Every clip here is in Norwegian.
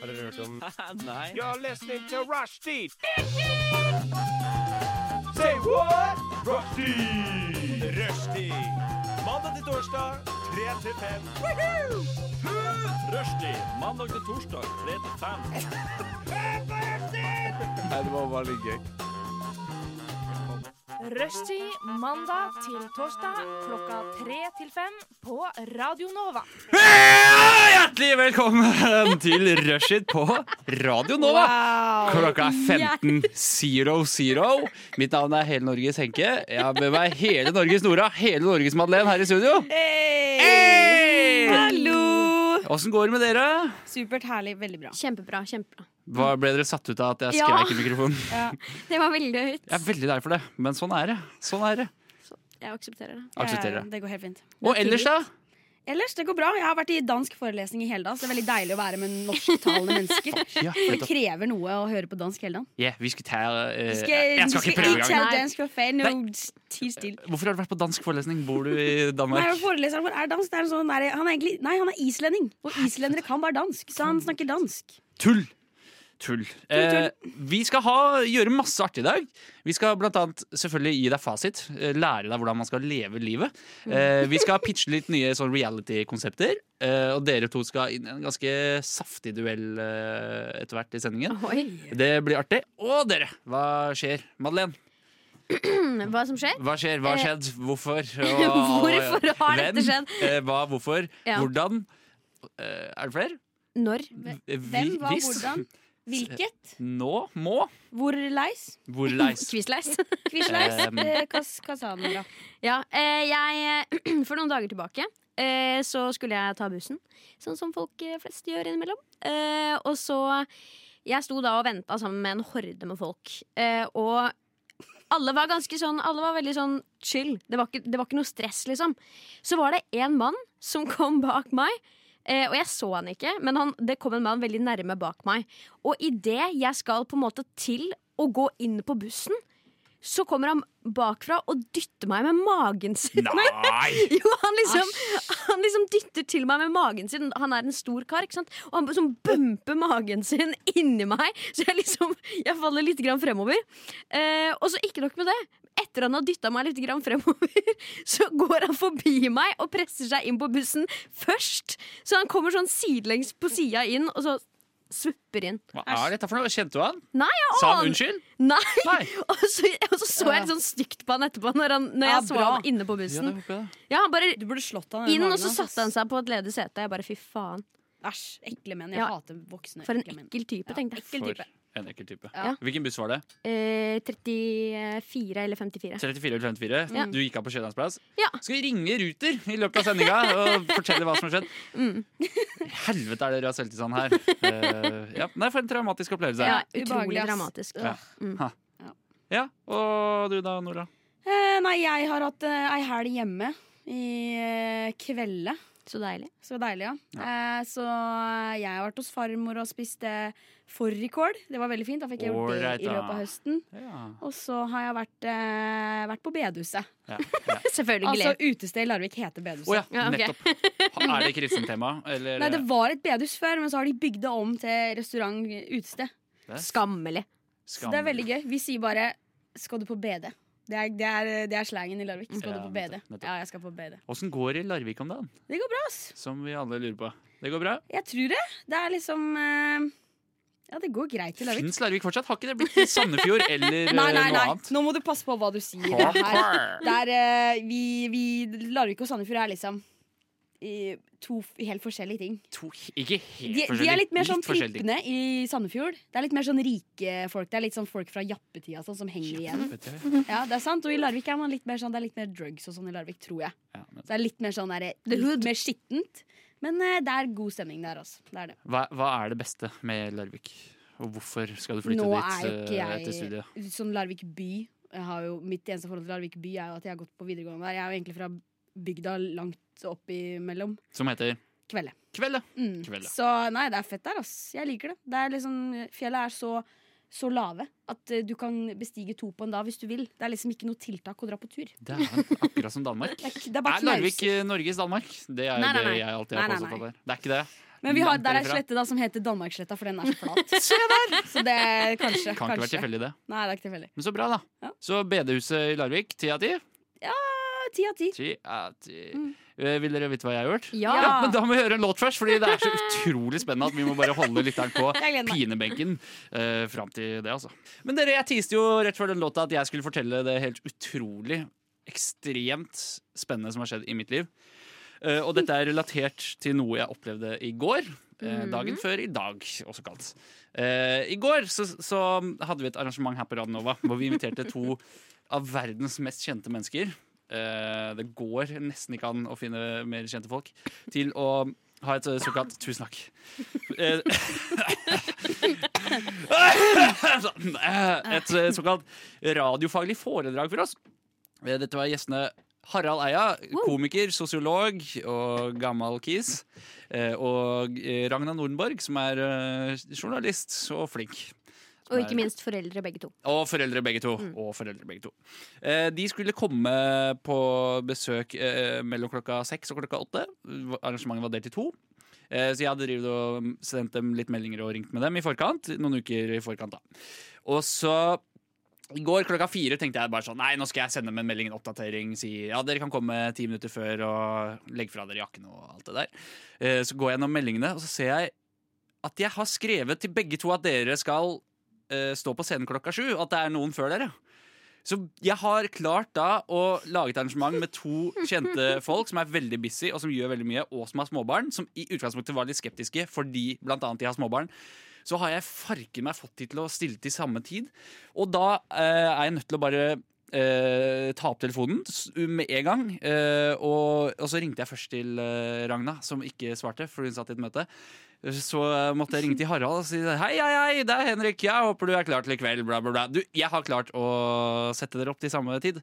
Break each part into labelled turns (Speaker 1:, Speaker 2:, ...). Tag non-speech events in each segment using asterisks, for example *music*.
Speaker 1: Har dere hørt om
Speaker 2: Nei.
Speaker 3: You're listening to Rushdie. Say what? Rushdie. Rushdie. Mandag til torsdag, 3 til 5.
Speaker 2: Rushdie. Mandag til torsdag, 3 til 5.
Speaker 4: Nei, det var bare litt gøy.
Speaker 5: Rushtid mandag til torsdag klokka tre til fem på Radio Nova.
Speaker 2: Hjertelig velkommen til Rushdie på Radio Nova. Klokka er 15.00. Mitt navn er Hele Norges Henke. Jeg har med meg hele Norges Nora, hele Norges Madeleine her i studio. Hey!
Speaker 6: Hallo!
Speaker 2: Åssen går det med dere?
Speaker 6: Supert, herlig, veldig bra.
Speaker 7: Kjempebra. kjempebra
Speaker 2: Hva ble dere satt ut av at jeg
Speaker 7: Ja.
Speaker 2: skrek i mikrofonen?
Speaker 7: Det var veldig høyt.
Speaker 2: Jeg er veldig lei for det, men sånn er det. Sånn er det.
Speaker 7: Jeg aksepterer det.
Speaker 2: Aksepterer
Speaker 6: Eh,
Speaker 2: det.
Speaker 6: Det går helt fint.
Speaker 2: Og ellers, da?
Speaker 6: Ellers, det går bra. Jeg har vært i dansk forelesning i hele dag, så det er veldig deilig å være med norsktalende mennesker.
Speaker 2: Ja,
Speaker 6: For
Speaker 2: nettopp.
Speaker 6: det krever noe å høre på dansk hele dagen.
Speaker 2: Ja, vi skal ta eh,
Speaker 6: Du
Speaker 2: Jeg
Speaker 6: du
Speaker 2: skal ikke prøve engang.
Speaker 6: ikke telle dansk for feil, no,
Speaker 2: Nei.
Speaker 6: ti still.
Speaker 2: Hvorfor har du vært på dansk forelesning? Bor du i
Speaker 6: Nei,
Speaker 2: Danmark?
Speaker 6: foreleseren vår er dansk. Det er en sånn der, han, er egentlig, nei, han er islending, og islendere kan bare dansk, så han snakker dansk.
Speaker 2: Tull! Tull. Eh, vi skal ha, gjøre masse artig i dag. Vi skal blant annet selvfølgelig gi deg fasit. eh, Lære deg hvordan man skal leve livet. Eh, vi skal pitche litt nye sånn reality-konsepter. Eh, og dere to skal inn i en ganske saftig duell eh, etter hvert i sendingen.
Speaker 7: Oi.
Speaker 2: Det blir artig. Og dere, hva skjer? Madeleine,
Speaker 7: Hmm, Hva som skjer?
Speaker 2: hva skjer? Hva har skjedd? Hvorfor? Og-
Speaker 7: Hvorfor har
Speaker 2: Hvem?
Speaker 7: dette skjedd?
Speaker 2: Eh, hva, hvorfor,
Speaker 7: Ja.
Speaker 2: hvordan? Eh, er det flere?
Speaker 7: Når?
Speaker 2: Eh, vi-
Speaker 6: Hvem, hva,
Speaker 2: hvis,
Speaker 6: hvordan, hvilket,
Speaker 2: *laughs* Nå, må,
Speaker 6: hvor leis,
Speaker 2: hvor leis.
Speaker 7: Quizleis. *laughs*
Speaker 6: quisleis,
Speaker 2: *laughs* Um.
Speaker 6: eh, kas, kasanora.
Speaker 7: Ja, eh, jeg *clears throat* For noen dager tilbake eh, så skulle jeg ta bussen, sånn som folk eh, flest gjør innimellom. Eh, og så Jeg sto da og venta sammen med en horde med folk. Eh, og alle var ganske sånn Alle var veldig sånn chill. Det var ikke, det var ikke noe stress, liksom. Så var det én mann som kom bak meg. Eh, og jeg så han ikke, men han, det kom en mann veldig nærme bak meg. Og idet jeg skal på en måte til å gå inn på bussen, så kommer han bakfra og dytter meg med magen sin.
Speaker 2: Nei!
Speaker 7: *laughs* Jo, han liksom, han liksom dytter til meg med magen sin. Han er en stor kar, ikke sant? Og han liksom bumper magen sin inni meg, så jeg liksom Jeg faller litt grann fremover. Eh, og så ikke nok med det. Etter han har dytta meg litt grann fremover, *laughs* så går han forbi meg og presser seg inn på bussen først. Så han kommer sånn sidelengs på sida inn, og så svupper inn.
Speaker 2: Hva er dette for noe? Kjente du han?
Speaker 7: Nei, jeg
Speaker 2: Sa han
Speaker 7: aner-
Speaker 2: unnskyld?
Speaker 7: *laughs* Nei!
Speaker 2: Nei.
Speaker 7: Og så, og så så jeg litt sånn stygt på han etterpå, når, han, når
Speaker 6: Ja,
Speaker 7: jeg så
Speaker 6: bra.
Speaker 7: han inne på
Speaker 2: Ja,
Speaker 7: bussen.
Speaker 2: det håper jeg.
Speaker 7: Ja, han bare
Speaker 6: Du burde slått han
Speaker 7: inn, og så satte han seg på et ledig sete. Jeg bare, fy faen.
Speaker 6: Æsj, ekle menn. Jeg
Speaker 7: Ja.
Speaker 6: hater voksne
Speaker 7: For en
Speaker 6: ekle menn.
Speaker 7: ekkel type, tenkte jeg.
Speaker 6: Ekkel
Speaker 2: For
Speaker 6: type.
Speaker 2: en ekkel type.
Speaker 6: Ja.
Speaker 2: Hvilken buss var det?
Speaker 7: Eh, 34 eller 54.
Speaker 2: 34 eller 54?
Speaker 7: Ja.
Speaker 2: Du gikk av på Sjølands plass?
Speaker 7: Ja.
Speaker 2: Skal vi ringe Ruter i løpet av sendinga og fortelle hva som har skjedd? Helvete er dere har selvtilstand her. Eh, ja. Nei, for en traumatisk opplevelse.
Speaker 7: Ja,
Speaker 2: Ja.
Speaker 6: ubehagelig,
Speaker 7: utrolig
Speaker 6: ass.
Speaker 7: dramatisk.
Speaker 2: Ja. Og du da, Nora?
Speaker 6: Eh, nei, jeg har hatt eh, ei helg hjemme i eh, kveldet.
Speaker 7: Så deilig. *laughs*
Speaker 6: Så deilig, ja. Eh, så jeg har vært hos farmor og spist eh, fårikål. Det var veldig fint. Da fikk jeg gjort det
Speaker 2: Ålreit,
Speaker 6: i
Speaker 2: da.
Speaker 6: løpet av høsten.
Speaker 2: Ja.
Speaker 6: Og så har jeg vært, eh, vært på bedehuset.
Speaker 2: Ja. Ja.
Speaker 7: Selvfølgelig.
Speaker 6: Altså utestedet i Larvik heter bedehuset.
Speaker 2: Å ja,
Speaker 7: Ja, ok.
Speaker 2: nettopp. Ha- Er det kristent tema? Eller
Speaker 6: Nei, det var et bedehus før, men så har de bygd det om til restaurant eh, utested.
Speaker 7: Skammelig.
Speaker 6: Så det er veldig gøy. Vi sier bare 'skal du på BD'? Det er, det er, det er slangen i Larvik. Skal
Speaker 2: Ja,
Speaker 6: du på BD?
Speaker 2: nettopp, nettopp.
Speaker 6: Ja, jeg skal på BD.
Speaker 2: Åssen går det i Larvik om dagen?
Speaker 6: Det går bra, ass.
Speaker 2: Som vi alle lurer på. Det går bra?
Speaker 6: Jeg tror det. Det er liksom eh, Ja, det går greit i Larvik.
Speaker 2: Fins Larvik fortsatt? Har ikke det blitt
Speaker 6: *laughs*
Speaker 2: Sandefjord eller eh,
Speaker 6: Nei, nei,
Speaker 2: noe
Speaker 6: nei.
Speaker 2: annet?
Speaker 6: Nå må du passe på hva du sier. Det her.
Speaker 2: Parkour.
Speaker 6: Det er, eh, vi, vi Larvik og Sandefjord er liksom eh, to f- helt forskjellige ting.
Speaker 2: To, ikke helt
Speaker 6: De, de
Speaker 2: forskjellig,
Speaker 6: er litt mer sånn
Speaker 2: forskjellig.
Speaker 6: prippende i Sandefjord. Det er litt mer sånn rike folk. Det er litt sånn folk fra jappetida sånn, som henger igjen.
Speaker 2: Vet du.
Speaker 6: Ja, det er sant. Og i Larvik er man litt mer sånn Det er litt mer drugs og sånn i Larvik, tror jeg.
Speaker 2: Ja, men
Speaker 6: Så det er litt mer sånn der,
Speaker 7: The hood.
Speaker 6: litt mer skittent. Men eh, det er god stemning der, altså. Det er det.
Speaker 2: hva, hva er det beste med Larvik? Og hvorfor skal du flytte
Speaker 6: Nå
Speaker 2: dit
Speaker 6: er ikke
Speaker 2: eh,
Speaker 6: jeg-
Speaker 2: etter studiet?
Speaker 6: Sånn Larvik by jeg har jo, Mitt eneste forhold til Larvik by er jo at jeg har gått på videregående der. Jeg er jo egentlig fra bygda langt opp imellom.
Speaker 2: Som heter
Speaker 6: Kveldet.
Speaker 2: Kveldet.
Speaker 6: Mm.
Speaker 2: Kveldet.
Speaker 6: Så nei, det er fett der, ass. Jeg liker det. det er liksom, fjellet er så så lave at eh, du kan bestige to på en dag hvis du vil. Det er liksom ikke noe tiltak å dra på tur.
Speaker 2: Det er akkurat som Danmark.
Speaker 6: Det er, ikke- det er bare
Speaker 2: Er Larvik
Speaker 6: knauser.
Speaker 2: eh, Norges Danmark? Det er jo
Speaker 6: Nei, nei,
Speaker 2: det
Speaker 6: nei.
Speaker 2: jeg alltid
Speaker 6: Nei,
Speaker 2: har
Speaker 6: nei,
Speaker 2: påstått. at
Speaker 6: nei.
Speaker 2: det er. Det er ikke det.
Speaker 6: Men vi har,
Speaker 2: langt
Speaker 6: der er
Speaker 2: derifra.
Speaker 6: slette da som heter Danmarksletta, for den er så flat. Se der! Så det er kanskje.
Speaker 2: Kan ikke være
Speaker 6: kanskje.
Speaker 2: tilfeldig, det.
Speaker 6: Nei, det er ikke tilfeldig.
Speaker 2: Men så bra, da.
Speaker 6: Ja.
Speaker 2: Så bedehuset i Larvik, ti av ti?
Speaker 6: Ja, Ti av ti.
Speaker 2: Ti av ti.
Speaker 6: Mm.
Speaker 2: Eh, Vil dere vite hva jeg har gjort?
Speaker 7: Ja.
Speaker 2: Ja, men da må vi høre en låt først, fordi det er så utrolig spennende at vi må bare holde lytteren på
Speaker 6: Jeg gleder meg.
Speaker 2: pinebenken uh, fram til det, altså. Men dere, jeg tiste jo rett før den låta at jeg skulle fortelle det helt utrolig, ekstremt spennende som har skjedd i mitt liv. Eh, og dette er relatert til noe jeg opplevde i går. eh, dagen før i dag, også kalt. Eh, I går så, så hadde vi et arrangement her på Radnova hvor vi inviterte to av verdens mest kjente mennesker. Eh, det går nesten ikke an å finne mer kjente folk til å ha et eh, såkalt Tusen takk. Eh, *laughs* Et eh, såkalt radiofaglig foredrag for oss. Eh, Dette var gjestene Harald Eia, komiker, sosiolog og gammel kis. eh, Og eh, Ragna Nordenborg, som er eh, journalist og flink.
Speaker 7: Og ikke minst foreldre, begge to.
Speaker 2: Og foreldre begge to. Og foreldre begge to. Eh, de skulle komme på besøk eh, mellom klokka seks og klokka åtte. Arrangementet var delt i to. Eh, så jeg hadde drivet og sendt dem litt meldinger og ringt med dem i forkant. Noen uker i forkant, da. Og så i går klokka fire tenkte jeg bare sånn Nei, nå skal jeg sende dem en melding, en oppdatering. Si ja, dere kan komme ti minutter før og legge fra dere jakken og alt det der. Eh, så går jeg gjennom meldingene, og så ser jeg at jeg har skrevet til begge to at dere skal eh, stå på scenen klokka sju, og at det er noen før dere. Så jeg har klart da å lage et arrangement med to kjente folk som er veldig busy og som gjør veldig mye, og som har småbarn, som i utgangspunktet var litt skeptiske fordi blant annet de har småbarn. Så har jeg farken meg fått de til å stille til samme tid. Og da eh, er jeg nødt til å bare eh, ta opp telefonen s- med en gang. Eh, og, og så ringte jeg først til eh, Ragna, som ikke svarte, for hun satt i et møte. Så måtte jeg ringe til Harald og si Hei, hei, hei, det er Henrik, jeg håper du er klar til i kveld bla, bla, bla. Du, jeg har klart å sette dere opp til samme tid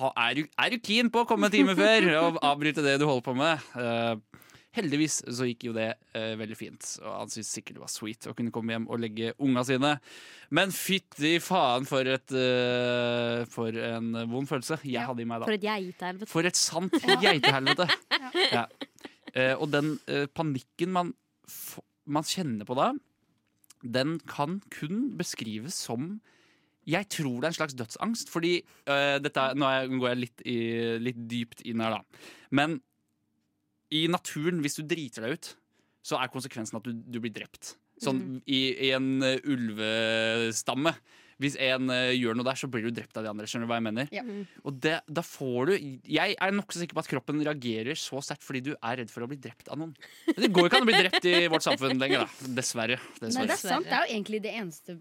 Speaker 2: ha, er, du, er du keen på å komme en time før Og avbryte det du holder på med Eh, Heldigvis så gikk jo det eh, veldig fint Og han syntes sikkert det var sweet Å kunne komme hjem og legge unga sine Men fytti faen for et eh, For en vond følelse Jeg hadde i meg da
Speaker 7: For et geitehelvete.
Speaker 2: for et sant geitehelvete. Ja. Eh, og den eh, panikken man, f man kjenner på da, den kan kun beskrives som jeg tror det er en slags dødsangst, fordi eh, dette, er- Nå er jeg- går jeg litt, i, litt dypt inn her, da. Men i naturen, hvis du driter deg ut, så er konsekvensen at du, du blir drept. Sånn
Speaker 6: Mhm.
Speaker 2: i, i en eh, ulvestamme. Hvis en eh, gjør noe der, så blir du drept av de andre. Skjønner du hva jeg mener?
Speaker 6: Ja.
Speaker 2: Og det, da får du Jeg er nokså sikker på at kroppen reagerer så sterkt fordi du er redd for å bli drept av noen. Men det går jo ikke an å bli drept i vårt samfunn lenger, da. Dessverre.
Speaker 6: Nei, det
Speaker 2: Dessverre.
Speaker 6: er sant. Det er jo egentlig det eneste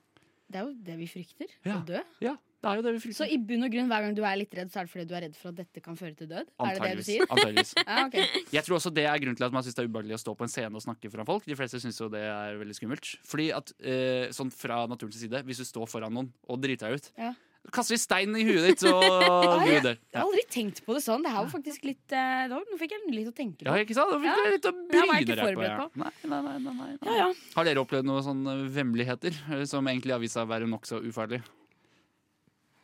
Speaker 6: Det er jo det vi frykter.
Speaker 2: Ja.
Speaker 6: Å dø.
Speaker 2: Ja, det er jo det vi
Speaker 6: Så
Speaker 2: frykter.
Speaker 6: i bunn og grunn, hver gang du er litt redd, så er det fordi du er redd for at dette kan føre til død? Er det det du sier?
Speaker 2: Antageligvis.
Speaker 6: Ja, ok.
Speaker 2: Jeg tror også det er grunnen til at man syns det er ubehagelig å stå på en scene og snakke foran folk. De fleste syns jo det er veldig skummelt. Fordi at, eh, sånn fra naturens side, hvis du står foran noen og driter deg ut,
Speaker 6: Ja.
Speaker 2: kaster vi stein i huet ditt,
Speaker 6: *laughs*
Speaker 2: og du
Speaker 6: ja.
Speaker 2: dør.
Speaker 6: Jeg
Speaker 2: *laughs*
Speaker 6: har
Speaker 2: Ja.
Speaker 6: aldri tenkt på det sånn. Det her var faktisk litt eh, da- Nå fikk jeg litt å tenke
Speaker 2: Ja,
Speaker 6: på.
Speaker 2: ikke sant? Da fikk
Speaker 6: Ja.
Speaker 2: dere litt å
Speaker 6: Det var jeg
Speaker 2: bryne
Speaker 6: ikke
Speaker 2: dere på.
Speaker 6: forberedt
Speaker 2: Ja.
Speaker 6: på.
Speaker 2: Nei, nei, nei, nei, nei.
Speaker 6: Ja, ja.
Speaker 2: Har dere opplevd noen sånne vemmeligheter eh, som egentlig har vist seg å være nokså ufarlig?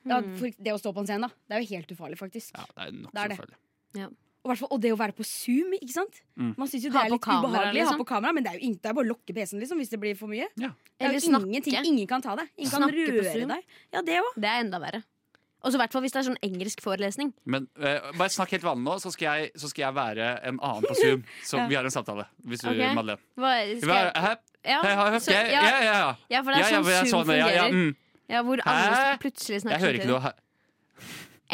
Speaker 6: Ja,
Speaker 7: Mm.
Speaker 6: for det å stå på en scene, da. Det er jo helt ufarlig, faktisk.
Speaker 2: Ja, det er nok
Speaker 6: Det er
Speaker 2: så
Speaker 6: det.
Speaker 2: ufarlig.
Speaker 6: Og, hvertfall- og det å være på Zoom, ikke sant?
Speaker 2: Mm.
Speaker 6: Man syns jo det
Speaker 7: Ha
Speaker 6: er
Speaker 7: på
Speaker 6: litt
Speaker 7: kamera,
Speaker 6: ubehagelig å
Speaker 7: liksom.
Speaker 6: ha på kamera, men det er jo ingen, det er bare å lukke PC-en liksom, hvis det blir for mye. Det er
Speaker 7: Eller
Speaker 6: jo ingenting,
Speaker 7: snakke.
Speaker 6: Ingen kan ta det. Ingen kan
Speaker 7: Snakke på
Speaker 6: røre
Speaker 7: Zoom.
Speaker 6: deg. Ja, det òg.
Speaker 7: Det er enda verre. Og så i hvert fall hvis det er sånn engelsk forelesning.
Speaker 2: Men eh, bare snakk helt vanlig nå, så skal jeg, så skal jeg være en annen på
Speaker 6: *laughs*
Speaker 2: Zoom. Så
Speaker 6: Ja.
Speaker 2: vi har en samtale. Hvis du,
Speaker 7: Ok.
Speaker 2: Madeleine.
Speaker 7: Hva, skal
Speaker 2: Hva-
Speaker 7: jeg,
Speaker 2: Hæ?
Speaker 7: ja,
Speaker 2: Hei, har jeg hørt
Speaker 7: så,
Speaker 2: det? Ja, ja,
Speaker 7: ja,
Speaker 2: ja.
Speaker 7: ja, for det
Speaker 2: Ja, ja,
Speaker 7: er
Speaker 2: for jeg
Speaker 7: sånn
Speaker 2: så
Speaker 7: Zoom
Speaker 2: det. Ja, ja,
Speaker 7: fungerer.
Speaker 2: mm.
Speaker 7: Ja, hvor
Speaker 2: Hæ?
Speaker 7: alle plutselig
Speaker 2: Jeg
Speaker 7: snakker
Speaker 2: hører ikke
Speaker 7: samtidig.
Speaker 2: noe. Hæ?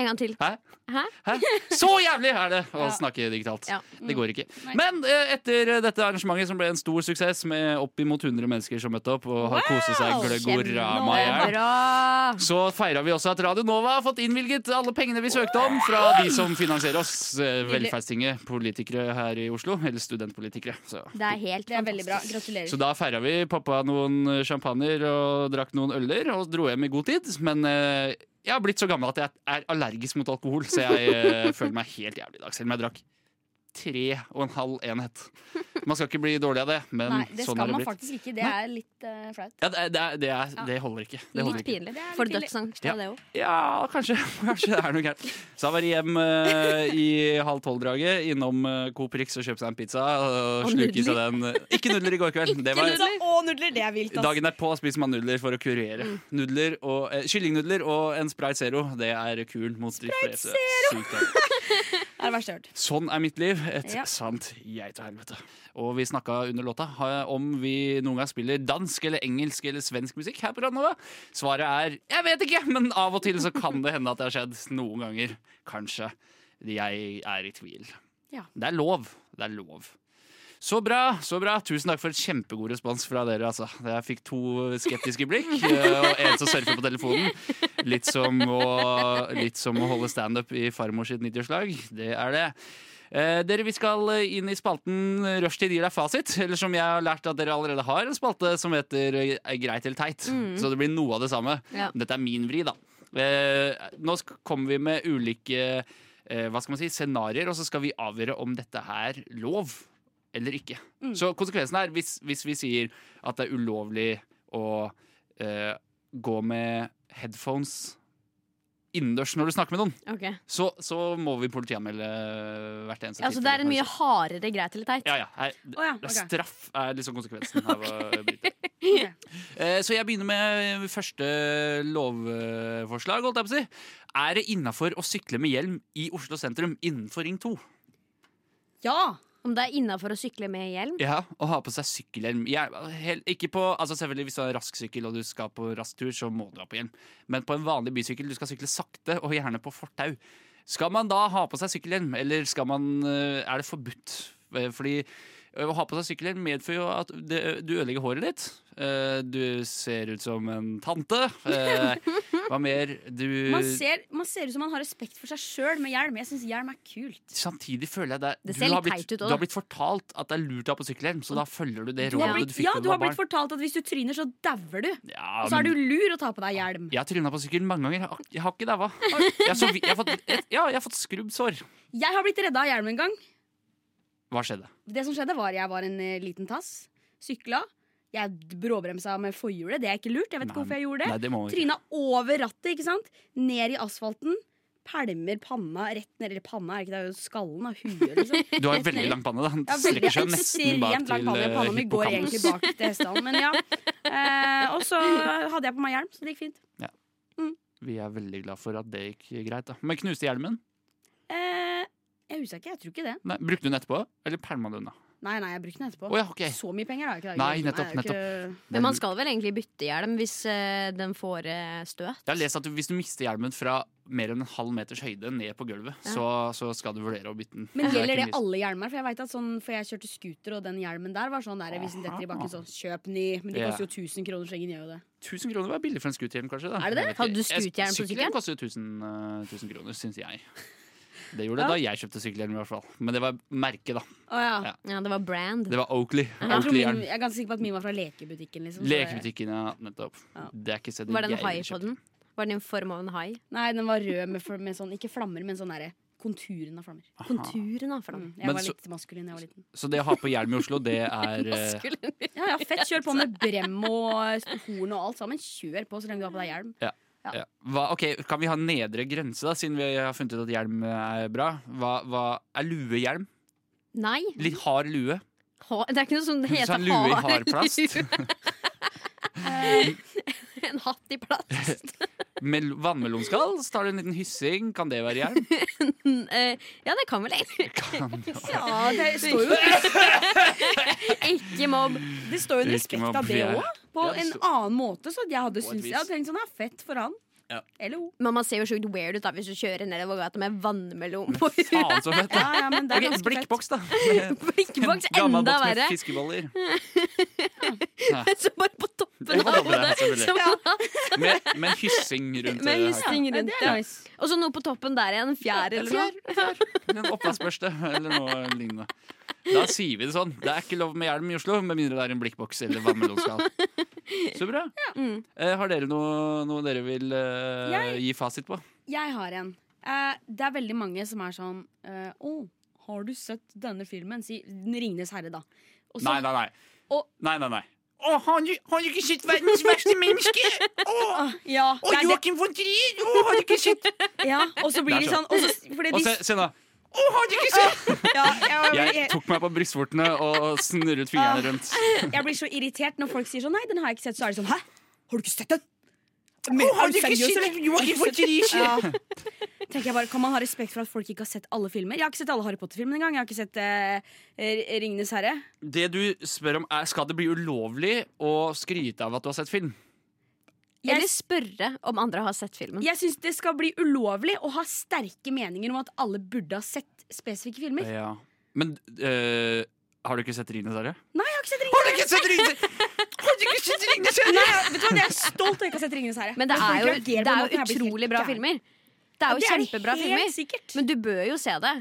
Speaker 7: En gang til.
Speaker 2: Hæ?
Speaker 7: Hæ?
Speaker 2: Hæ? Så jævlig er det å
Speaker 6: Ja.
Speaker 2: snakke digitalt.
Speaker 7: Ja.
Speaker 2: Det går ikke.
Speaker 6: Nei.
Speaker 2: Men eh, etter dette arrangementet, som ble en stor suksess, med oppimot 100 mennesker som møtte opp og har koset seg gløggorama i hjel,
Speaker 7: Kjempebra!
Speaker 2: så feira vi også at Radio Nova har fått innvilget alle pengene vi søkte om fra de som finansierer oss. eh, Velferdstinget, politikere her i Oslo, eller studentpolitikere. Så.
Speaker 7: Det er helt
Speaker 6: Det er veldig bra.
Speaker 7: fantastisk.
Speaker 2: Så
Speaker 6: Gratulerer.
Speaker 2: da feira vi, poppa noen champagner og drakk noen øler og dro hjem i god tid. Men eh, jeg har blitt så gammel at jeg er allergisk mot alkohol, så jeg eh, føler meg helt jævlig i dag, selv om jeg drakk tre og en halv enhet. Man skal ikke bli dårlig av det, men
Speaker 6: Nei, det
Speaker 2: sånn
Speaker 6: skal
Speaker 2: har det
Speaker 6: man
Speaker 2: blitt.
Speaker 6: faktisk ikke. Det er litt eh, flaut.
Speaker 2: Ja, det, er- det, er- det, er,
Speaker 6: Ja.
Speaker 2: det holder ikke. Det holder
Speaker 7: Litt
Speaker 2: ikke.
Speaker 7: pinlig.
Speaker 6: Det er litt
Speaker 7: For
Speaker 6: pinlig.
Speaker 7: dødsangst
Speaker 2: Ja.
Speaker 7: av det òg.
Speaker 2: Ja, kanskje. *laughs* Kanskje det er noe gærent. Så han var hjem eh, i halv tolv-draget, innom eh, Coop Rix og kjøpte seg en pizza. Og,
Speaker 7: Og
Speaker 2: sluker seg den Ikke nudler i går kveld. Det var,
Speaker 7: nudler. Nudler.
Speaker 6: Og nudler, det er vilt, ass.
Speaker 2: dagen derpå spiser man nudler for å kurere. Nudler og, eh, kyllingnudler og en Sprite Zero, det er kuren mot de fleste sykdommer.
Speaker 6: Det er det verste jeg har hørt.
Speaker 2: Sånn er mitt liv. Et
Speaker 6: Ja.
Speaker 2: sant geitehelvete. Og vi snakka under låta ha- om vi noen gang spiller dansk eller engelsk eller svensk musikk her på Randova. Svaret er jeg vet ikke, men av og til så kan det hende at det har skjedd. Noen ganger. Kanskje. Jeg er i tvil.
Speaker 6: Ja.
Speaker 2: Det er lov. Det er lov. Så bra, så bra. Tusen takk for kjempegod respons fra dere. altså. Jeg fikk to skeptiske blikk,
Speaker 6: *laughs*
Speaker 2: eh, og en som surfer på telefonen. Litt som å, litt som å holde standup i farmor sitt 90-årslag. Det er det. Eh, dere, Vi skal eh, inn i spalten Rushtid gir deg fasit. Eller som jeg har lært at dere allerede har, en spalte som heter eh, Greit eller teit. Så det blir noe av det samme.
Speaker 7: Ja.
Speaker 2: Dette er min vri, da. Eh, nå sk- kommer vi med ulike eh, hva skal man si, scenarioer, og så skal vi avgjøre om dette er lov eller ikke. Så konsekvensen er, hvis, hvis vi sier at det er ulovlig å eh, gå med headphones innendørs når du snakker med noen, så, så må vi politianmelde hvert eneste
Speaker 7: Altså, det er en mye hardere greit eller teit.
Speaker 2: ja, ja. Her,
Speaker 6: Å ja,
Speaker 2: det er
Speaker 6: ok.
Speaker 2: Straff er liksom konsekvensen av å
Speaker 7: *laughs*
Speaker 2: bryte.
Speaker 6: Ok.
Speaker 2: Eh, Så jeg begynner med første lovforslag. Holdt jeg på å si. Er det innafor å sykle med hjelm i Oslo sentrum innenfor Ring 2?
Speaker 6: Ja!
Speaker 7: Om det er innafor å sykle med hjelm.
Speaker 2: Ja, Å ha på seg sykkelhjelm. Jeg, hel, ikke på, altså selvfølgelig Hvis du har rask sykkel og du skal på rask tur, så må du ha på hjelm. Men på en vanlig bysykkel, du skal sykle sakte og gjerne på fortau. Skal man da ha på seg sykkelhjelm, eller skal man, eh, er det forbudt? Eh, Fordi eh, å ha på seg sykkelhjelm medfører jo at det, du ødelegger håret ditt. Eh, Du ser ut som en tante. Eh, Hva mer? Du
Speaker 6: *laughs* Man ser, man ser ut som man har respekt for seg sjøl med hjelm. Jeg syns hjelm er kult.
Speaker 2: Samtidig føler jeg det,
Speaker 7: Det
Speaker 2: du
Speaker 7: ser
Speaker 2: har
Speaker 7: litt
Speaker 2: blitt,
Speaker 7: teit ut
Speaker 2: Du
Speaker 7: også,
Speaker 2: har
Speaker 7: da.
Speaker 2: blitt fortalt at det er lurt å ha på sykkelhjelm, så da følger du det
Speaker 6: Du har
Speaker 2: rådet
Speaker 6: blitt,
Speaker 2: du fikk
Speaker 6: ja,
Speaker 2: da
Speaker 6: du har
Speaker 2: var
Speaker 6: blitt
Speaker 2: barn.
Speaker 6: fortalt at hvis du tryner, så dauer du.
Speaker 2: Ja,
Speaker 6: Og
Speaker 2: men-
Speaker 6: så er du lur å ta på deg hjelm.
Speaker 2: Jeg har tryna på sykkel mange ganger. Jeg har- Jeg har ikke daua. Jeg, har så vidt- jeg, har fått- jeg, ja, jeg har fått skrubbsår.
Speaker 6: Jeg har blitt redda av hjelm en gang.
Speaker 2: Hva skjedde?
Speaker 6: Det som skjedde var Jeg var en eh, liten tass. Sykla. Jeg bråbremsa med forhjulet. Det er ikke lurt. Jeg vet
Speaker 2: Nei,
Speaker 6: ikke hvorfor jeg gjorde det.
Speaker 2: Nei, det må man ikke.
Speaker 6: Tryna over rattet, ikke sant? Ned i asfalten. Pælmer panna rett ned i panna. Er ikke det, det er jo skallen av huet, liksom.
Speaker 2: Du har veldig lang panne. da Den
Speaker 6: Ja, veldig
Speaker 2: strekker seg jo nesten bak
Speaker 6: ekstremt lang
Speaker 2: til
Speaker 6: panne.
Speaker 2: eh,
Speaker 6: Panna mi går egentlig
Speaker 2: hippocampus.
Speaker 6: bak til hestene, men
Speaker 2: *laughs*
Speaker 6: ja. Eh, og så hadde jeg på meg hjelm, så det gikk fint.
Speaker 2: Vi er veldig glad for at det gikk greit. da Men knuste hjelmen?
Speaker 6: Eh, jeg er usikker, jeg tror ikke det.
Speaker 2: Nei, brukte du den etterpå, eller pælma du den? da?
Speaker 6: Nei, nei, jeg brukte den etterpå.
Speaker 2: Å ja, ok
Speaker 6: Så mye penger har jeg ikke. da.
Speaker 2: Nei,
Speaker 6: Jeg er jo
Speaker 2: nettopp,
Speaker 6: ikke-
Speaker 7: Men man skal vel egentlig bytte hjelm hvis eh, den får eh, støt.
Speaker 2: Jeg har lest at du, Hvis du mister hjelmen fra mer enn en halv meters høyde ned på gulvet, så, så skal du vurdere å bytte den.
Speaker 6: Men
Speaker 2: Så er
Speaker 6: gjelder
Speaker 2: ikke
Speaker 6: det
Speaker 2: mye-
Speaker 6: alle hjelmer? For jeg vet at sånn, for jeg kjørte scooter, og den hjelmen der var sånn der hvis den detter i bakken, så kjøp ny. Men de
Speaker 2: Ja.
Speaker 6: koster jo 1000 kroner, så ingen gjør jo det.
Speaker 2: 1000 kroner var billig for en scooterhjelm, kanskje. Da.
Speaker 6: Er det det?
Speaker 2: Jeg vet
Speaker 7: Hadde du
Speaker 2: ikke. Jeg-
Speaker 7: scooterhjelm på
Speaker 2: Sykkelhjelm
Speaker 7: sykkelen?
Speaker 2: koster jo 1000, eh, 1000 kroner, syns
Speaker 7: *laughs*
Speaker 2: jeg. Det gjorde det da jeg kjøpte sykkelhjelm, i hvert fall. Men det var merket, da.
Speaker 6: Å ja.
Speaker 2: Ja.
Speaker 7: Ja, det var brand.
Speaker 2: Det var Oakley.
Speaker 6: Jeg, tror min,
Speaker 2: Oakley-hjelm.
Speaker 6: jeg er ganske sikker på at min var fra lekebutikken. Liksom, så det-
Speaker 2: Lekebutikken, ja. Nettopp.
Speaker 6: Ja.
Speaker 2: Det er ikke stedet
Speaker 7: Var det
Speaker 2: jeg
Speaker 7: en hai
Speaker 2: ville
Speaker 7: på
Speaker 2: kjøpt.
Speaker 7: den? Var den i form av en hai?
Speaker 6: Nei, den var rød med, fl- med sånn, ikke flammer, men sånn derre konturen av flammer.
Speaker 7: Konturen av flammen.
Speaker 6: Mm, Jeg
Speaker 2: Men
Speaker 6: var
Speaker 2: så-
Speaker 6: litt maskulin da jeg var liten.
Speaker 2: Så det å ha på hjelm i Oslo,
Speaker 7: *laughs*
Speaker 2: det er eh,
Speaker 6: Ja, ja, fett. Kjør på med brem og horn og alt sammen. Kjør på så lenge du har på deg hjelm.
Speaker 2: ja. hva, Ok, Kan vi ha nedre grense, da, siden vi har funnet ut at hjelm eh, er bra? Hva, hva er luehjelm?
Speaker 7: Nei.
Speaker 2: Litt hard lue?
Speaker 7: Ha, det er ikke noe sånn som
Speaker 2: Hvis du
Speaker 7: heter
Speaker 2: har en lue i
Speaker 7: har-
Speaker 2: hardplast
Speaker 7: *laughs* En hatt i plast. *laughs*
Speaker 2: med vannmelonskall, så tar du en liten hyssing. Kan det være
Speaker 7: *laughs*
Speaker 2: hjelm?
Speaker 7: Eh, ja, det kan vel egentlig *laughs*
Speaker 2: Kan det være?
Speaker 6: Ja, det står jo
Speaker 7: Ikke mobb.
Speaker 6: Det står jo en
Speaker 2: Ikke
Speaker 6: respekt
Speaker 2: mobb,
Speaker 6: av det
Speaker 2: jeg-
Speaker 6: òg. På
Speaker 2: Ja, det
Speaker 6: en
Speaker 2: står-
Speaker 6: annen måte, så jeg hadde
Speaker 2: På et
Speaker 6: syntes
Speaker 2: vis.
Speaker 6: Jeg hadde tenkt sånn, ja, fett for han.
Speaker 2: Ja.
Speaker 6: Eller hun.
Speaker 7: Men man ser jo sjukt weird ut da hvis du kjører nedover gata med vannmelon på *laughs* huet.
Speaker 2: Faen så fett, da!
Speaker 6: Ja, ja, men det er
Speaker 2: Ok,
Speaker 6: ganske fett. *laughs*
Speaker 2: blikkboks, da. Med-
Speaker 7: Blikkboks
Speaker 2: Gammel
Speaker 7: enda
Speaker 2: boks med
Speaker 7: verre. *laughs*
Speaker 2: Fiskeboller.
Speaker 7: Så bare på toppen
Speaker 2: Ja, på
Speaker 7: av
Speaker 2: toppen, ja,
Speaker 7: hodet.
Speaker 2: selvfølgelig.
Speaker 7: som man har
Speaker 2: Med, med hyssing rundt.
Speaker 7: Med
Speaker 2: eh,
Speaker 7: hyssing
Speaker 6: Ja,
Speaker 7: rundt.
Speaker 6: det
Speaker 7: ja.
Speaker 6: er nice.
Speaker 7: Og så noe på toppen der igjen. Fjær eller noe.
Speaker 2: Eller En oppvaskbørste eller noe lignende. Da sier vi det sånn. Det er ikke lov med hjelm i Oslo, med mindre det er en blikkboks eller vannmelonskall. Så bra.
Speaker 6: *laughs*
Speaker 2: Eh, har dere noe, noe dere vil eh,
Speaker 6: Mm. Jeg-
Speaker 2: gi fasit på?
Speaker 6: Jeg har en. Eh, det er veldig mange som er sånn eh, Å, 'Har du sett denne filmen?' Si 'Ringenes herre', da. Og så-
Speaker 2: Nei, nei, nei.
Speaker 6: Sånn. Og-
Speaker 2: nei, nei, nei. Å, har du, har du ikke sett verdens verste menneske? Å,
Speaker 6: *laughs* Ja,
Speaker 2: å,
Speaker 6: det er det.
Speaker 2: Joakim von Trier! Å, har du ikke
Speaker 6: *laughs*
Speaker 2: sett
Speaker 6: ja, og så blir
Speaker 2: Det
Speaker 6: de
Speaker 2: er
Speaker 6: sånn og så, fordi
Speaker 2: Og
Speaker 6: de,
Speaker 2: se, se nå. Å, har du ikke sett
Speaker 6: ja, jeg,
Speaker 2: Jeg
Speaker 6: jeg,
Speaker 2: tok meg på brystvortene og
Speaker 6: *laughs*
Speaker 2: snurret fingrene rundt.
Speaker 6: jeg blir så irritert når folk sier sånn 'Nei, den har jeg ikke sett', så er det sånn 'Hæ? Har du ikke sett den?' Men,
Speaker 2: Å,
Speaker 6: er
Speaker 2: har
Speaker 6: du
Speaker 2: du ikke
Speaker 6: seriøs,
Speaker 2: sett
Speaker 6: eller?
Speaker 2: Joakim von Trier?
Speaker 6: Ja. Tenker jeg bare, Kan man ha respekt for at folk ikke har sett alle filmer? Jeg har ikke sett alle Harry Potter-filmene engang. Jeg har ikke sett uh, 'Ringenes herre'.
Speaker 2: Det du spør om, er skal det bli ulovlig å skryte av at du har sett film.
Speaker 6: Jeg,
Speaker 7: Eller spørre om andre har sett filmen.
Speaker 6: jeg syns det skal bli ulovlig å ha sterke meninger om at alle burde ha sett spesifikke filmer.
Speaker 2: Ja. Men øh, har du ikke sett Rines herre?
Speaker 6: Nei, jeg har ikke
Speaker 2: Har du ikke
Speaker 6: sett Ringenes
Speaker 2: sett Rines Har du ikke sett Ringenes herre?
Speaker 6: herre! Vet du hva, Jeg er stolt av ikke å ha sett Ringenes herre.
Speaker 7: Men det
Speaker 6: folk
Speaker 7: er jo,
Speaker 6: reagerer på
Speaker 7: det
Speaker 6: den
Speaker 7: er jo
Speaker 6: måten, jeg blir helt
Speaker 7: utrolig bra
Speaker 6: gæren.
Speaker 7: filmer. Det er jo
Speaker 6: det
Speaker 7: kjempebra
Speaker 6: helt
Speaker 7: filmer.
Speaker 6: sikkert.
Speaker 7: Men du bør jo se det.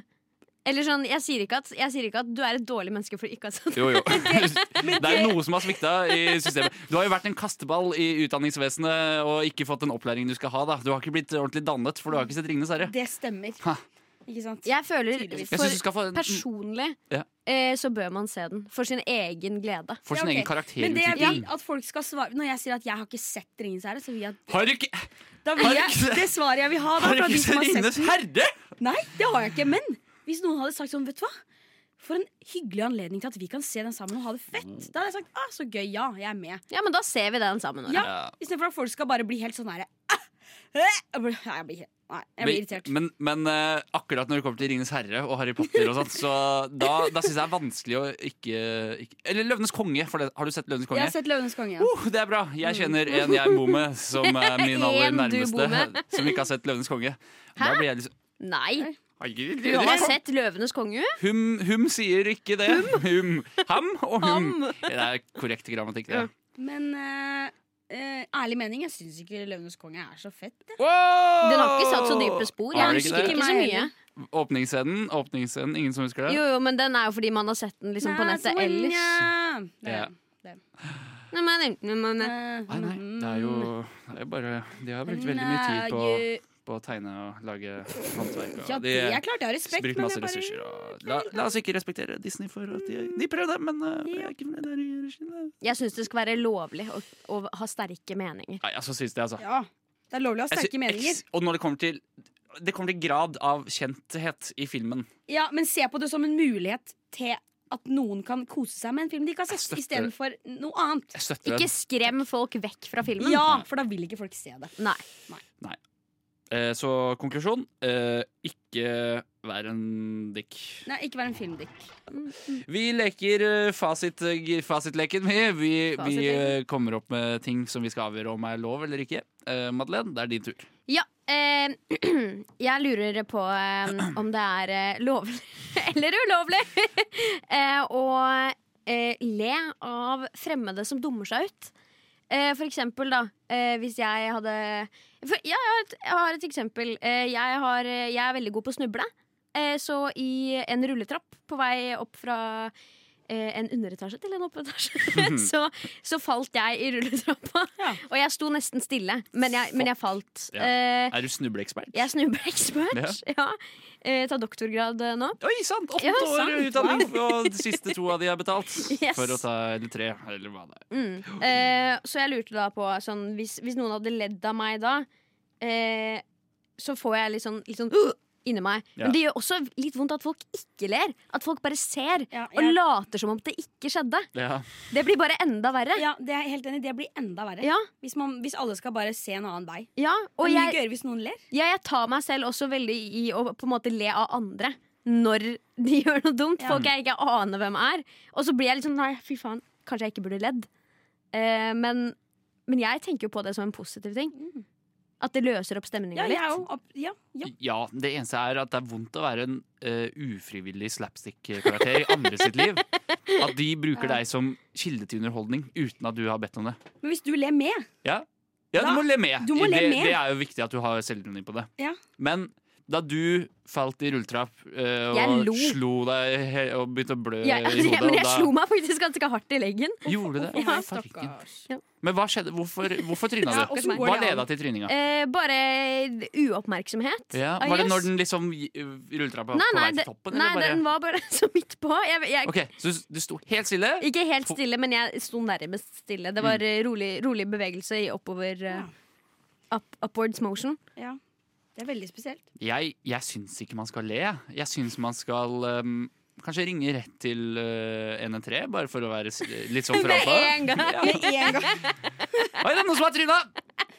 Speaker 7: Eller sånn, jeg sier, ikke at, jeg sier ikke at du er et dårlig menneske for ikke å ha sett
Speaker 2: *laughs*
Speaker 7: det.
Speaker 2: Jo,
Speaker 6: *laughs*
Speaker 2: jo. Det er jo noe som har svikta i systemet. Du har jo vært en kasteball i utdanningsvesenet og ikke fått den opplæringen du skal ha. da Du har ikke blitt ordentlig dannet, for du har ikke sett Ringenes herre.
Speaker 6: Det stemmer.
Speaker 2: Ha.
Speaker 6: Ikke sant?
Speaker 7: Jeg føler
Speaker 6: Tydeligvis.
Speaker 2: Jeg synes du
Speaker 7: for
Speaker 2: skal få
Speaker 7: personlig
Speaker 2: Ja.
Speaker 7: eh, så bør man se den. For sin egen glede.
Speaker 2: For
Speaker 6: Ja,
Speaker 2: sin
Speaker 6: ok.
Speaker 2: egen
Speaker 6: Men det jeg vil
Speaker 2: karakterutvikling.
Speaker 6: at folk skal svare Når jeg sier at jeg har ikke sett Ringenes herre, så vil jeg,
Speaker 2: Har du ikke,
Speaker 6: da
Speaker 2: Har
Speaker 6: vil
Speaker 2: du
Speaker 6: jeg
Speaker 2: ikke-
Speaker 6: Det svaret jeg vil ha, da,
Speaker 2: har du
Speaker 6: fra de
Speaker 2: ikke sett
Speaker 6: som har sett
Speaker 2: Ringenes herre?!
Speaker 6: Nei, det har jeg ikke. Men hvis noen hadde sagt sånn, vet du hva? For en hyggelig anledning til at vi kan se den sammen og ha det fett. Da hadde jeg sagt ah, så gøy, ja, jeg er med.
Speaker 7: Ja, men da ser vi den sammen. Nora.
Speaker 6: Ja, Istedenfor at folk skal bare bli helt sånn her ah, eh, jeg blir- Nei, jeg blir, helt- nei, jeg blir irritert.
Speaker 2: Men, men eh, akkurat når det kommer til Ringenes herre og Harry Potter, og sånt, så da, da syns jeg det er vanskelig å ikke, ikke Eller Løvenes konge. For det, har du sett Løvenes
Speaker 6: Jeg
Speaker 2: konge?
Speaker 6: har sett Løvenes konge. Ja.
Speaker 2: Uh, det er bra! Jeg kjenner en jeg bor med, som
Speaker 7: *laughs*
Speaker 2: er min aller
Speaker 7: Mm. En du bor med.
Speaker 2: nærmeste. Som ikke har sett Løvenes konge. Da blir jeg liksom
Speaker 7: Nei! Du
Speaker 2: Herregud,
Speaker 7: har
Speaker 2: det-
Speaker 7: sett 'Løvenes konge'?
Speaker 2: Hum, hum sier ikke det. Hum. Ham og hum. Det er korrekt grammatikk, det.
Speaker 6: Men eh, eh, ærlig mening, jeg syns ikke Løvenes konge er så fett. jeg.
Speaker 2: Wow!
Speaker 7: Den har ikke satt så dype spor.
Speaker 2: Har det
Speaker 7: Jeg
Speaker 2: ikke
Speaker 7: husker
Speaker 2: det?
Speaker 7: ikke så
Speaker 6: Meg
Speaker 7: mye.
Speaker 6: heller.
Speaker 2: Åpningsscenen, åpningsscenen, ingen som husker det?
Speaker 7: Jo, jo, men den er jo fordi man har sett den liksom, på
Speaker 6: Nei,
Speaker 7: nettet
Speaker 6: så mange.
Speaker 7: ellers.
Speaker 6: Det er-
Speaker 2: Ja.
Speaker 7: Nei, men, men, men,
Speaker 6: eh,
Speaker 2: Nei, nei, det er jo det er jo bare De har brukt veldig mye tid på,
Speaker 6: Nei,
Speaker 2: på å tegne og lage håndverk. Og
Speaker 6: eh, Ja, det er klart, jeg har respekt,
Speaker 2: bruker
Speaker 6: men
Speaker 2: masse
Speaker 6: jeg
Speaker 2: ressurser.
Speaker 6: bare
Speaker 2: Og la, la oss ikke respektere Disney for at de, de prøvde, men eh, jeg er ikke fornøyd der i regien. Nei,
Speaker 7: jeg syns det skal være lovlig å, å ha sterke meninger.
Speaker 2: jeg så syns det, altså.
Speaker 6: Ja. Det er lovlig å ha
Speaker 2: Jeg
Speaker 6: sterke
Speaker 2: syns-
Speaker 6: meninger.
Speaker 2: eks- og når det kommer til det kommer til grad av kjenthet i filmen.
Speaker 6: Ja, men se på det som en mulighet til at noen kan kose seg med en film de ikke har
Speaker 2: Jeg
Speaker 6: sett,
Speaker 2: støtter-
Speaker 6: istedenfor noe annet.
Speaker 2: Jeg støtter
Speaker 7: Ikke
Speaker 2: den.
Speaker 7: skrem folk vekk fra
Speaker 2: Mm.
Speaker 7: filmen.
Speaker 6: Ja, for da vil ikke folk se det.
Speaker 7: Nei.
Speaker 2: Eh, så konklusjon eh, ikke vær en dick.
Speaker 6: Nei, Ikke vær en filmdikk.
Speaker 2: Vi leker eh, fasit, g- fasitleken. Vi, vi, vi eh, kommer opp med ting som vi skal avgjøre om er lov eller ikke. Eh, Madeleine, det er din tur.
Speaker 7: Ja, eh, *clears throat* jeg lurer på eh, om det er eh, lovlig *laughs* eller ulovlig *laughs* eh, å eh, le av fremmede som dummer seg ut. Eh, for eksempel, da, eh, hvis jeg hadde for, ja, jeg, har et, jeg har et eksempel. Eh, jeg, har, jeg er veldig god på å snuble. Eh, så i en rulletrapp på vei opp fra eh, en underetasje til en oppetasje, *laughs* så, så falt jeg i rulletrappa.
Speaker 6: Ja.
Speaker 7: Og jeg sto nesten stille, men jeg, men jeg falt.
Speaker 2: Ja.
Speaker 7: Eh,
Speaker 2: Er du snubleekspert?
Speaker 7: jeg er snubleekspert. *laughs* Ja. Eh, tar doktorgrad eh, nå.
Speaker 2: Oi sann! Åtte
Speaker 7: Ja,
Speaker 2: år
Speaker 7: sant.
Speaker 2: utdanning, og de siste to av de er betalt.
Speaker 7: *laughs* Yes.
Speaker 2: For å ta eller tre, eller hva det er.
Speaker 7: Mm. Eh, så jeg lurte da på sånn, hvis, hvis noen hadde ledd av meg da, eh, så får jeg litt sånn, litt sånn «Åh!» inni meg.
Speaker 2: Ja.
Speaker 7: Men det gjør også litt vondt at folk ikke ler. At folk bare ser
Speaker 6: Ja,
Speaker 7: og
Speaker 6: jeg-
Speaker 7: later som om det ikke skjedde.
Speaker 2: Ja.
Speaker 7: Det blir bare enda verre.
Speaker 6: Ja, det er jeg helt enig. i. Det blir enda verre.
Speaker 7: Ja,
Speaker 6: Hvis, man, hvis alle skal bare se en annen vei.
Speaker 7: ja.
Speaker 6: Og
Speaker 7: Og
Speaker 6: det er mye
Speaker 7: jeg,
Speaker 6: gøyere hvis noen ler.
Speaker 7: ja, jeg tar meg selv også veldig i å på en måte le av andre når de *laughs* gjør noe dumt.
Speaker 6: Ja.
Speaker 7: Folk jeg ikke aner hvem er. Og så blir jeg litt sånn nei, fy faen, kanskje jeg ikke burde ledd. Eh, men, men jeg tenker jo på det som en positiv ting. At det løser opp stemninga
Speaker 6: Mm. Ja, jeg
Speaker 7: litt.
Speaker 6: er jo opp, ja, ja.
Speaker 2: ja, det eneste er at det er vondt å være en eh, ufrivillig slapstick-karakter i andre sitt liv. At de bruker deg som kilde til underholdning uten at du har bedt om det.
Speaker 6: Men hvis du ler med
Speaker 2: Ja, ja du
Speaker 6: Da-
Speaker 2: må le med.
Speaker 6: du må le
Speaker 2: det,
Speaker 6: med.
Speaker 2: det er jo viktig at du har selvironi på det.
Speaker 6: Ja.
Speaker 2: Men da du falt i rulletrapp eh,
Speaker 7: Jeg
Speaker 2: og
Speaker 7: lo.
Speaker 2: slo deg he- og begynte å
Speaker 7: *laughs*
Speaker 2: blø
Speaker 7: altså, Jeg,
Speaker 2: i hodet
Speaker 7: men jeg
Speaker 2: og Eh, da,
Speaker 7: slo meg faktisk ganske hardt i leggen.
Speaker 2: Gjorde det?
Speaker 6: Ja,
Speaker 2: Farken.
Speaker 6: stakkars.
Speaker 2: Men hva skjedde? Hvorfor, hvorfor tryna
Speaker 6: Ja,
Speaker 2: du?
Speaker 6: hvordan går
Speaker 2: Hva
Speaker 6: det an?
Speaker 2: leda til tryninga?
Speaker 7: Eh, bare uoppmerksomhet.
Speaker 2: Ja,
Speaker 7: I
Speaker 2: var det
Speaker 7: guess.
Speaker 2: når den liksom gi- rulletrappa
Speaker 7: Ah, Nei,
Speaker 2: på
Speaker 7: nei,
Speaker 2: vei
Speaker 7: det-
Speaker 2: til toppen?
Speaker 7: nei
Speaker 2: eller bare...
Speaker 7: den var bare *laughs* så midt på. Jeg, jeg,
Speaker 2: Ok, Så du- du sto helt stille?
Speaker 7: Ikke helt stille, men jeg sto nærmest stille.
Speaker 2: Mm.
Speaker 7: Det var eh, rolig, rolig bevegelse i oppover eh, up, Upwards motion.
Speaker 6: Ja. Det er veldig spesielt.
Speaker 2: Jeg, jeg syns ikke man skal le. Jeg syns man skal ehm, kanskje ringe rett til eh, NN3, bare for å være s- litt sånn
Speaker 7: *laughs* Med
Speaker 2: frampå. *laughs*
Speaker 7: en gang.
Speaker 2: Oi, det er noen som har tryna!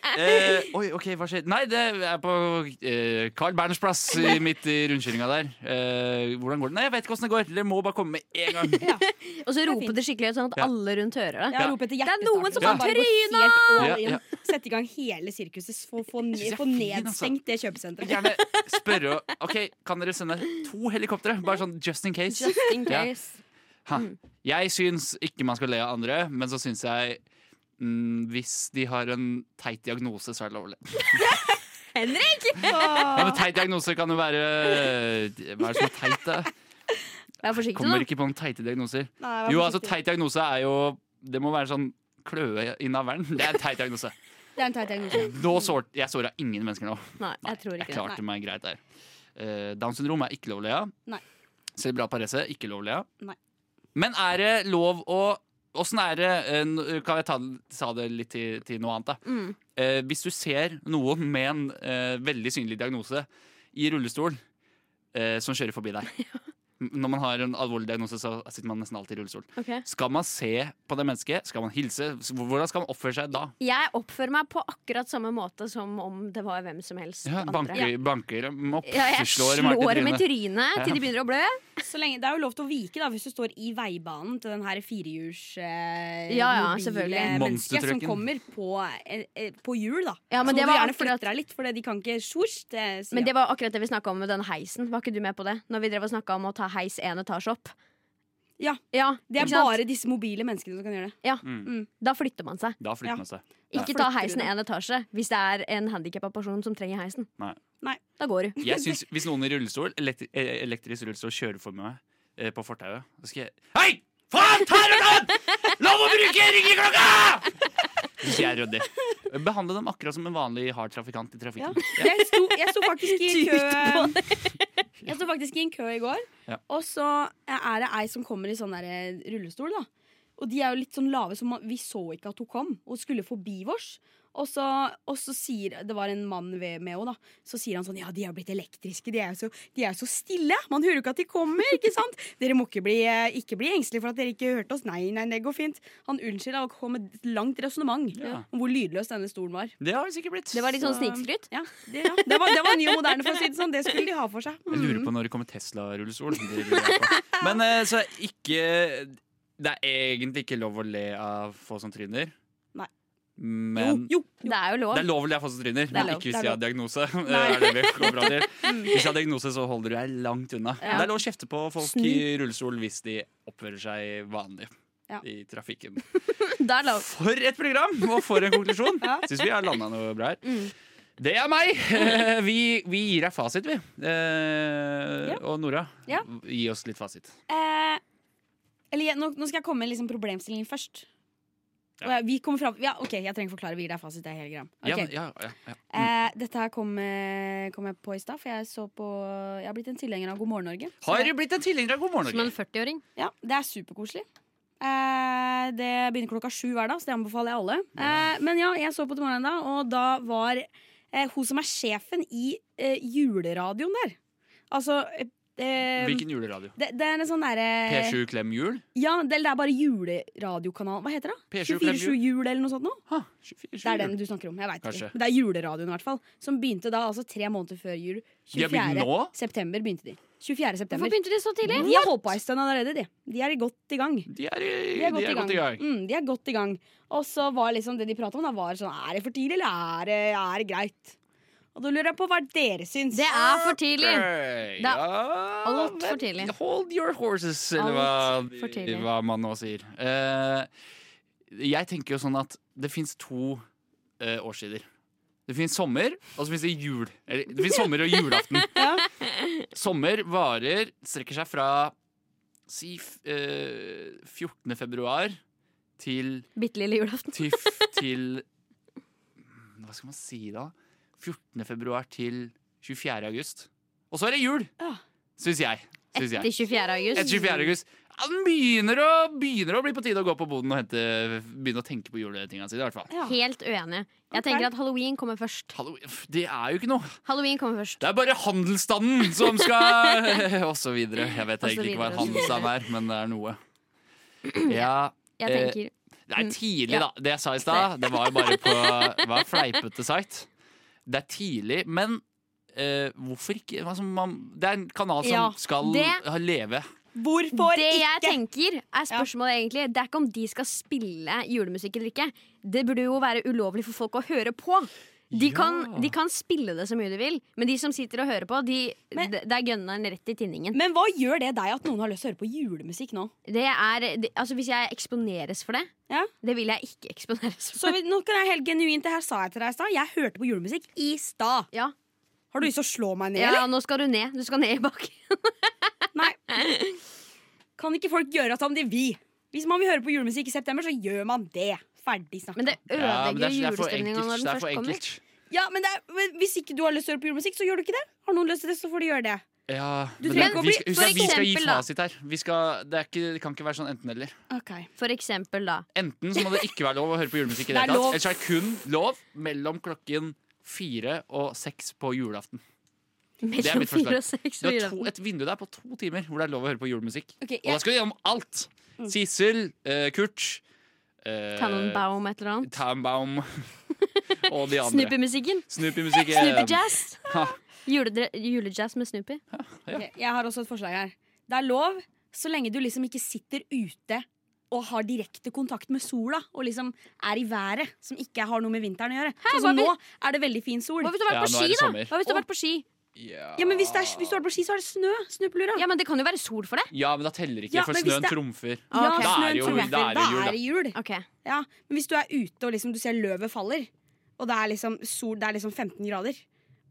Speaker 2: Eh, oi, ok, hva skjer? Nei, det er på eh, Carl Berners plass *laughs* i- midt i rundkjøringa der. Eh, hvordan går det? Nei, jeg vet ikke åssen det går. Dere må bare komme med en *laughs* gang.
Speaker 7: Og så rope
Speaker 6: fint.
Speaker 7: det skikkelig ut, sånn at
Speaker 2: Ja.
Speaker 7: alle rundt hører det.
Speaker 6: Ja, rop etter
Speaker 7: er noen som
Speaker 6: hjertestarter,
Speaker 2: har
Speaker 6: bare gå
Speaker 7: tryna!
Speaker 6: helt all
Speaker 2: Ja,
Speaker 6: in.
Speaker 2: ja.
Speaker 6: Sette i gang hele sirkuset. Få, få,
Speaker 2: synes jeg
Speaker 6: ned,
Speaker 2: er
Speaker 6: få
Speaker 2: fin, altså.
Speaker 6: nedstengt det kjøpesenteret.
Speaker 2: Gjerne spørre og- Ok, kan dere sende to helikoptre? Bare sånn just Mm. in case.
Speaker 7: Just in
Speaker 2: Ja.
Speaker 7: case.
Speaker 2: Ha. Jeg syns ikke man skal le av andre, men så syns jeg mm, hvis de har en teit diagnose, så er det lov å le.
Speaker 7: Henrik!
Speaker 2: Ja, men *laughs* teit diagnose kan jo være Hva er det som er teit, da?
Speaker 7: Vær forsiktig nå.
Speaker 2: Kommer ikke på noen teite diagnoser.
Speaker 6: Nei, vær
Speaker 2: Jo, altså,
Speaker 6: forsiktig.
Speaker 2: teit diagnose er jo Det må være sånn kløe i navlen. Det er en teit diagnose.
Speaker 6: Det er en teit diagnose.
Speaker 2: Nå sår, jeg såra ingen mennesker nå.
Speaker 7: Nei, jeg tror
Speaker 2: Jeg
Speaker 7: ikke det.
Speaker 2: klarte meg greit der. Eh, Downs syndrom er ikke lov å le av.
Speaker 6: Nei.
Speaker 2: Cerebral parese, ikke lov å le av.
Speaker 6: Nei.
Speaker 2: Men er det lov å Åssen er det eh, n- Kan jeg ta, ta det litt til, til noe annet, da?
Speaker 7: Mm.
Speaker 2: Eh, hvis du ser noen med en eh, veldig synlig diagnose i rullestol eh, som kjører forbi deg M- Når man har en alvorlig diagnose, så sitter man nesten alltid i rullestol.
Speaker 7: Ok.
Speaker 2: Skal man se på det mennesket? Skal man hilse? S- Hvordan skal man oppføre seg da?
Speaker 7: Jeg oppfører meg på akkurat samme måte som om det var hvem som helst
Speaker 2: Ja,
Speaker 7: andre.
Speaker 2: banker, banker dem opp,
Speaker 7: Ja, jeg slår
Speaker 2: dem hardt i
Speaker 7: dem i
Speaker 2: trynet.
Speaker 7: trynet til de begynner å blø.
Speaker 6: Så lenge, det er jo lov til å vike da hvis du står i veibanen til den her firehjuls eh,
Speaker 7: Ja, ja,
Speaker 6: mobile
Speaker 7: selvfølgelig.
Speaker 6: mennesket som
Speaker 2: Monstertrucken.
Speaker 6: kommer på, eh, eh, på hjul. da
Speaker 7: Ja, men
Speaker 6: Så
Speaker 7: det
Speaker 6: må du
Speaker 7: var
Speaker 6: gjerne
Speaker 7: akkurat-
Speaker 6: flytte deg litt, for de kan ikke sjosj. Det, sier
Speaker 7: Men det
Speaker 6: jeg.
Speaker 7: var akkurat det vi snakka om med den heisen. Var ikke du med på det? Når vi drev og snakka om å ta heis én etasje opp.
Speaker 6: Ja.
Speaker 7: ja
Speaker 6: det er
Speaker 7: ikke sant?
Speaker 6: bare disse mobile menneskene som kan gjøre det.
Speaker 2: Mm.
Speaker 6: Mm.
Speaker 7: Da flytter man seg.
Speaker 2: Da
Speaker 6: Ja.
Speaker 2: flytter man seg.
Speaker 7: Ikke
Speaker 6: flytter
Speaker 7: ta
Speaker 6: du
Speaker 7: heisen
Speaker 6: deg.
Speaker 7: én etasje hvis det er en handikappa person som trenger heisen.
Speaker 2: Nei.
Speaker 6: Nei.
Speaker 7: Da går du.
Speaker 2: Jeg synes, Hvis noen i rullestol, elektri eh, elektrisk rullestol kjører for meg eh, på fortauet, så skal jeg Hei! Faen, ta den! Lov å bruke ringeklokka! Så skal jeg rydde. Behandle dem akkurat som en vanlig hard trafikant i
Speaker 6: Ja.
Speaker 2: trafikken. Ja.
Speaker 6: Jeg, sto, jeg sto faktisk i
Speaker 7: Tut
Speaker 6: kø
Speaker 7: på
Speaker 6: Jeg sto faktisk i en kø i går,
Speaker 2: Ja.
Speaker 6: og så er det ei som kommer i sånn der eh, rullestol. da Og de er jo litt sånn lave, så man- vi så ikke at hun kom, og skulle forbi vårs. Og så, og så sier Det var en mann ved, med henne, da. Så sier han sånn Ja, de er jo blitt elektriske. De er jo så, de er jo så stille. Man hører jo ikke at de kommer. ikke sant? Dere må ikke bli, eh, ikke bli engstelige for at dere ikke hørte oss. Nei, nei, det går fint. Han unnskylder og kom med et langt resonnement
Speaker 2: Ja.
Speaker 6: om hvor lydløs denne stolen var.
Speaker 2: Det har det sikkert blitt.
Speaker 7: Det var litt sånn
Speaker 6: Så-
Speaker 7: snikskryt.
Speaker 6: Ja, det, ja. det, var, det var ny og moderne, for å si det sånn. Det skulle de ha for seg.
Speaker 2: Jeg lurer på når det kommer Tesla-rullestol. Det lurer jeg
Speaker 6: *laughs*
Speaker 2: på. Men eh, så er ikke Det er egentlig ikke lov å le av få som tryner.
Speaker 6: Nei.
Speaker 2: Men
Speaker 6: jo, jo,
Speaker 7: Det er jo lov.
Speaker 2: Det er lov å le av folk som tryner,
Speaker 6: er
Speaker 2: men
Speaker 6: lov,
Speaker 2: ikke hvis
Speaker 6: det er
Speaker 2: de har
Speaker 6: lov. Mm.
Speaker 2: diagnose. *laughs* Det er det vi kommer fram
Speaker 6: *laughs*
Speaker 2: til. Hvis de har diagnose, så holder du deg langt unna.
Speaker 7: Ja.
Speaker 2: Det er lov å kjefte på folk
Speaker 6: Snu.
Speaker 2: i rullestol hvis de oppfører seg vanlig.
Speaker 6: Ja.
Speaker 2: I trafikken.
Speaker 7: Det er lov.
Speaker 2: For et program, og for en konklusjon!
Speaker 6: *laughs*
Speaker 2: Syns vi har landa noe bra her.
Speaker 6: Mm.
Speaker 2: Det er meg! Eh, Vi, vi gir deg fasit, vi. Eh, Og Nora,
Speaker 6: Ja.
Speaker 2: gi oss litt fasit.
Speaker 6: Eh, eller, jeg- nå, nå skal jeg komme med liksom problemstillingen først.
Speaker 2: Ja.
Speaker 6: Og jeg- Vi kommer fram ja, OK, jeg trenger ikke forklare. Vi gir deg fasit. Det er hele greia.
Speaker 2: Ja,
Speaker 6: Ok.
Speaker 2: men- ja, ja, ja.
Speaker 6: eh, dette her kom, eh, kom jeg på i stad, for jeg så på Jeg har blitt en tilhenger av God morgen Norge. Så
Speaker 2: Har
Speaker 6: jeg-
Speaker 2: du blitt en tilhenger av God morgen,
Speaker 7: Som en
Speaker 2: Norge?
Speaker 7: 40-åring.
Speaker 6: ja, det er superkoselig. Eh, det begynner klokka sju hver dag, så det anbefaler jeg alle. Eh, men ja, jeg så på til morgenen da, og da var eh, hun som er sjefen i eh, juleradioen der Altså eh, eh,
Speaker 2: Hvilken juleradio?
Speaker 6: det, det er en sånn derre
Speaker 2: P7 Klem Jul?
Speaker 6: Ja, det, det er bare juleradiokanalen. Hva heter det? da?
Speaker 2: P7 Klem
Speaker 6: 24-7 jul eller noe sånt noe?
Speaker 2: Ha, 24,
Speaker 6: Det er den du snakker om. jeg vet
Speaker 2: Kanskje.
Speaker 6: ikke. Men Det er juleradioen i hvert fall. Som begynte da, altså tre måneder før jul.
Speaker 2: De har begynt
Speaker 6: 24.
Speaker 2: nå?
Speaker 6: september begynte de. 24.
Speaker 7: Hvorfor
Speaker 6: september.
Speaker 7: begynte de så tidlig?
Speaker 6: De har holdt på en stund allerede, de. De er godt i gang.
Speaker 2: De er, i,
Speaker 6: De er godt,
Speaker 2: de er godt i gang.
Speaker 6: Mm, de er godt i gang. Og så var liksom det de prata om, da var sånn Er det for tidlig, eller er det, er det greit? Og da lurer jeg på hva dere syns.
Speaker 7: Det er for tidlig.
Speaker 2: Ok,
Speaker 7: Det er
Speaker 2: ja,
Speaker 7: alt for
Speaker 2: men
Speaker 7: tidlig.
Speaker 2: Hold your horses, eller hva,
Speaker 7: Alt for tidlig.
Speaker 2: hva man nå sier. Eh, jeg tenker jo sånn at det fins to eh, årstider. Det fins sommer, og så fins det jul. Eller, det fins sommer og
Speaker 7: *laughs*
Speaker 2: julaften.
Speaker 6: Ja.
Speaker 2: Sommer varer strekker seg fra si f- eh, 14. februar til
Speaker 7: Bitte lille julaften.
Speaker 2: til, til mm, Hva skal man si da? 14. februar til 24. august. Og så er det jul,
Speaker 6: Ja.
Speaker 2: syns jeg. Syns
Speaker 7: Etter
Speaker 2: jeg.
Speaker 7: 24. august.
Speaker 2: Etter 24. august. Ja, den begynner å, begynner å bli på tide å gå på boden og hente, begynne å tenke på juletinga sine. i hvert fall.
Speaker 6: Ja.
Speaker 7: Helt uenig. Jeg
Speaker 6: Ok.
Speaker 7: tenker at halloween kommer først.
Speaker 2: Halloween, pff, Det er jo ikke noe.
Speaker 7: Halloween kommer først.
Speaker 2: Det er bare handelsstanden som skal *laughs* Og så videre. Jeg vet
Speaker 7: Og så
Speaker 2: egentlig ikke hva en
Speaker 7: videre, og så
Speaker 2: handelsstand er, men det er
Speaker 7: *clears throat*
Speaker 2: noe. Ja,
Speaker 7: Jeg
Speaker 2: Eh,
Speaker 7: tenker
Speaker 2: Det er tidlig,
Speaker 7: Mm. ja.
Speaker 2: da. Det jeg sa i stad, det var jo bare på
Speaker 7: *laughs*
Speaker 2: det var fleipete sagt. Det er tidlig, men eh, hvorfor ikke? Altså, man, det er en kanal som
Speaker 6: Ja,
Speaker 2: skal
Speaker 7: det-
Speaker 2: ha- leve.
Speaker 6: Hvorfor
Speaker 7: det jeg
Speaker 6: ikke?
Speaker 7: tenker, er spørsmålet egentlig Det er ikke om de skal spille julemusikk eller ikke. Det burde jo være ulovlig for folk å høre på. De,
Speaker 2: Ja.
Speaker 7: kan, de kan spille det så mye de vil, men de som sitter og hører på, de,
Speaker 6: Men-
Speaker 7: det det er gunneren rett i tinningen.
Speaker 6: Men hva gjør det deg at noen har lyst til å høre på julemusikk nå?
Speaker 7: Det er, det, altså hvis jeg eksponeres for det,
Speaker 6: Ja.
Speaker 7: det vil jeg ikke eksponeres for.
Speaker 6: Så vi, nå kan jeg helt genuint, det her sa jeg til deg i stad. Jeg hørte på julemusikk i stad.
Speaker 7: Ja.
Speaker 6: Har du lyst til å slå meg ned,
Speaker 7: ja,
Speaker 6: eller?
Speaker 7: nå skal du ned. Du skal ned i
Speaker 6: *laughs*
Speaker 7: bakken.
Speaker 6: Nei. Kan ikke folk gjøre som de vil? Hvis man vil høre på julemusikk i september, så gjør man det. Ferdig snakka.
Speaker 7: Men det
Speaker 2: Ja, men
Speaker 7: ødelegger
Speaker 2: det er- det er for
Speaker 7: julestemninga
Speaker 2: enkelt,
Speaker 7: når
Speaker 2: det
Speaker 7: den
Speaker 2: er for
Speaker 7: først kommer.
Speaker 2: enkelt.
Speaker 6: Ja, men, det er, men hvis ikke du har lyst til å høre på julemusikk, så gjør du ikke det. Har noen lyst til det, så får de gjøre det.
Speaker 2: Ja,
Speaker 6: Du
Speaker 2: men
Speaker 6: trenger
Speaker 2: det,
Speaker 6: ikke å
Speaker 2: vi,
Speaker 6: bli-
Speaker 2: skal, husk
Speaker 7: for
Speaker 2: at vi skal gi
Speaker 7: eksempel, da.
Speaker 2: fasit her. Vi skal, det, er ikke, det kan ikke være sånn enten-eller.
Speaker 7: For eksempel, da.
Speaker 2: Enten så må det ikke være lov å høre på julemusikk, i det
Speaker 6: Det er
Speaker 2: hele tatt,
Speaker 6: lov.
Speaker 2: eller så er det kun lov mellom klokken fire og seks på julaften. er
Speaker 7: Mellom
Speaker 2: mitt forslag.
Speaker 7: fire og seks.
Speaker 2: Du har
Speaker 7: blir
Speaker 2: to,
Speaker 7: det.
Speaker 2: et vindu der på to timer hvor det er lov å høre på julemusikk.
Speaker 6: Ok,
Speaker 2: Og da
Speaker 6: jeg,
Speaker 2: skal du gjennom alt.
Speaker 6: Mm.
Speaker 2: Sissel, eh, Kurt eh,
Speaker 7: Tannenbaum, et eller annet.
Speaker 2: Tannenbaum.
Speaker 6: *laughs*
Speaker 2: og de eh, andre.
Speaker 7: Snoopy-musikken.
Speaker 2: Snoopy-musikk. eh,
Speaker 7: Snoopy-jazz.
Speaker 2: ha,
Speaker 7: Juledre- Julejazz med Snoopy.
Speaker 6: ok, jeg har også et forslag her. Det er lov så lenge du liksom ikke sitter ute og har direkte kontakt med sola og liksom er i været, som ikke har noe med vinteren å gjøre. Sånn som
Speaker 7: hva
Speaker 6: nå er det veldig fin sol.
Speaker 7: Hva hvis du har
Speaker 2: Ja,
Speaker 7: vært
Speaker 2: nå
Speaker 7: på
Speaker 2: er det
Speaker 7: ski, da?
Speaker 2: sommer.
Speaker 7: Hva hvis du har vært på ski?
Speaker 6: Ja, men hvis, det er, hvis du har vært på ski, så er det snø. Snøplura.
Speaker 7: Ja, men Det kan jo være sol for det.
Speaker 2: Ja, men da teller ikke,
Speaker 6: Ja,
Speaker 2: for
Speaker 6: men hvis
Speaker 2: snøen
Speaker 6: det-
Speaker 2: trumfer.
Speaker 7: Ja, ok.
Speaker 2: Da er det jo-
Speaker 6: snøen
Speaker 2: da er det
Speaker 6: treffer.
Speaker 2: jul,
Speaker 6: Da er det jul.
Speaker 7: Ok,
Speaker 6: Ja, men hvis du er ute og liksom, du ser løvet faller, og det er, liksom sol, det er liksom 15 grader,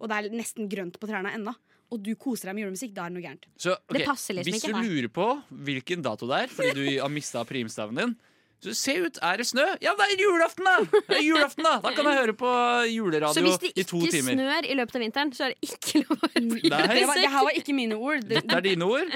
Speaker 6: og det er nesten grønt på trærne ennå, og du koser deg med julemusikk, da er det noe gærent.
Speaker 2: Så, ok,
Speaker 7: Det passer liksom
Speaker 2: hvis
Speaker 7: ikke,
Speaker 2: du
Speaker 7: nei.
Speaker 2: lurer på hvilken dato det er fordi du har mista primstaven din så Se ut, er det snø? Ja, det er julaften, da! Det er julaften Da Da kan jeg høre på
Speaker 7: Så
Speaker 2: juleradio
Speaker 7: hvis det
Speaker 2: i to
Speaker 7: ikke
Speaker 2: timer.
Speaker 7: snør i løpet av vinteren, så er det ikke lov å høre på
Speaker 2: Nei.
Speaker 6: Det, var, det
Speaker 7: julemusikk?
Speaker 6: her var ikke mine ord. Det,
Speaker 2: Dette er dine ord.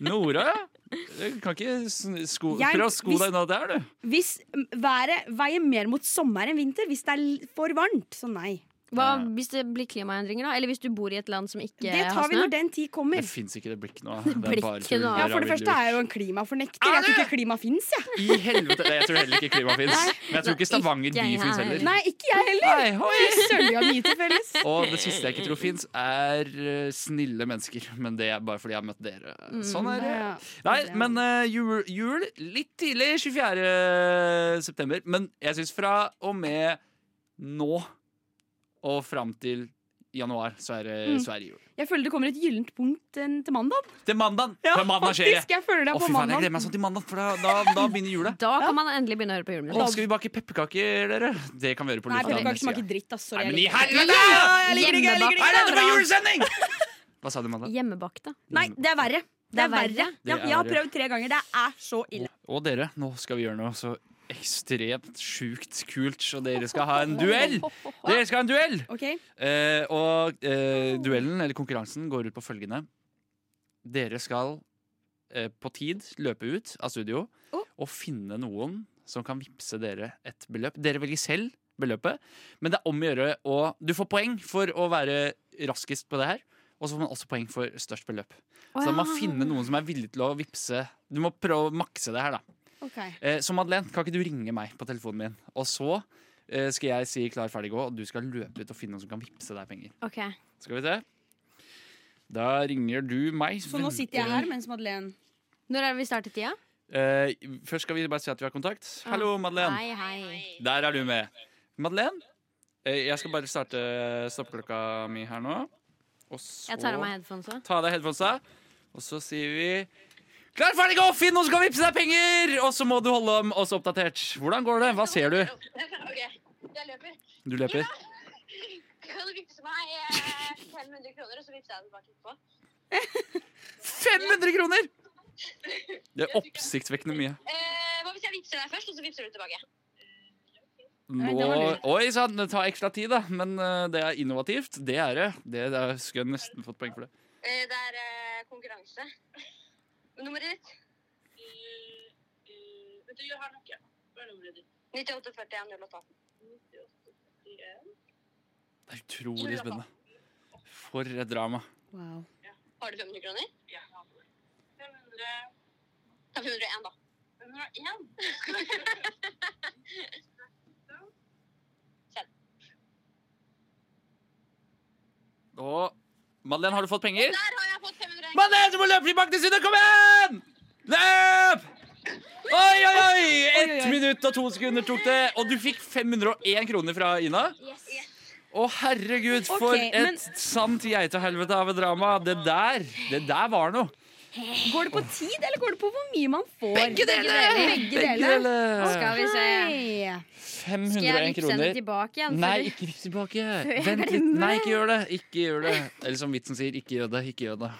Speaker 2: Nora, du kan ikke sn- sko,
Speaker 6: Jeg-
Speaker 2: prøve å sko
Speaker 6: hvis-
Speaker 2: deg unna der, du.
Speaker 6: hvis været veier mer mot sommer enn vinter, hvis det er l- for varmt, så nei.
Speaker 7: Hva hvis det blir klimaendringer, da? Eller hvis du bor i et land som ikke
Speaker 6: Det
Speaker 7: har
Speaker 6: tar vi
Speaker 7: snø?
Speaker 6: når den tid
Speaker 2: Det
Speaker 6: kommer.
Speaker 2: fins ikke det blikket
Speaker 6: *laughs*
Speaker 2: nå.
Speaker 7: blir ikke noe av.
Speaker 6: Ja, For det første er jeg jo en klimafornekter. Jeg tror ikke klima fins, jeg.
Speaker 2: I helvete! Nei, jeg tror heller ikke klima fins. Men jeg tror ikke Stavanger by
Speaker 7: Ikke jeg
Speaker 2: fins heller.
Speaker 6: Nei, ikke jeg heller.
Speaker 2: Nei, hoi.
Speaker 6: Søren, vi har mye til felles.
Speaker 2: Og det siste jeg ikke tror fins, er eh, snille mennesker. Men det er bare fordi jeg har møtt dere. Sånn er det.
Speaker 6: Mm, Ja.
Speaker 2: Nei, men eh, jul, jul litt tidlig, 24. september. Men jeg syns fra og med nå og fram til januar, så er det,
Speaker 6: Mm.
Speaker 2: så er det jul.
Speaker 6: Jeg føler det kommer et gyllent punkt eh, til mandag.
Speaker 2: Til mandag! Fra mandag skjer det!
Speaker 6: faktisk. Jeg føler det
Speaker 2: Å,
Speaker 6: er på
Speaker 2: fy faen, jeg
Speaker 6: mandag.
Speaker 2: gleder meg sånn til mandag, for da, da, da begynner jula.
Speaker 7: Da kan man endelig begynne å høre på
Speaker 2: Å,
Speaker 7: julemusikk.
Speaker 2: skal vi bake pepperkaker, dere? Det kan vi gjøre på
Speaker 6: Nei,
Speaker 2: lufta.
Speaker 6: pepperkaker
Speaker 2: neste
Speaker 6: smaker
Speaker 2: gang.
Speaker 6: dritt, ass. Sorry.
Speaker 2: Nei, men i
Speaker 6: jeg liker
Speaker 2: helvete!
Speaker 6: det. jeg liker det ikke, jeg
Speaker 2: Er
Speaker 6: liker det ikke.
Speaker 2: dette for
Speaker 6: *laughs*
Speaker 2: julesending?! Hva sa du, Amanda?
Speaker 7: Hjemmebakta.
Speaker 6: Nei, det er verre. Det er verre. Ja,
Speaker 2: Det er
Speaker 6: jeg har
Speaker 2: verre.
Speaker 6: prøvd tre ganger. Det er så ille.
Speaker 2: Og dere, nå skal vi gjøre noe så ekstremt sjukt kult, så dere skal ha en duell! Dere skal ha en duell!
Speaker 6: Ok,
Speaker 2: Eh, og eh, duellen, eller konkurransen, går ut på følgende. Dere skal eh, på tid løpe ut av studio
Speaker 6: Oh.
Speaker 2: og finne noen som kan vippse dere et beløp. Dere velger selv beløpet, men det er om å gjøre å Du får poeng for å være raskest på det her, og så får man også poeng for størst beløp. Så man må finne noen som er villig til å vippse. Du må prøve å makse det her, da.
Speaker 6: ok
Speaker 2: Eh, så Madeleine, kan ikke du ringe meg på telefonen min? Og så eh, skal jeg si klar, ferdig, gå, og du skal løpe ut og finne noen som kan vippse deg penger.
Speaker 7: Ok.
Speaker 2: Skal vi se. Da ringer du meg.
Speaker 6: Så nå sitter jeg her mens Madeleine
Speaker 7: Når er det vi starter tida?
Speaker 2: Eh, først skal vi bare si at vi har kontakt. Hallo, Madeleine.
Speaker 7: Hei, hei.
Speaker 2: Der er du med. Madeleine, eh, jeg skal bare starte stoppeklokka mi her nå. Og så
Speaker 7: Jeg tar av meg headphonesa.
Speaker 2: Ta av deg headphonesa, og så sier vi Klar, ferdig, gå! Finn noen som kan vippse deg penger! Og så må du holde om oss
Speaker 1: *laughs*
Speaker 2: oppdatert. Hvordan går det? Hva ser du?
Speaker 1: Ok, jeg løper.
Speaker 2: Du løper.
Speaker 1: kan du vippse meg eh, 500 kroner, og så vippser jeg det tilbake etterpå.
Speaker 2: *laughs* 500 kroner! Det er
Speaker 1: Jeg tror ikke-
Speaker 2: oppsiktsvekkende mye.
Speaker 1: Eh, hva hvis jeg vippser deg først, og så vippser du tilbake?
Speaker 6: Nei,
Speaker 2: Nå,
Speaker 6: det var lurt.
Speaker 2: oi sann, det tar ekstra tid, da. Men eh, det er innovativt. Det er det. Det, det er, skulle jeg nesten fått poeng for det.
Speaker 1: Eh, det er eh, konkurranse. *laughs* Nummeret ditt? Eh,
Speaker 4: Vent, jeg har noe. Hva er nummeret ditt?
Speaker 1: 9841 08.
Speaker 4: 98
Speaker 2: Det er utrolig spennende. For et drama.
Speaker 6: Wow.
Speaker 1: Har du 500 kroner?
Speaker 4: Ja. 500
Speaker 1: Ta 501, da.
Speaker 4: 501.
Speaker 2: Og Madeleine, har du fått penger?
Speaker 1: Der har jeg fått 501 kroner!
Speaker 2: Madeleine, du må løpe i bakken sin! Kom igjen! Løp! Oi, oi, oi! Ett minutt og to sekunder tok det. Og du fikk 501 kroner fra Ina.
Speaker 7: Yes.
Speaker 2: Å, herregud, for
Speaker 6: Ok, men-
Speaker 2: et sant geitehelvete av et drama. Det der, det der var noe.
Speaker 6: Går det på tid, eller går det på hvor mye man får?
Speaker 2: Begge deler!
Speaker 6: Begge deler.
Speaker 7: Skal vi se.
Speaker 6: Hei.
Speaker 7: Skal jeg
Speaker 2: 501
Speaker 7: vippse henne
Speaker 2: kroner.
Speaker 7: tilbake igjen?
Speaker 2: Nei,
Speaker 7: for-
Speaker 2: ikke vips tilbake.
Speaker 7: jeg
Speaker 2: Vent litt.
Speaker 7: glemmer
Speaker 2: Nei,
Speaker 7: det.
Speaker 2: ikke gjør det. Ikke gjør det. Eller som vitsen sier, ikke gjør det, ikke gjør det.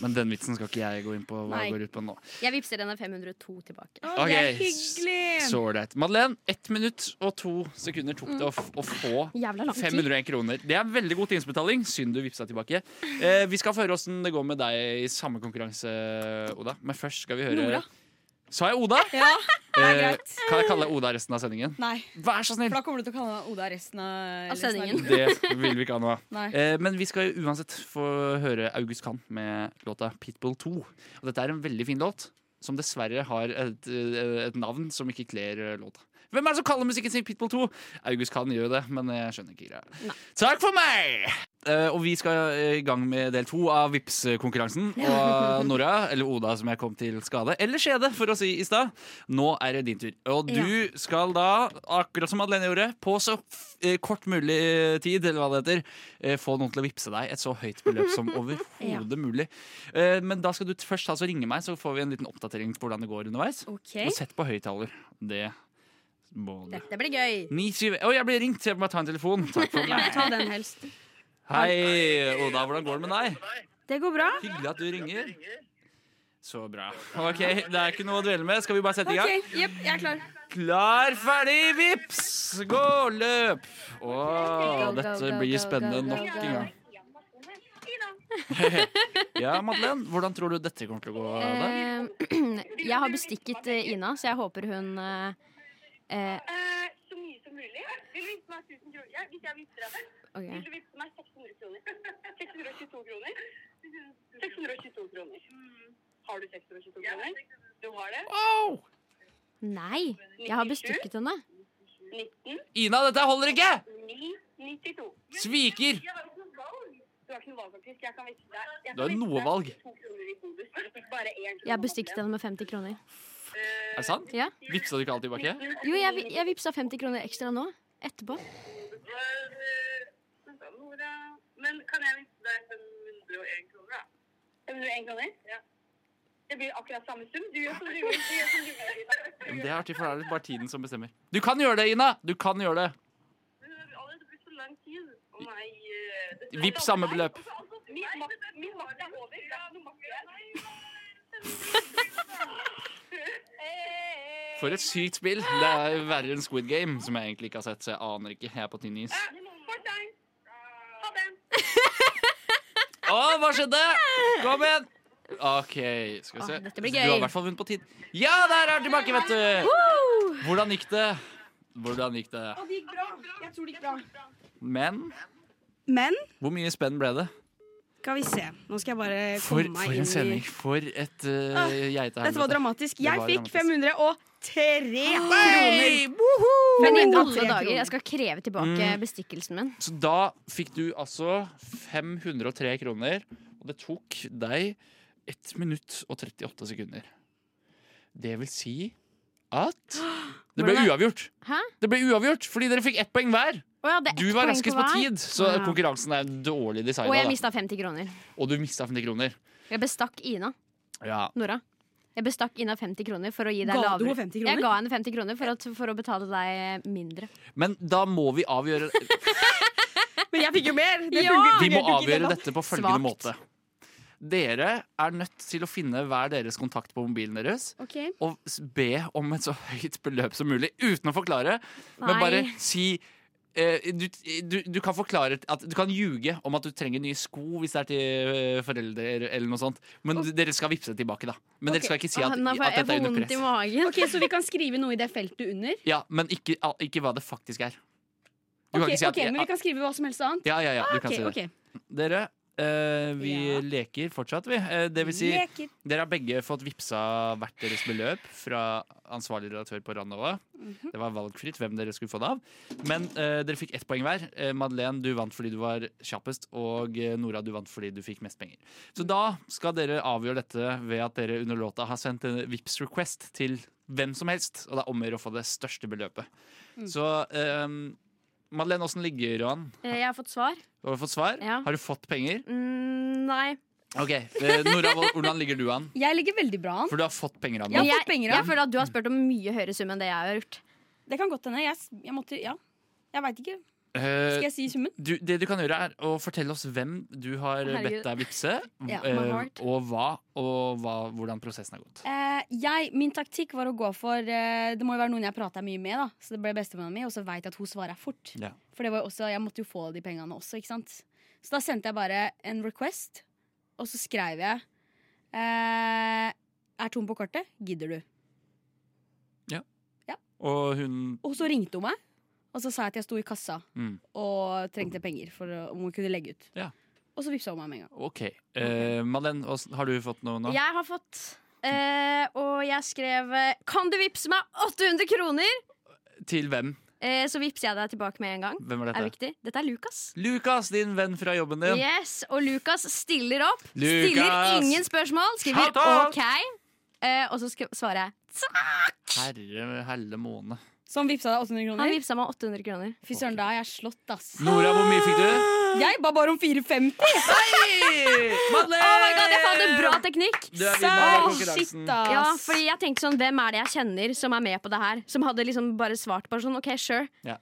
Speaker 2: Men den vitsen skal ikke jeg gå inn på hva
Speaker 6: Nei.
Speaker 2: går ut på nå.
Speaker 7: Jeg vippser henne 502 tilbake.
Speaker 6: Å, det
Speaker 2: Ok.
Speaker 6: er hyggelig.
Speaker 2: Så ålreit. Madeleine, ett minutt og to sekunder tok det å,
Speaker 6: Mm.
Speaker 2: f å få
Speaker 7: Jævla lang tid.
Speaker 2: 501 kroner. Det er veldig god tingsbetaling. Synd du vippsa tilbake. Eh, vi skal få høre åssen det går med deg i samme konkurranse, Oda. Men først skal vi høre
Speaker 6: Nora.
Speaker 2: Sa jeg Oda?
Speaker 6: Ja,
Speaker 2: Eh, kan jeg kalle deg Oda resten av sendingen?
Speaker 6: nei.
Speaker 2: Vær så snill!
Speaker 6: For da kommer du til å kalle meg Oda resten av
Speaker 7: Av sendingen.
Speaker 2: Det vil vi ikke ha noe av.
Speaker 6: Nei.
Speaker 2: Eh, men vi skal jo uansett få høre August Kahn med låta 'Pitbull 2'. Og dette er en veldig fin låt, som dessverre har et, eh, et navn som ikke kler eh, låta. Hvem er det som kaller musikken sin Pitbull 2? August Kahn gjør jo det, men jeg skjønner ikke greia. Takk for meg! Eh, og vi skal eh, i gang med del to av Vipps-konkurransen. Og eh, Nora, eller Oda som jeg kom til skade, eller skjede, for å si i stad, nå er det din tur. Og du skal da, akkurat som Madeleine gjorde, på så f- eh, kort mulig tid, eller hva det heter, eh, få noen til å vippse deg et så høyt beløp
Speaker 7: *laughs*
Speaker 2: som overhodet mulig. Eh, men da skal du t- først altså ringe meg, så får vi en liten oppdatering på hvordan det går underveis.
Speaker 7: Ok.
Speaker 2: Og sett på høyttaler. Det må du.
Speaker 7: Dette blir gøy.
Speaker 2: 97 Å, jeg ble ringt! Jeg må ta en telefon. Takk
Speaker 7: *laughs*
Speaker 2: for meg.
Speaker 6: Ta den helst.
Speaker 2: Hei, Oda. Hvordan går det med deg?
Speaker 6: Det går bra.
Speaker 2: Hyggelig at du ringer. Så bra. Ok, Det er ikke noe å dvele med. Skal vi bare sette i gang?
Speaker 6: Ok, jepp, jeg er klar.
Speaker 2: Klar, ferdig, vips! Gå, løp! Å,
Speaker 7: go,
Speaker 2: dette
Speaker 7: go,
Speaker 2: blir
Speaker 7: go,
Speaker 2: spennende
Speaker 7: go,
Speaker 2: nok
Speaker 7: go.
Speaker 2: en gang. *laughs* Ja, Madeleine, hvordan tror du dette kommer til å gå? Da?
Speaker 7: Eh, *clears throat* jeg har bestikket eh, Ina, så jeg håper hun eh, eh,
Speaker 1: Eh, så mye som mulig. Vil du vippse meg 1000 kroner? Ja, hvis jeg vippser deg først. Vil
Speaker 7: ok.
Speaker 1: du vippse meg 600 kroner? *laughs* 622 kroner? 622 kroner. Mm. Har du 622 kroner? Du har det?
Speaker 2: Au!
Speaker 7: Nei, jeg har bestikket henne.
Speaker 1: 19,
Speaker 2: Ina, dette holder ikke!
Speaker 1: 9, 92.
Speaker 2: Sviker!
Speaker 1: Jeg har ikke noe valg. Du har ikke noe valg, faktisk. Jeg kan vippse deg. Jeg
Speaker 2: Du har
Speaker 1: kan vippse
Speaker 2: noe
Speaker 1: deg
Speaker 2: valg.
Speaker 1: to kroner i bonus. Bare én
Speaker 7: Jeg har bestikket henne med 50 kroner.
Speaker 2: Er det sant?
Speaker 7: Ja.
Speaker 1: Eh,
Speaker 2: Vipsa du ikke alt tilbake?
Speaker 7: Jo, jeg, vi- jeg vippsa 50 kroner ekstra nå. Etterpå.
Speaker 1: Eh, Men kan jeg vise deg 501 kroner, da? 501 kroner? Ja. Det blir akkurat samme sum. Du gjør som du vil. Du gjør som du vil.
Speaker 2: Men Det er artig, for det er det bare tiden som bestemmer. Du kan gjøre det, Ina! Du kan gjøre det.
Speaker 1: Men det har allerede blitt så lang tid. Å nei. eh, det- altså,
Speaker 2: Vipp samme beløp.
Speaker 1: Min makt, min makt er over. Det er noe makt igjen.
Speaker 2: For et sykt spill. Det er verre enn Squid Game, som jeg egentlig ikke har sett. Så jeg aner ikke. Jeg er på tynn
Speaker 1: Uh,
Speaker 2: is.
Speaker 1: Fortein. Ha det.
Speaker 2: Å, hva skjedde? Kom igjen! OK, skal vi se.
Speaker 7: Å, dette blir
Speaker 2: Du har
Speaker 7: gøy.
Speaker 2: i hvert fall vunnet på tid. Ja, der er hun tilbake, vet du! Hvordan gikk det? Hvordan gikk det?
Speaker 6: Og det gikk bra. Jeg tror det gikk bra.
Speaker 2: Men
Speaker 6: Men
Speaker 2: hvor mye spenn ble det?
Speaker 6: skal vi se. Nå skal jeg bare
Speaker 2: For,
Speaker 6: komme meg
Speaker 2: for en
Speaker 6: inn i
Speaker 2: sending. For et uh,
Speaker 6: Ah,
Speaker 2: geitehelvete.
Speaker 6: Dette var dramatisk.
Speaker 2: Det
Speaker 6: Jeg
Speaker 2: var
Speaker 6: fikk
Speaker 2: dramatisk.
Speaker 6: 503 kroner.
Speaker 2: Hey, woho!
Speaker 7: Men i
Speaker 6: 503
Speaker 7: alle dager, jeg
Speaker 6: kroner.
Speaker 7: skal kreve
Speaker 2: Mm.
Speaker 7: tilbake bestikkelsen min.
Speaker 2: Så da fikk du altså 503 kroner, og det tok deg 1 minutt og 38 sekunder. Det vil si at Det ble
Speaker 7: Hvordan er-
Speaker 2: uavgjort.
Speaker 7: Hæ?
Speaker 2: Det ble uavgjort Fordi dere fikk ett poeng hver.
Speaker 7: Å ja, det er
Speaker 2: Du
Speaker 7: ett
Speaker 2: var
Speaker 7: poeng
Speaker 2: raskest på
Speaker 7: hver.
Speaker 2: tid, så
Speaker 7: Ja.
Speaker 2: konkurransen er dårlig
Speaker 7: Og jeg
Speaker 2: designa.
Speaker 7: mista 50 kroner.
Speaker 2: Og du mista 50 kroner.
Speaker 7: Jeg bestakk Ina.
Speaker 2: Ja.
Speaker 7: Nora. Jeg bestakk Ina 50 kroner for å gi deg
Speaker 6: Ga du henne
Speaker 7: lavere
Speaker 6: 50
Speaker 7: Jeg
Speaker 6: kroner?
Speaker 7: ga henne 50 kroner for, at, for å betale deg mindre.
Speaker 2: Men da må vi avgjøre
Speaker 8: Men jeg fikk jo mer!
Speaker 7: *laughs*
Speaker 8: Det
Speaker 7: Ja!
Speaker 8: fungerte
Speaker 2: Vi må
Speaker 8: jo ikke i det hele
Speaker 2: avgjøre
Speaker 8: tatt.
Speaker 2: dette på følgende
Speaker 7: Svakt.
Speaker 2: måte. Dere er nødt til å finne hver deres kontakt på mobilen deres
Speaker 6: Ok.
Speaker 2: og s- be om et så høyt beløp som mulig uten å forklare, men bare si eh, du, du, du kan forklare at Du kan ljuge om at du trenger nye sko hvis det er til eh, foreldre, eller noe sånt. Men d- dere skal vippse det tilbake, da. Men dere skal ikke si at,
Speaker 7: Nå får
Speaker 2: at dette
Speaker 7: jeg
Speaker 2: er
Speaker 7: får
Speaker 2: under
Speaker 7: vondt i
Speaker 2: press.
Speaker 7: magen.
Speaker 6: Ok, Så vi kan skrive noe i det feltet under?
Speaker 2: Ja, men ikke, al- ikke hva det faktisk er. Du kan
Speaker 6: Ok,
Speaker 2: ikke si at
Speaker 6: ok, Men vi kan skrive hva som helst annet?
Speaker 2: Ja, ja, ja, du kan
Speaker 6: Ok,
Speaker 2: si det.
Speaker 6: ok
Speaker 2: Dere, eh, vi
Speaker 6: Ja.
Speaker 2: leker fortsatt, vi. Eh, det vil si, dere har begge fått vippsa hvert deres beløp fra ansvarlig redaktør på Randova.
Speaker 6: Mhm.
Speaker 2: Det var valgfritt hvem dere skulle få det av. Men eh, dere fikk ett poeng hver. Eh, Madeleine, du vant fordi du var kjappest, og eh, Nora, du vant fordi du fikk mest penger. Så da skal dere avgjøre dette ved at dere under låta har sendt en Vipps request til hvem som helst, og det er om å gjøre å få det største beløpet.
Speaker 6: Mm.
Speaker 2: Så eh, Madeleine, åssen ligger du an?
Speaker 7: Eh, Jeg har fått svar.
Speaker 2: Har du fått svar?
Speaker 7: Ja.
Speaker 2: Har du fått penger?
Speaker 7: Mm, nei.
Speaker 2: Ok, eh, Nora, hvor- hvordan ligger du an?
Speaker 6: Jeg ligger veldig bra an.
Speaker 2: For du har fått penger av
Speaker 6: Jeg
Speaker 2: meg.
Speaker 6: har
Speaker 7: Men
Speaker 6: fått penger, ja.
Speaker 7: jeg føler at du har spurt om mye høyere sum enn det jeg har gjort.
Speaker 6: Det kan godt hende. Jeg, s- jeg måtte Ja. Jeg veit ikke. Skal
Speaker 2: Eh,
Speaker 6: jeg si summen?
Speaker 2: du, det du kan gjøre, er å fortelle oss hvem du har
Speaker 7: Herregud.
Speaker 2: bedt deg vippse,
Speaker 6: Ja,
Speaker 2: eh,
Speaker 7: my heart.
Speaker 2: og hva, og hva, hvordan prosessen har gått.
Speaker 6: Eh, jeg, min taktikk var å gå for eh, Det må jo være noen jeg prater mye med, da. Så det ble bestevenninna mi, og så veit jeg at hun svarer fort.
Speaker 2: Ja.
Speaker 6: For det var jo også, jeg måtte jo få de pengene også, ikke sant. Så da sendte jeg bare en request, og så skrev jeg eh, Er tom på kortet? Gidder du?
Speaker 2: Og hun
Speaker 6: Og så ringte hun meg, og så sa jeg at jeg sto i kassa
Speaker 2: mm,
Speaker 6: og trengte penger for å- om hun kunne legge ut.
Speaker 2: Ja.
Speaker 6: Og så vippsa hun meg med en gang.
Speaker 2: OK. Eh, Madeleine, åssen- har du fått noe nå?
Speaker 7: Jeg har fått eh, og jeg skrev eh, 'Kan du vippse meg 800 kroner?'
Speaker 2: Til hvem?
Speaker 7: Eh, så vippser jeg deg tilbake med en gang.
Speaker 2: Hvem er
Speaker 7: Er det
Speaker 2: dette?
Speaker 7: viktig? Dette er Lukas.
Speaker 2: Lukas, din venn fra jobben din.
Speaker 7: Yes, Og Lukas stiller opp. Stiller
Speaker 2: Lukas!
Speaker 7: ingen spørsmål. Skriver
Speaker 2: Shout out!
Speaker 7: 'OK'. Eh, og så sk svarer jeg.
Speaker 2: Herre helle måne.
Speaker 6: Så han vippsa deg
Speaker 7: Han
Speaker 6: 800 kroner?
Speaker 7: vippsa meg 800 kroner.
Speaker 6: Fy søren, da er jeg slått, ass.
Speaker 2: Nora, hvor mye fikk du?
Speaker 6: Jeg ba bare om 450!
Speaker 2: Hei! Madeleine!
Speaker 7: Oh my god, jeg fant en bra teknikk!
Speaker 2: Du er vinner av
Speaker 6: Sa-
Speaker 2: konkurransen.
Speaker 6: Shit, ass.
Speaker 7: Ja, fordi jeg tenkte sånn, Hvem er det jeg kjenner som er med på det her? Som hadde liksom bare svart bare sånn OK, sure.
Speaker 2: Ja.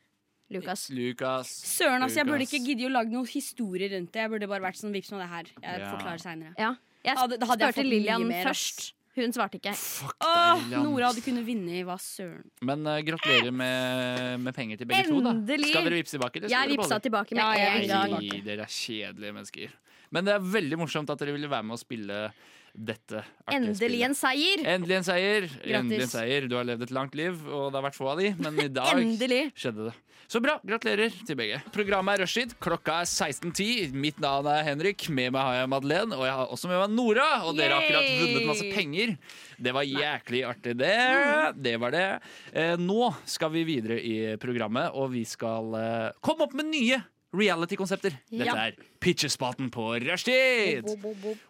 Speaker 7: Lukas.
Speaker 2: Lukas.
Speaker 6: Søren, altså, jeg burde
Speaker 2: Lukas.
Speaker 6: ikke gidde å lage noen historier rundt det. Jeg burde bare vært sånn vips med det her. Jeg
Speaker 2: Ja.
Speaker 6: forklarer senere.
Speaker 7: Ja. Jeg
Speaker 6: Hadde- da hadde jeg
Speaker 7: spurte
Speaker 6: fått mye
Speaker 7: Lillian
Speaker 6: mer, ass.
Speaker 7: først. Hun svarte ikke.
Speaker 2: Fuck
Speaker 6: Åh,
Speaker 2: deg, Lillian.
Speaker 6: Nora hadde kunnet vinne i hva søren.
Speaker 2: Men eh, gratulerer med, med penger til begge to. da
Speaker 7: Endelig!
Speaker 2: Skal dere vippse tilbake? Eller skal
Speaker 7: Jeg
Speaker 2: dere
Speaker 7: vippsa
Speaker 2: beholde?
Speaker 7: tilbake med
Speaker 6: Ja, jeg
Speaker 7: en gang.
Speaker 6: tilbake.
Speaker 2: Nei, dere er kjedelige mennesker. Men det er veldig morsomt at dere ville være med å spille dette. artige
Speaker 7: Endelig en
Speaker 2: spillet.
Speaker 7: seier!
Speaker 2: Endelig en seier! Endelig en seier Du har levd et langt liv, og det har vært få av de, men i dag
Speaker 7: Endelig!
Speaker 2: skjedde det. Så bra. Gratulerer til begge. Programmet er Rushtid. Klokka er 16.10. Mitt navn er Henrik. Med meg har jeg Madeleine, og jeg har også med meg Nora. Og dere har akkurat
Speaker 7: Yay!
Speaker 2: vunnet masse penger. Det var jæklig artig, det.
Speaker 7: Mm.
Speaker 2: Det var det. Eh, nå skal vi videre i programmet, og vi skal eh, komme opp med nye reality-konsepter. Dette
Speaker 7: Ja.
Speaker 2: er Pitchespaten på Rushtid!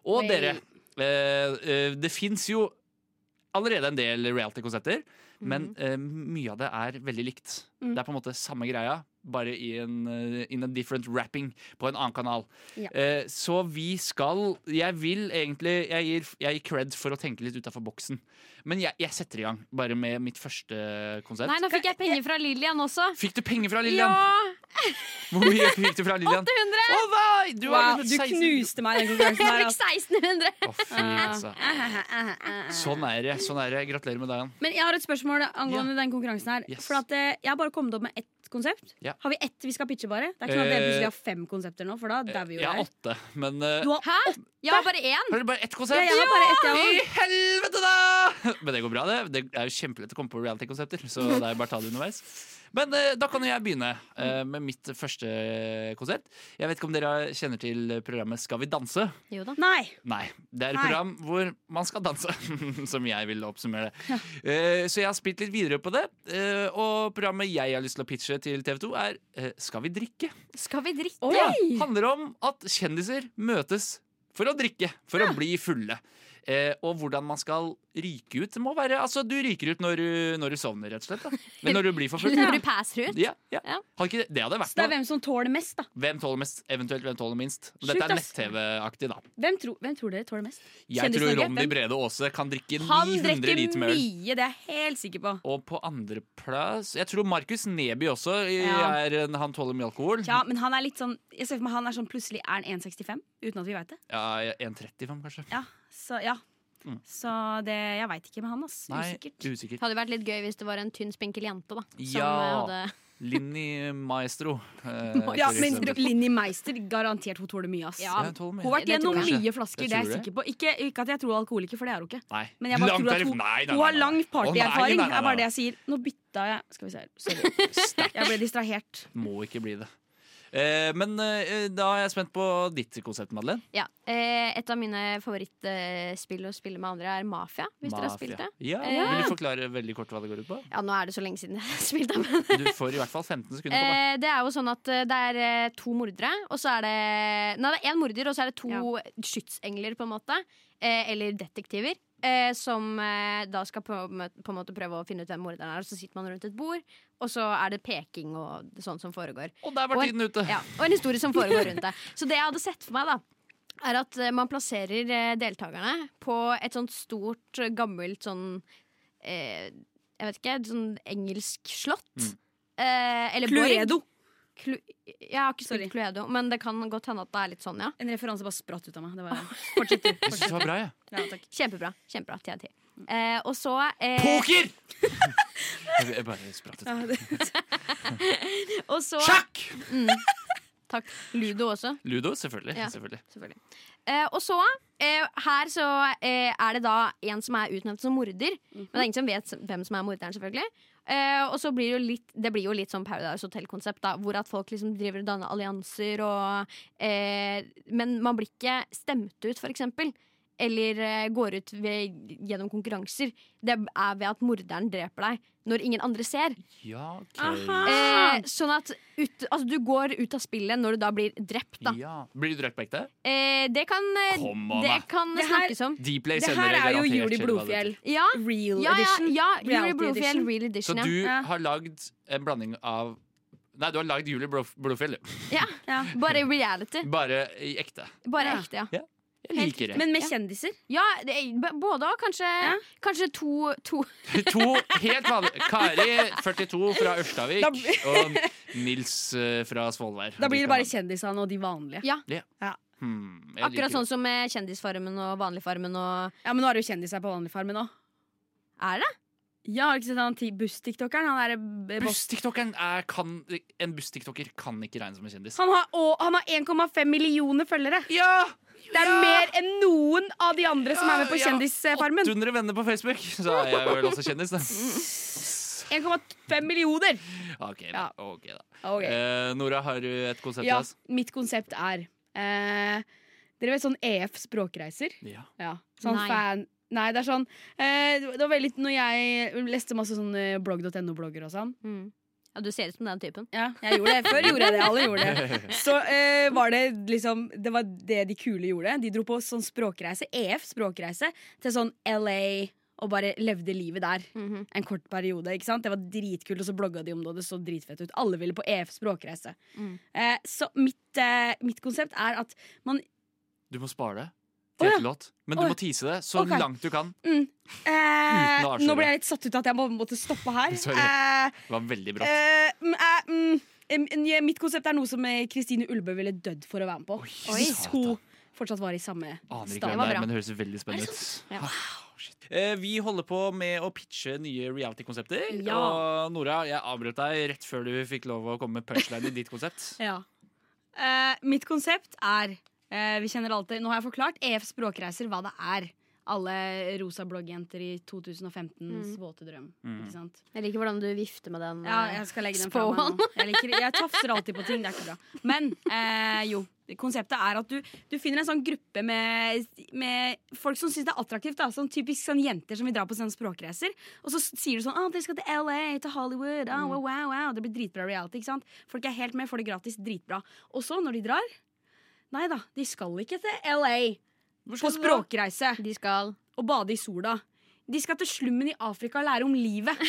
Speaker 2: Og dere, eh, eh, det fins jo allerede en del reality-konsepter, men
Speaker 6: Mm.
Speaker 2: eh, mye av det er veldig likt. Det er på en måte samme greia, bare i en eh, in a different wrapping på en annen kanal.
Speaker 6: Ja.
Speaker 2: Eh, så vi skal Jeg vil egentlig Jeg gir, jeg gir cred for å tenke litt utafor boksen, men jeg, jeg setter i gang bare med mitt første konsept.
Speaker 7: Nei, nå fikk jeg penger fra Lillian også.
Speaker 2: Fikk du penger fra
Speaker 7: Ja!
Speaker 2: Lillian? Hvor mye fikk du fra Lillian?
Speaker 7: 800!
Speaker 2: Å nei! Du, har
Speaker 6: Wow,
Speaker 2: vunnet
Speaker 6: du
Speaker 2: 16
Speaker 6: knuste meg i den konkurransen Ah,
Speaker 7: Jeg
Speaker 6: der.
Speaker 7: fikk
Speaker 2: *laughs*
Speaker 6: Altså.
Speaker 2: Å,
Speaker 7: 1600!
Speaker 2: fy, altså. Sånn er det. sånn er det Gratulerer med dagen.
Speaker 6: Men jeg har et spørsmål angående den konkurransen her.
Speaker 2: Yes.
Speaker 6: For at eh, Jeg har bare kommet opp med ett konsept.
Speaker 2: Ja.
Speaker 6: Har vi ett vi skal pitche, bare? Det er ikke sånn at dere
Speaker 2: Eh,
Speaker 6: plutselig har fem konsepter nå, for da dauer vi jo
Speaker 2: Jeg har
Speaker 6: her.
Speaker 2: åtte, men eh,
Speaker 6: Du har
Speaker 7: Hæ? Jeg har bare én.
Speaker 2: Har dere bare ett konsept?
Speaker 6: Ja, jeg har bare ett, jeg
Speaker 2: I
Speaker 6: også.
Speaker 2: helvete, da! *laughs* Men det går bra, det. Det er jo kjempelett å komme på reality-konsepter. Så det er bare å ta det underveis. Men eh, da kan jo jeg begynne eh, med mitt første konsept. Jeg vet ikke om dere kjenner til programmet Skal vi danse?
Speaker 7: Jo da.
Speaker 6: Nei.
Speaker 2: Nei. Det er et
Speaker 6: Nei.
Speaker 2: program hvor man skal danse, *laughs* som jeg vil oppsummere det. Eh, så jeg har spilt litt videre på det. eh, og programmet jeg har lyst til å pitche til TV 2, er eh, Skal vi drikke?
Speaker 7: Skal vi drikke?
Speaker 2: Det handler om at kjendiser møtes for å drikke, for å bli fulle. Eh, og hvordan man skal ryke ut. Det må være, altså Du ryker ut når du, når du sovner, rett og slett. Da. Men når du blir for full
Speaker 7: Når du passer ut.
Speaker 2: ja, ja.
Speaker 7: Ja.
Speaker 2: Har ikke, det- det hadde vært
Speaker 6: Så det er
Speaker 2: noe.
Speaker 6: hvem som tåler mest, da.
Speaker 2: Hvem tåler mest, eventuelt hvem tåler minst. Men
Speaker 6: Sjukt,
Speaker 2: dette er
Speaker 6: ass.
Speaker 2: nett-TV-aktig, da.
Speaker 6: Hvem, tror- hvem tror dere tåler mest?
Speaker 2: Jeg
Speaker 6: Kjendis
Speaker 2: tror
Speaker 6: Norge,
Speaker 2: Ronny
Speaker 6: hvem?
Speaker 2: Brede Aase kan drikke
Speaker 6: Han
Speaker 2: 900
Speaker 6: drikker
Speaker 2: liter med øl.
Speaker 6: mye, det er jeg helt sikker på.
Speaker 2: Og på andreplass Jeg tror Markus Neby også i-
Speaker 6: Ja.
Speaker 2: er, en- han tåler mye alkohol.
Speaker 6: Ja, men han er litt sånn Jeg ser for meg han er sånn plutselig er han 1,65 uten at vi veit det.
Speaker 2: Ja, 1,35 kanskje.
Speaker 6: Ja, Så ja
Speaker 2: Mm.
Speaker 6: Så det, jeg veit ikke med han, ass.
Speaker 2: Nei,
Speaker 6: Usikkert.
Speaker 2: usikker.
Speaker 7: Det hadde vært litt gøy hvis det var en tynn, spinkel jente. da Som
Speaker 2: Ja.
Speaker 7: eh, hadde
Speaker 2: Linni Maestro. eh,
Speaker 6: *laughs* Ja,
Speaker 2: for
Speaker 6: men
Speaker 2: eksempel.
Speaker 6: Linni Meister, garantert hun tåler mye, ass.
Speaker 7: Ja.
Speaker 2: Ja, hun tåler mye.
Speaker 6: Hun har vært
Speaker 7: Det tror
Speaker 6: gjennom
Speaker 2: jeg.
Speaker 6: mye flasker,
Speaker 2: Jeg
Speaker 6: det er
Speaker 2: tror det.
Speaker 6: jeg sikker på. Ikke, ikke at jeg tror alkoholiker, for det er hun ikke.
Speaker 2: Nei.
Speaker 6: Men jeg bare
Speaker 2: Langt
Speaker 6: tror at
Speaker 2: derif-
Speaker 6: hun,
Speaker 2: Nei, nei,
Speaker 6: hun
Speaker 2: nei,
Speaker 6: har
Speaker 2: nei.
Speaker 6: lang
Speaker 2: Å, nei,
Speaker 6: partyerfaring.
Speaker 2: nei, nei,
Speaker 6: Det er
Speaker 2: nei.
Speaker 6: bare det jeg sier. Nå bytta jeg Skal vi se her. Sorry. Jeg ble distrahert.
Speaker 2: *laughs* Må ikke bli det. Eh, men eh, da er jeg spent på ditt konsept, Madeleine.
Speaker 7: Ja, eh, Et av mine favorittspill å spille med andre er Mafia. Hvis dere har
Speaker 2: Mafia.
Speaker 7: spilt det Eh,
Speaker 2: Ja,
Speaker 7: Ja.
Speaker 2: Vil du forklare veldig kort hva det går ut på?
Speaker 7: Ja, Nå er det så lenge siden jeg *laughs* har spilt det. Men
Speaker 2: Du får i hvert fall 15 sekunder på det.
Speaker 7: eh, det er jo sånn at eh, det er eh, to mordere, og så er det Nei, det er én morder, og så er det to
Speaker 6: Ja.
Speaker 7: skytsengler, på en måte. Eh, eller detektiver. Eh, som eh, da skal på, mø- på en måte prøve å finne ut hvem morderen er. Og så sitter man rundt et bord, og så er det peking og sånn som foregår.
Speaker 2: Og der var
Speaker 7: Og-
Speaker 2: tiden ute!
Speaker 7: Ja, og en historie som foregår rundt
Speaker 6: *laughs*
Speaker 7: det. Så det jeg hadde sett for meg, da, er at eh, man plasserer eh, deltakerne på et sånt stort, eh, gammelt sånn eh, Jeg vet ikke, et sånn engelsk slott.
Speaker 2: Mm.
Speaker 7: Eh, eller borg.
Speaker 6: Cluedo.
Speaker 7: Clu jeg har ikke
Speaker 6: Sorry.
Speaker 7: spilt Cluedo, men det kan godt hende at det er litt sånn, ja.
Speaker 6: En referanse bare spratt ut av meg. Det var, *laughs* fortsett du.
Speaker 2: Jeg syns det var bra, jeg.
Speaker 6: Ja, takk.
Speaker 7: Kjempebra. kjempebra, TNT. Eh, og så eh,
Speaker 2: Poker! *laughs* jeg bare spratt ut.
Speaker 6: Ja, det-
Speaker 7: og så,
Speaker 2: Sjakk!
Speaker 7: Takk. Ludo også.
Speaker 2: Ludo, selvfølgelig.
Speaker 7: Ja.
Speaker 2: selvfølgelig.
Speaker 7: Selvfølgelig. Eh, og så, eh, her så eh, er det da en som er utnevnt som morder. Men det er ingen som vet hvem som er morderen, selvfølgelig. Eh, og så blir det jo litt Det blir jo litt sånn Paradise Hotel-konsept, da. Hvor at folk liksom driver og danner allianser og eh, Men man blir ikke stemt ut, for eksempel. Eller eh, går ut ved, gjennom konkurranser. Det er ved at morderen dreper deg når ingen andre ser.
Speaker 2: Ja, ok.
Speaker 6: Aha.
Speaker 7: Eh, sånn at ut, altså, du går ut av spillet når du da blir drept, da.
Speaker 2: Ja. Blir du drept på ekte?
Speaker 7: Eh, det kan,
Speaker 2: Kom an,
Speaker 7: det
Speaker 2: da.
Speaker 7: kan
Speaker 6: Det her-
Speaker 7: snakkes om.
Speaker 2: Dplay
Speaker 6: Det
Speaker 2: sender
Speaker 6: her
Speaker 2: deg
Speaker 6: er jo
Speaker 2: garantert
Speaker 6: Juli
Speaker 2: til hva det
Speaker 6: Blodfjell.
Speaker 7: Ja,
Speaker 6: Real
Speaker 7: ja, ja,
Speaker 6: edition.
Speaker 7: ja Julie
Speaker 6: Reality
Speaker 7: Blodfjell,
Speaker 6: edition.
Speaker 7: real
Speaker 2: heter. Så
Speaker 7: edition.
Speaker 2: du
Speaker 6: Ja.
Speaker 2: har lagd en blanding av Nei, du har lagd Julie Blof- Blodfjell, jo.
Speaker 7: ja. ja. Bare reality.
Speaker 2: bare i ekte.
Speaker 7: Bare
Speaker 6: Ja.
Speaker 7: ekte, ja.
Speaker 2: Jeg
Speaker 7: Helt
Speaker 2: liker det.
Speaker 6: Men med
Speaker 7: Ja.
Speaker 6: kjendiser?
Speaker 7: ja det er, b- både og. Kanskje, kanskje to, to
Speaker 2: *laughs* To helt vanlige Kari, 42, fra Ørstavik,
Speaker 6: Da blir-
Speaker 2: og Nils eh, fra Svolvær.
Speaker 6: Da blir det bare kjendisene og de vanlige.
Speaker 2: hmm, jeg
Speaker 7: Akkurat
Speaker 2: liker
Speaker 7: sånn som med Kjendisfarmen og Vanligfarmen og
Speaker 6: Ja, Men nå er det jo kjendiser på Vanligfarmen òg.
Speaker 7: Er det?
Speaker 6: Ja, har du ikke sett han ti- buss-tiktokeren? Han er eh,
Speaker 2: det.
Speaker 6: boss.
Speaker 2: Buss-tiktokeren er kan, En buss-tiktoker kan ikke regnes som en kjendis.
Speaker 6: Han har, å, han har 1,5 millioner følgere!
Speaker 2: Ja!
Speaker 6: Det er mer enn noen av de andre som er med på
Speaker 2: Ja, ja.
Speaker 6: Kjendisfarmen.
Speaker 2: 800 venner på Facebook, så er jeg vel også kjendis, da.
Speaker 6: *laughs* 1,5 millioner!
Speaker 2: Eh, Ok, da.
Speaker 6: Ja.
Speaker 2: ok da.
Speaker 6: Ok.
Speaker 2: Eh, Nora, har du et konsept til
Speaker 6: Ja,
Speaker 2: oss?
Speaker 6: mitt konsept er eh, Dere vet sånn EF språkreiser?
Speaker 2: Ja.
Speaker 6: Ja, sånn
Speaker 7: Nei.
Speaker 6: fan Nei, det er sånn eh, Det var veldig Når jeg leste masse sånn eh, blogg.no-blogger og sånn
Speaker 7: Mm. Ja, du ser ut som den typen.
Speaker 6: Ja, jeg gjorde det Før gjorde jeg det, alle gjorde det *laughs* Så eh, var det liksom Det var det de kule gjorde De dro på sånn språkreise EF språkreise Til sånn LA Og bare levde livet der
Speaker 7: Mhm.
Speaker 6: en kort periode. ikke sant? Det var dritkult, og så blogga de om det, og det så dritfett ut. Alle ville på EF språkreise.
Speaker 7: Mm.
Speaker 6: Eh, så mitt, eh, mitt konsept er at
Speaker 2: Du må spare det
Speaker 6: Å,
Speaker 2: til
Speaker 6: ja.
Speaker 2: etter låt, men
Speaker 6: Å,
Speaker 2: du
Speaker 6: ja.
Speaker 2: må tease det så
Speaker 6: Ok.
Speaker 2: langt du kan.
Speaker 6: eh,
Speaker 2: Uten å avsløre.
Speaker 6: Nå ble jeg litt satt ut av at jeg må, måtte stoppe her.
Speaker 2: *laughs* Sorry.
Speaker 6: Eh,
Speaker 2: Det var veldig bra.
Speaker 6: eh, mm, eh, mm, em, em, mitt konsept er noe som eh, Kristine Ulbø ville dødd for å være med på.
Speaker 2: Oi,
Speaker 6: Hvis
Speaker 2: satan.
Speaker 6: hun fortsatt var i samme
Speaker 2: Aner ikke
Speaker 6: stand.
Speaker 2: hvem det
Speaker 7: var
Speaker 2: er,
Speaker 7: bra.
Speaker 2: men det høres veldig spennende ut.
Speaker 7: Ja.
Speaker 2: Wow, shit. Eh, Vi holder på med å pitche nye reality-konsepter.
Speaker 6: Ja.
Speaker 2: Og Nora, jeg avbrøt deg rett før du fikk lov å komme med punchline i ditt
Speaker 6: *laughs*
Speaker 2: konsept.
Speaker 6: Ja. Eh, mitt konsept er eh, Vi kjenner alltid Nå har jeg forklart EF Språkreiser hva det er. Alle rosa bloggjenter i 2015s våte drøm.
Speaker 2: Mm.
Speaker 6: Ikke sant?
Speaker 7: Jeg liker hvordan du vifter med den.
Speaker 6: Ja,
Speaker 7: eh,
Speaker 6: jeg skal legge den fra
Speaker 7: Spå
Speaker 6: meg nå. Jeg, liker, jeg tafser alltid på ting. Det er ikke bra. Men eh, jo. Konseptet er at du, du finner en sånn gruppe med, med folk som syns det er attraktivt. Da. Sånn typisk sånn jenter som vil dra på sånne språkreiser. Og så s- sier du sånn Å, dere skal til LA, til Hollywood. ah, wow, wow, wow. Det blir dritbra reality. ikke sant? Folk er helt med, får det gratis. Dritbra. Og så, når de drar Nei da, de skal ikke til LA. på språkreise
Speaker 7: De skal
Speaker 6: og bade i sola. De skal til slummen i Afrika og lære om livet. *laughs*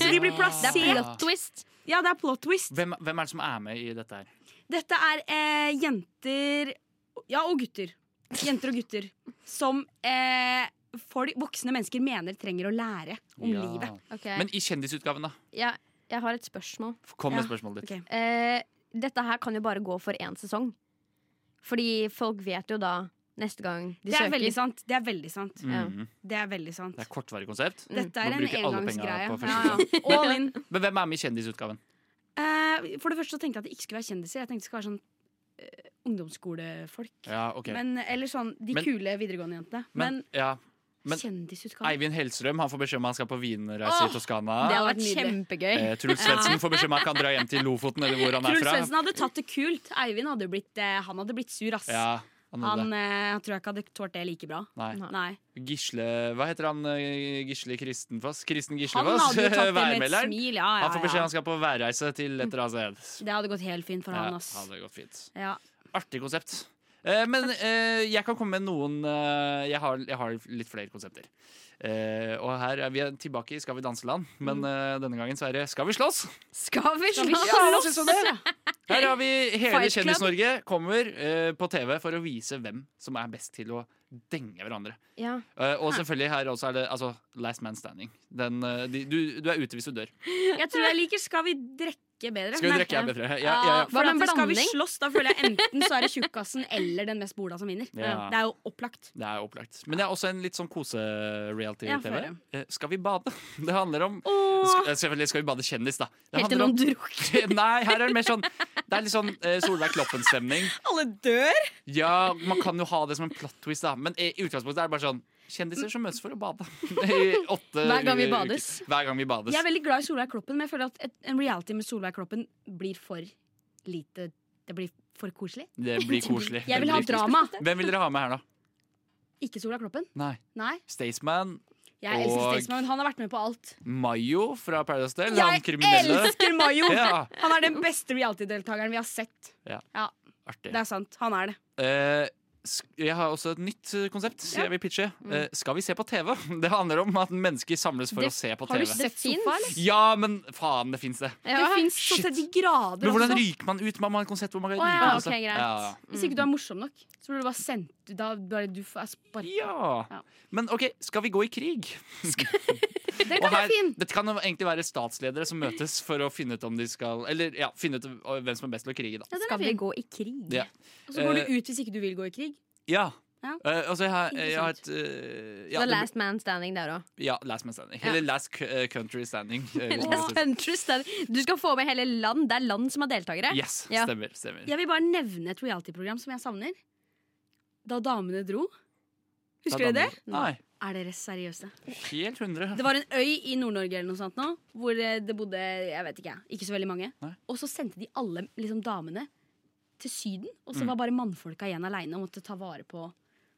Speaker 2: Så
Speaker 6: de blir plassert.
Speaker 7: Det er plot twist.
Speaker 6: Ja, det er plot twist.
Speaker 2: Hvem, hvem er det som er med i dette her?
Speaker 6: Dette er eh, jenter Ja, og gutter. Jenter og gutter. Som eh, folk, voksne mennesker mener trenger å lære om
Speaker 2: Ja.
Speaker 6: livet.
Speaker 7: Ok.
Speaker 2: Men i kjendisutgaven, da?
Speaker 7: Ja, jeg har et spørsmål.
Speaker 2: Kom med
Speaker 6: Ja,
Speaker 2: spørsmålet ditt.
Speaker 6: ok.
Speaker 7: Eh, dette her kan jo bare gå for én sesong. Fordi folk vet jo da neste gang de
Speaker 6: Det er
Speaker 7: søker.
Speaker 6: veldig sant. Det er veldig sant.
Speaker 7: Ja.
Speaker 2: Mhm.
Speaker 6: Det er veldig sant.
Speaker 2: Det er kortvarig konsept.
Speaker 6: Dette er
Speaker 2: Nå
Speaker 6: en
Speaker 2: bruker alle pengene
Speaker 6: engangsgreie.
Speaker 2: på
Speaker 6: Ja,
Speaker 2: første
Speaker 6: ja. *laughs* All in.
Speaker 2: Men hvem er med i kjendisutgaven?
Speaker 6: Eh, for det første så tenkte jeg at det ikke skulle være kjendiser. Jeg tenkte det skulle være sånn eh, ungdomsskolefolk.
Speaker 2: Ja, ok Men,
Speaker 6: Men, eller sånn de
Speaker 2: Men-
Speaker 6: kule videregående jentene. Men,
Speaker 2: ja. men-
Speaker 6: kjendisutgave.
Speaker 2: Eivind Hellstrøm han får beskjed om han skal på wienerreise i
Speaker 6: Åh,
Speaker 2: Toskana.
Speaker 7: Det hadde
Speaker 6: Ja, det
Speaker 7: vært
Speaker 6: var nydelig.
Speaker 7: kjempegøy.
Speaker 2: Eh, Truls Svendsen får beskjed om han kan dra hjem til Lofoten eller hvor han er
Speaker 6: Truls
Speaker 2: fra.
Speaker 6: Svendsen hadde tatt det kult. Eivind hadde jo blitt, eh, han hadde blitt sur, ass.
Speaker 2: Ja, han hadde
Speaker 6: Han
Speaker 2: Sånn det.
Speaker 6: eh, tror jeg ikke hadde tålt det like bra.
Speaker 2: Nei.
Speaker 7: Nei.
Speaker 6: Nei.
Speaker 2: Gisle Hva heter han? eh, Gisle Kristenfoss? Kristen
Speaker 6: Han
Speaker 2: Gislefoss?
Speaker 6: hadde
Speaker 2: *laughs*
Speaker 6: jo tatt det med et
Speaker 2: Værmelderen.
Speaker 6: smil. Ja,
Speaker 2: Han får beskjed om
Speaker 6: ja,
Speaker 2: han skal på værreise til et eller annet
Speaker 6: ja.
Speaker 2: sted.
Speaker 6: Det hadde gått helt fint for
Speaker 2: Ja,
Speaker 6: han, ass.
Speaker 2: hadde gått fint.
Speaker 6: Ja.
Speaker 2: Artig konsept. Eh, men eh, jeg kan komme med noen eh, jeg, har, jeg har litt flere konsepter. Eh, og her er vi tilbake i Skal vi danse-land,
Speaker 6: Mm.
Speaker 2: men eh, denne gangen så er det Skal vi slåss?
Speaker 7: Skal vi
Speaker 6: Skal vi
Speaker 7: slåss?
Speaker 2: Ja, jeg synes det. Her har vi hele
Speaker 7: Fight Club.
Speaker 2: Kjendis-Norge kommer eh, på TV for å vise hvem som er best til å denge hverandre.
Speaker 7: Ja.
Speaker 2: Eh, og selvfølgelig her også er det altså, Last Man Standing. Den, eh, de, du, du er ute hvis du dør.
Speaker 6: Jeg tror jeg liker Skal vi drikke bedre.
Speaker 2: Skal vi
Speaker 6: Nei.
Speaker 2: drikke jeg bedre? Ja,
Speaker 6: Ja,
Speaker 2: ja, ja.
Speaker 7: Hva
Speaker 6: for
Speaker 7: med
Speaker 6: at skal vi
Speaker 7: blanding?
Speaker 6: slåss, da føler jeg enten så er det tjukkasen eller den mest bola som vinner.
Speaker 2: Ja.
Speaker 6: Det er jo opplagt.
Speaker 2: Det er opplagt. Men det er også en litt sånn
Speaker 6: Ja, få
Speaker 2: kose-reality-TV.
Speaker 6: høre.
Speaker 2: Eh, skal vi bade? *laughs* Det handler om
Speaker 6: Åh.
Speaker 2: Sk- eh, Selvfølgelig skal vi bade kjendis, da. Det
Speaker 7: Helt til
Speaker 2: handler om-
Speaker 7: noen
Speaker 2: *laughs*
Speaker 7: drukner.
Speaker 2: Nei, her er det mer sånn Det er litt sånn eh, Solveig Kloppen-stemning.
Speaker 6: Alle dør!
Speaker 2: Ja, man kan jo ha det som en plot twist, da. Men i utgangspunktet er det bare sånn Kjendiser som møtes for å bade. *laughs* I åtte
Speaker 7: Hver gang vi
Speaker 2: uker.
Speaker 7: bades.
Speaker 2: Hver gang vi bades.
Speaker 6: Jeg er veldig glad i Solveig Kloppen, men jeg føler at et, en reality med Solveig Kloppen blir for lite Det blir
Speaker 2: *laughs*
Speaker 6: for koselig.
Speaker 2: Det blir koselig.
Speaker 6: Jeg vil ha
Speaker 2: Det blir
Speaker 6: drama.
Speaker 2: koselig. Hvem vil dere ha med her, da?
Speaker 6: Ikke Solveig Kloppen.
Speaker 2: Nei.
Speaker 6: Nei.
Speaker 2: Staysman.
Speaker 6: Jeg elsker
Speaker 2: Og-
Speaker 6: Staysman, men han har vært med på alt.
Speaker 2: Mayo fra Paradise Del. Han
Speaker 6: Jeg
Speaker 2: kriminelle.
Speaker 6: elsker Mayo!
Speaker 2: *laughs* Ja,
Speaker 6: Han er den beste reality-deltakeren vi har sett.
Speaker 2: artig.
Speaker 6: Det er sant. Han er det.
Speaker 2: Eh, sk- jeg har også et nytt eh, konsept så jeg vil pitche.
Speaker 6: Mm.
Speaker 2: Eh, skal vi se på TV? *laughs* Det handler om at mennesker samles for
Speaker 7: Det-
Speaker 2: å se på
Speaker 6: Har
Speaker 2: TV.
Speaker 6: du sett
Speaker 7: finnes.
Speaker 6: sofa, eller?
Speaker 2: Ja, men faen, det fins det.
Speaker 7: Ja.
Speaker 6: Det fins så
Speaker 2: Shit.
Speaker 6: til de grader.
Speaker 2: Men hvordan
Speaker 6: også.
Speaker 2: ryker man ut? Man må ha et konsept hvor man kan
Speaker 7: Å, ja,
Speaker 2: ryke ut.
Speaker 7: ok, greit.
Speaker 2: Ja.
Speaker 7: Mm.
Speaker 6: Hvis ikke du er morsom nok, så blir du bare sendt Da bare du får sparket.
Speaker 2: ja.
Speaker 6: Ja.
Speaker 2: Men OK, skal vi gå i krig?
Speaker 6: Det
Speaker 2: Og
Speaker 6: kan være
Speaker 2: her,
Speaker 6: fin.
Speaker 2: dette kan jo egentlig være statsledere som møtes for å finne ut om de skal Eller ja, finne ut øh, hvem som er best til å krige, da.
Speaker 7: Ja, Skal vi gå i krig?
Speaker 2: Ja.
Speaker 6: Og så går
Speaker 2: Eh,
Speaker 6: du ut hvis ikke du vil gå i krig.
Speaker 2: Ja.
Speaker 6: Ja.
Speaker 2: Eh, altså, jeg har, jeg har et
Speaker 6: Interessant.
Speaker 2: øh, ja,
Speaker 7: The
Speaker 2: det-
Speaker 7: Last Man Standing der òg.
Speaker 2: ja, Last Man Standing.
Speaker 7: Ja.
Speaker 2: Eller Last c- eh, Country Standing. eh, hvis man vil si det.
Speaker 7: sånn Du skal få med hele land. Det er land som er deltakere.
Speaker 2: Yes,
Speaker 7: Ja.
Speaker 2: stemmer. stemmer.
Speaker 6: Jeg vil bare nevne et reality-program som jeg savner. Da damene dro. Husker
Speaker 2: Da
Speaker 6: dere det?
Speaker 2: danner- Nei.
Speaker 6: Er dere seriøse?
Speaker 2: Helt 100.
Speaker 6: Det var en øy i Nord-Norge eller noe sånt nå, hvor eh, det bodde jeg vet ikke, jeg, ikke så veldig mange.
Speaker 2: Nei.
Speaker 6: Og så sendte de alle liksom, damene til Syden, og så
Speaker 2: Mm.
Speaker 6: var bare mannfolka igjen aleine og måtte ta vare på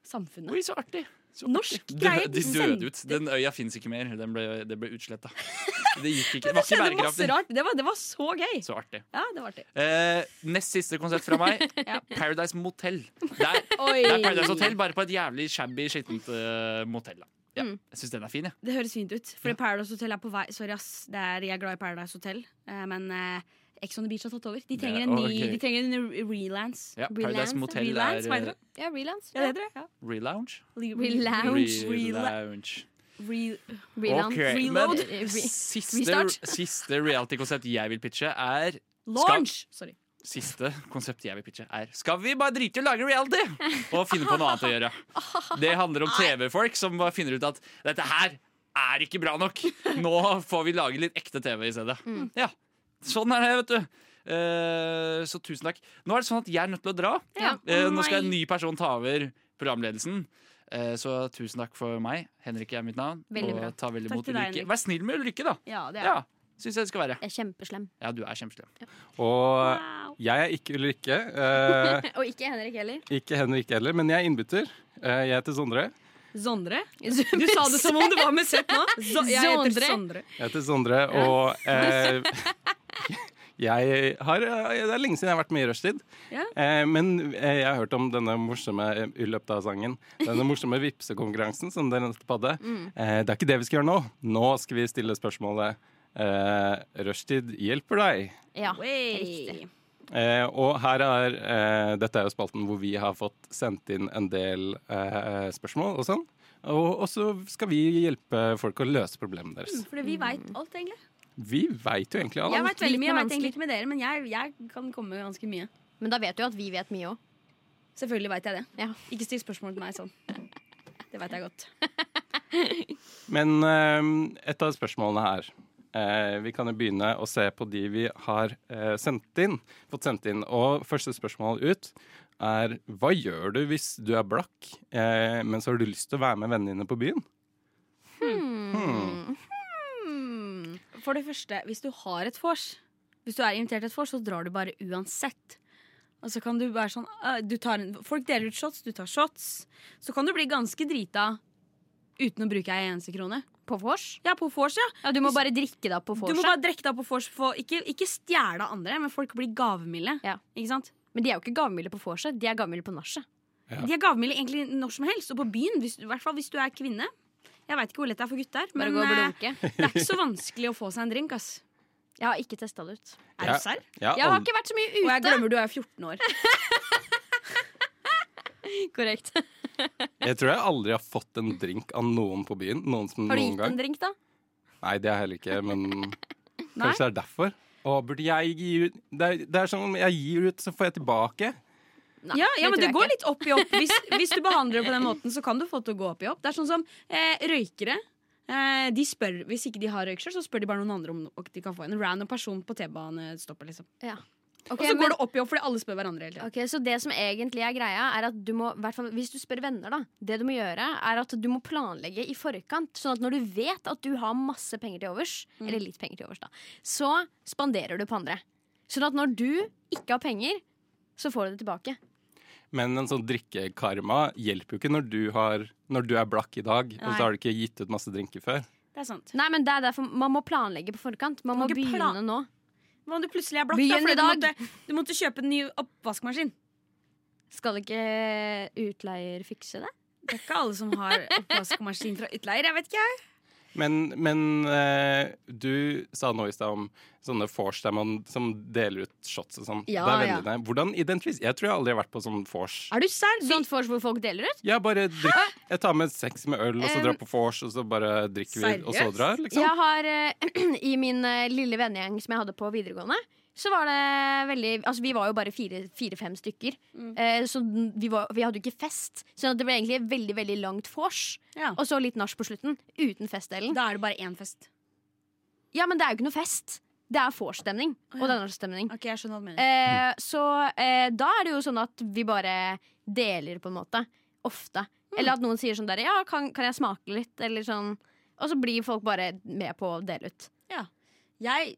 Speaker 6: samfunnet.
Speaker 2: Oi, så artig. Så
Speaker 6: Norsk
Speaker 2: artig.
Speaker 6: greie,
Speaker 2: De, de
Speaker 6: sendte-
Speaker 2: døde ut. Den øya fins ikke mer. Den ble, det ble utsletta.
Speaker 6: *laughs*
Speaker 2: Det gikk ikke. Det var ikke
Speaker 6: Det skjedde masse
Speaker 2: bærekraftig.
Speaker 6: rart. Det var, det var så gøy!
Speaker 2: Så artig.
Speaker 6: Ja, det var artig.
Speaker 2: Eh, nest siste konsept fra meg.
Speaker 6: *laughs* Ja.
Speaker 2: Paradise Motel. Det er,
Speaker 6: Oi.
Speaker 2: det er Paradise Hotel, bare på et jævlig shabby, skittent eh, motell. Da. Ja.
Speaker 7: Mm.
Speaker 2: Jeg syns den er fin, jeg.
Speaker 6: Det høres fint ut. For Paradise Hotel er på vei. Sorry, ass. Det er, jeg er glad i Paradise Hotel, eh, men eh, Ex on the Beach har tatt over. De trenger en ny
Speaker 2: ok.
Speaker 6: de trenger en re- relance.
Speaker 2: Ja, Paradise
Speaker 7: Relance,
Speaker 2: Motel
Speaker 6: relance, hva
Speaker 2: er eh,
Speaker 6: heter det?
Speaker 7: Ja, relance.
Speaker 6: Ja, det heter det. Ja.
Speaker 2: Relounge.
Speaker 6: Re-
Speaker 7: Relance.
Speaker 6: Rela-
Speaker 2: Relounge.
Speaker 7: Relance.
Speaker 6: re-
Speaker 2: Ok,
Speaker 7: *laughs*
Speaker 6: Reload. Eh,
Speaker 2: Men siste,
Speaker 7: Restart.
Speaker 2: siste reality-konsept jeg vil pitche, er
Speaker 6: Launch! Sorry.
Speaker 2: siste konsept jeg vil pitche, er Skal vi bare drite i å lage reality?
Speaker 6: *laughs*
Speaker 2: Og finne på noe annet å gjøre. Det handler om TV-folk som bare finner ut at dette her er ikke bra nok. Nå får vi lage litt ekte TV i stedet.
Speaker 6: Mm.
Speaker 2: Ja, Sånn er det, vet du. Eh, så tusen takk. Nå er det sånn at jeg er nødt til å dra.
Speaker 7: Ja.
Speaker 2: Eh, nå skal
Speaker 6: Nei.
Speaker 2: en ny person ta over programledelsen. Eh, så tusen takk for meg. Henrik er mitt navn.
Speaker 7: Veldig bra.
Speaker 2: Og ta veldig
Speaker 6: Takk
Speaker 2: mot
Speaker 6: til deg,
Speaker 2: Ulrikke.
Speaker 6: Henrik.
Speaker 2: Vær snill med Ulrikke, da.
Speaker 6: Ja, det er
Speaker 2: Ja, Syns jeg det skal være.
Speaker 7: Jeg er kjempeslem.
Speaker 2: Ja, du er kjempeslem.
Speaker 8: Og
Speaker 7: Wow.
Speaker 8: jeg er ikke Ulrikke. eh,
Speaker 7: Og ikke Henrik heller.
Speaker 8: ikke Henrik heller, men jeg er innbytter. Eh, jeg heter Sondre.
Speaker 6: Sondre? *laughs* Du sa det som om det var med *laughs* Z nå. Så, jeg heter
Speaker 7: Sondre.
Speaker 6: Sondre.
Speaker 8: Jeg heter Sondre, og eh, *laughs* Jeg har, eh, det er lenge siden jeg har vært med i rushtid.
Speaker 6: Ja.
Speaker 8: Eh, men eh, jeg har hørt om denne morsomme eh, i løpet av sangen Denne morsomme vipsekonkurransen som dere nettopp hadde. Eh, det er ikke det vi skal gjøre nå. Nå skal vi stille spørsmålet eh, Rushtid hjelper deg.
Speaker 7: Ja,
Speaker 6: Hey.
Speaker 8: Eh, og her er eh, Dette er jo spalten hvor vi har fått sendt inn en del eh, spørsmål og sånn. Og, og så skal vi hjelpe folk å løse problemene deres.
Speaker 6: Fordi vi veit alt, egentlig.
Speaker 8: Vi veit jo egentlig alt.
Speaker 6: Jeg veit veldig mye,
Speaker 7: Liten
Speaker 6: jeg vet
Speaker 7: og
Speaker 6: egentlig ikke med dere, men jeg, jeg kan komme med ganske mye.
Speaker 7: Men da vet du jo at vi vet mye òg.
Speaker 6: Selvfølgelig veit jeg det.
Speaker 7: Ja.
Speaker 6: Ikke still spørsmål til meg sånn. Det veit jeg godt.
Speaker 8: Men eh, et av spørsmålene her eh, Vi kan jo begynne å se på de vi har eh, sendt inn, fått sendt inn. Og første spørsmål ut er Hva gjør du hvis du er blakk, eh, men så har du lyst til å være med vennene dine på byen?
Speaker 6: For det første, hvis du har et vors, hvis du er invitert til et vors, så drar du bare uansett. Og så kan du være sånn øh, du tar en, Folk deler ut shots, du tar shots. Så kan du bli ganske drita uten å bruke ei eneste krone.
Speaker 7: På vors?
Speaker 6: Ja, på vors, ja.
Speaker 7: Ja, du må bare drikke deg opp på
Speaker 6: Du må
Speaker 7: vorset.
Speaker 6: bare drikke deg opp på vors. for- Ikke, ikke stjele av andre, men folk blir gavmilde.
Speaker 7: Ja.
Speaker 6: Ikke sant?
Speaker 7: Men de er jo ikke gavmilde på vorset, de er gavmilde på nachet.
Speaker 8: Ja.
Speaker 6: De er gavmilde egentlig når som helst, og på byen, hvis, i hvert fall hvis du er kvinne. Jeg veit ikke hvor lett det er for gutter,
Speaker 7: Bare
Speaker 6: men
Speaker 7: gå og
Speaker 6: eh,
Speaker 7: blunke.
Speaker 6: det er ikke så vanskelig å få seg en drink. ass
Speaker 7: Jeg har ikke testa det ut.
Speaker 6: Er
Speaker 8: Ja.
Speaker 6: du serr?
Speaker 8: Jeg har
Speaker 7: Jeg har
Speaker 8: aldri-
Speaker 7: ikke vært så mye
Speaker 6: Og
Speaker 7: ute.
Speaker 6: jeg glemmer du er 14 år.
Speaker 7: Korrekt.
Speaker 8: Jeg tror jeg aldri har fått en drink av noen på byen. Noen som
Speaker 7: Har du
Speaker 8: noen
Speaker 7: gitt
Speaker 8: gang.
Speaker 7: en drink, da?
Speaker 8: Nei, det er jeg heller ikke, men
Speaker 6: *laughs* Nei?
Speaker 8: kanskje det er derfor. Å, burde jeg gi ut Det er, det er som om jeg gir ut, så får jeg tilbake.
Speaker 7: Nei,
Speaker 6: ja, ja,
Speaker 7: det
Speaker 6: men
Speaker 7: tror
Speaker 6: det
Speaker 7: jeg
Speaker 6: går
Speaker 7: ikke.
Speaker 6: litt opp i opp. Hvis, hvis du behandler det på den måten, så kan du få det til å gå opp i opp. Det er sånn som eh, røykere. Eh, de spør, Hvis ikke de har røyk selv, så spør de bare noen andre om og de kan få en random person på T-banestoppet. Liksom.
Speaker 7: Ok,
Speaker 6: Og så
Speaker 7: men-
Speaker 6: går det opp i opp fordi alle spør hverandre hele tiden.
Speaker 7: Ok, Så det som egentlig er greia, er at du må, i hvert fall hvis du spør venner, da Det du må gjøre, er at du må planlegge i forkant. Sånn at når du vet at du har masse penger til overs, eller litt penger til overs, da, så spanderer du på andre. Sånn at når du ikke har penger, så får du det tilbake.
Speaker 8: Men en sånn drikkekarma hjelper jo ikke når du, har, når du er blakk i dag, og
Speaker 6: Nei.
Speaker 8: så har du ikke gitt ut masse drinker før.
Speaker 6: Det er sant.
Speaker 7: Nei, men det er derfor Man må planlegge på forkant. Man
Speaker 6: Du må
Speaker 7: må
Speaker 6: ikke
Speaker 7: begynne
Speaker 6: plan-
Speaker 7: nå.
Speaker 6: Hva om du plutselig er blakk?
Speaker 7: Begynn
Speaker 6: da,
Speaker 7: i
Speaker 6: fordi du
Speaker 7: dag.
Speaker 6: måtte, du måtte kjøpe en ny oppvaskmaskin.
Speaker 7: Skal ikke utleier fikse det?
Speaker 6: Det er ikke alle som
Speaker 7: *laughs*
Speaker 6: har oppvaskmaskin fra utleier. Jeg vet ikke, jeg.
Speaker 8: Men, men eh, du sa nå i stad om sånne vors der man som deler ut shots og sånn.
Speaker 7: Ja,
Speaker 8: det er
Speaker 7: ja.
Speaker 8: vennene. Hvordan identifiserer Jeg tror jeg aldri har vært på sånn vors.
Speaker 7: Er du serr? Sånt vors Sånn hvor folk deler ut?
Speaker 8: Jeg bare drikk, jeg tar med seks med øl, og så
Speaker 7: Em,
Speaker 8: drar på vors, og så bare drikker vi, og så
Speaker 6: Eh, seriøst?
Speaker 8: drar, liksom.
Speaker 7: Jeg har, eh, *clears throat* I min eh, lille vennegjeng som jeg hadde på videregående, så var det veldig Altså, vi var jo bare fire-fem stykker,
Speaker 6: Mm.
Speaker 7: Eh, så den- vi, var, vi hadde jo ikke fest. Så det ble egentlig et veldig veldig langt vors,
Speaker 6: Ja.
Speaker 7: og så litt nach på slutten. Uten festdelen.
Speaker 6: Da er det bare én fest.
Speaker 7: Ja, men det er jo ikke noe fest. Det er vorstemning. Og det er nachstemning.
Speaker 6: Ok, jeg skjønner hva du mener.
Speaker 7: Eh, så eh, da er det jo sånn at vi bare deler, på en måte. Ofte.
Speaker 6: Mm.
Speaker 7: Eller at noen sier sånn der Ja, kan, kan jeg smake litt? Eller sånn. Og så blir folk bare med på å dele ut.
Speaker 6: Jeg,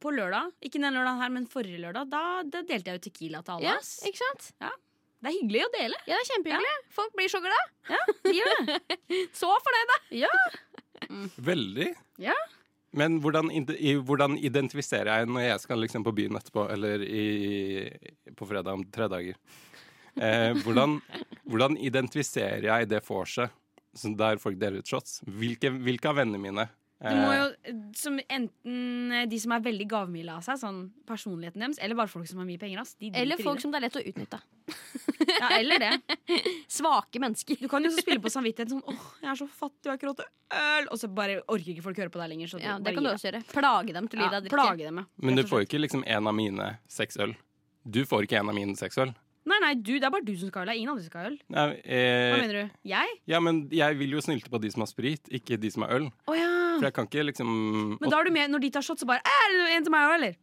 Speaker 6: på lørdag, ikke den lørdagen her, men forrige lørdag, da, da delte jeg jo Tequila til alle.
Speaker 7: Ja,
Speaker 6: ass.
Speaker 7: ikke sant?
Speaker 6: Det er hyggelig å dele.
Speaker 7: Ja, det er kjempehyggelig. Folk blir så glad. *laughs*
Speaker 6: Vi gjør det.
Speaker 7: Så fornøyde.
Speaker 8: Veldig.
Speaker 6: Ja.
Speaker 8: Men hvordan, ide- i, hvordan identifiserer jeg når jeg skal liksom på byen etterpå, eller i, på fredag om tre dager? Eh, hvordan, hvordan identifiserer jeg det vorset så der folk deler ut shots? Hvilke, hvilke av vennene mine?
Speaker 6: Du må jo,
Speaker 8: Eh.
Speaker 6: som enten eh, de som er veldig gavmilde av seg, sånn personligheten deres, eller bare folk som har mye penger. Ass. De driter
Speaker 7: Eller folk
Speaker 6: i det.
Speaker 7: som det er lett å *laughs* utnytte.
Speaker 6: Ja, eller det.
Speaker 7: Svake mennesker.
Speaker 6: Du kan jo også spille
Speaker 7: *laughs*
Speaker 6: på samvittighet sånn åh, jeg er så fattig, jeg har ikke råd til øl. Og så bare orker ikke folk høre på deg lenger. Så
Speaker 7: Ja,
Speaker 6: bare
Speaker 7: det kan du
Speaker 6: gir
Speaker 7: også gjøre. Plage dem til å gi
Speaker 6: deg. Ja,
Speaker 7: deg drikke.
Speaker 6: plage dem, ja.
Speaker 8: Men du
Speaker 6: Rett og
Speaker 8: får
Speaker 6: slett.
Speaker 8: jo ikke liksom en av mine seks øl. Du får ikke en av mine seks øl.
Speaker 6: Nei, nei, du, det er bare du som skal ha øl. det er Ingen andre som skal ha øl.
Speaker 8: Nei,
Speaker 6: Hva
Speaker 8: eh,
Speaker 6: mener du? Jeg?
Speaker 8: ja, men jeg vil jo snylte på de som har sprit, ikke de som har øl.
Speaker 6: Å ja.
Speaker 8: For jeg kan ikke liksom
Speaker 6: Men da er du med når de tar shot, så bare «Æ, Er det en til meg òg, eller?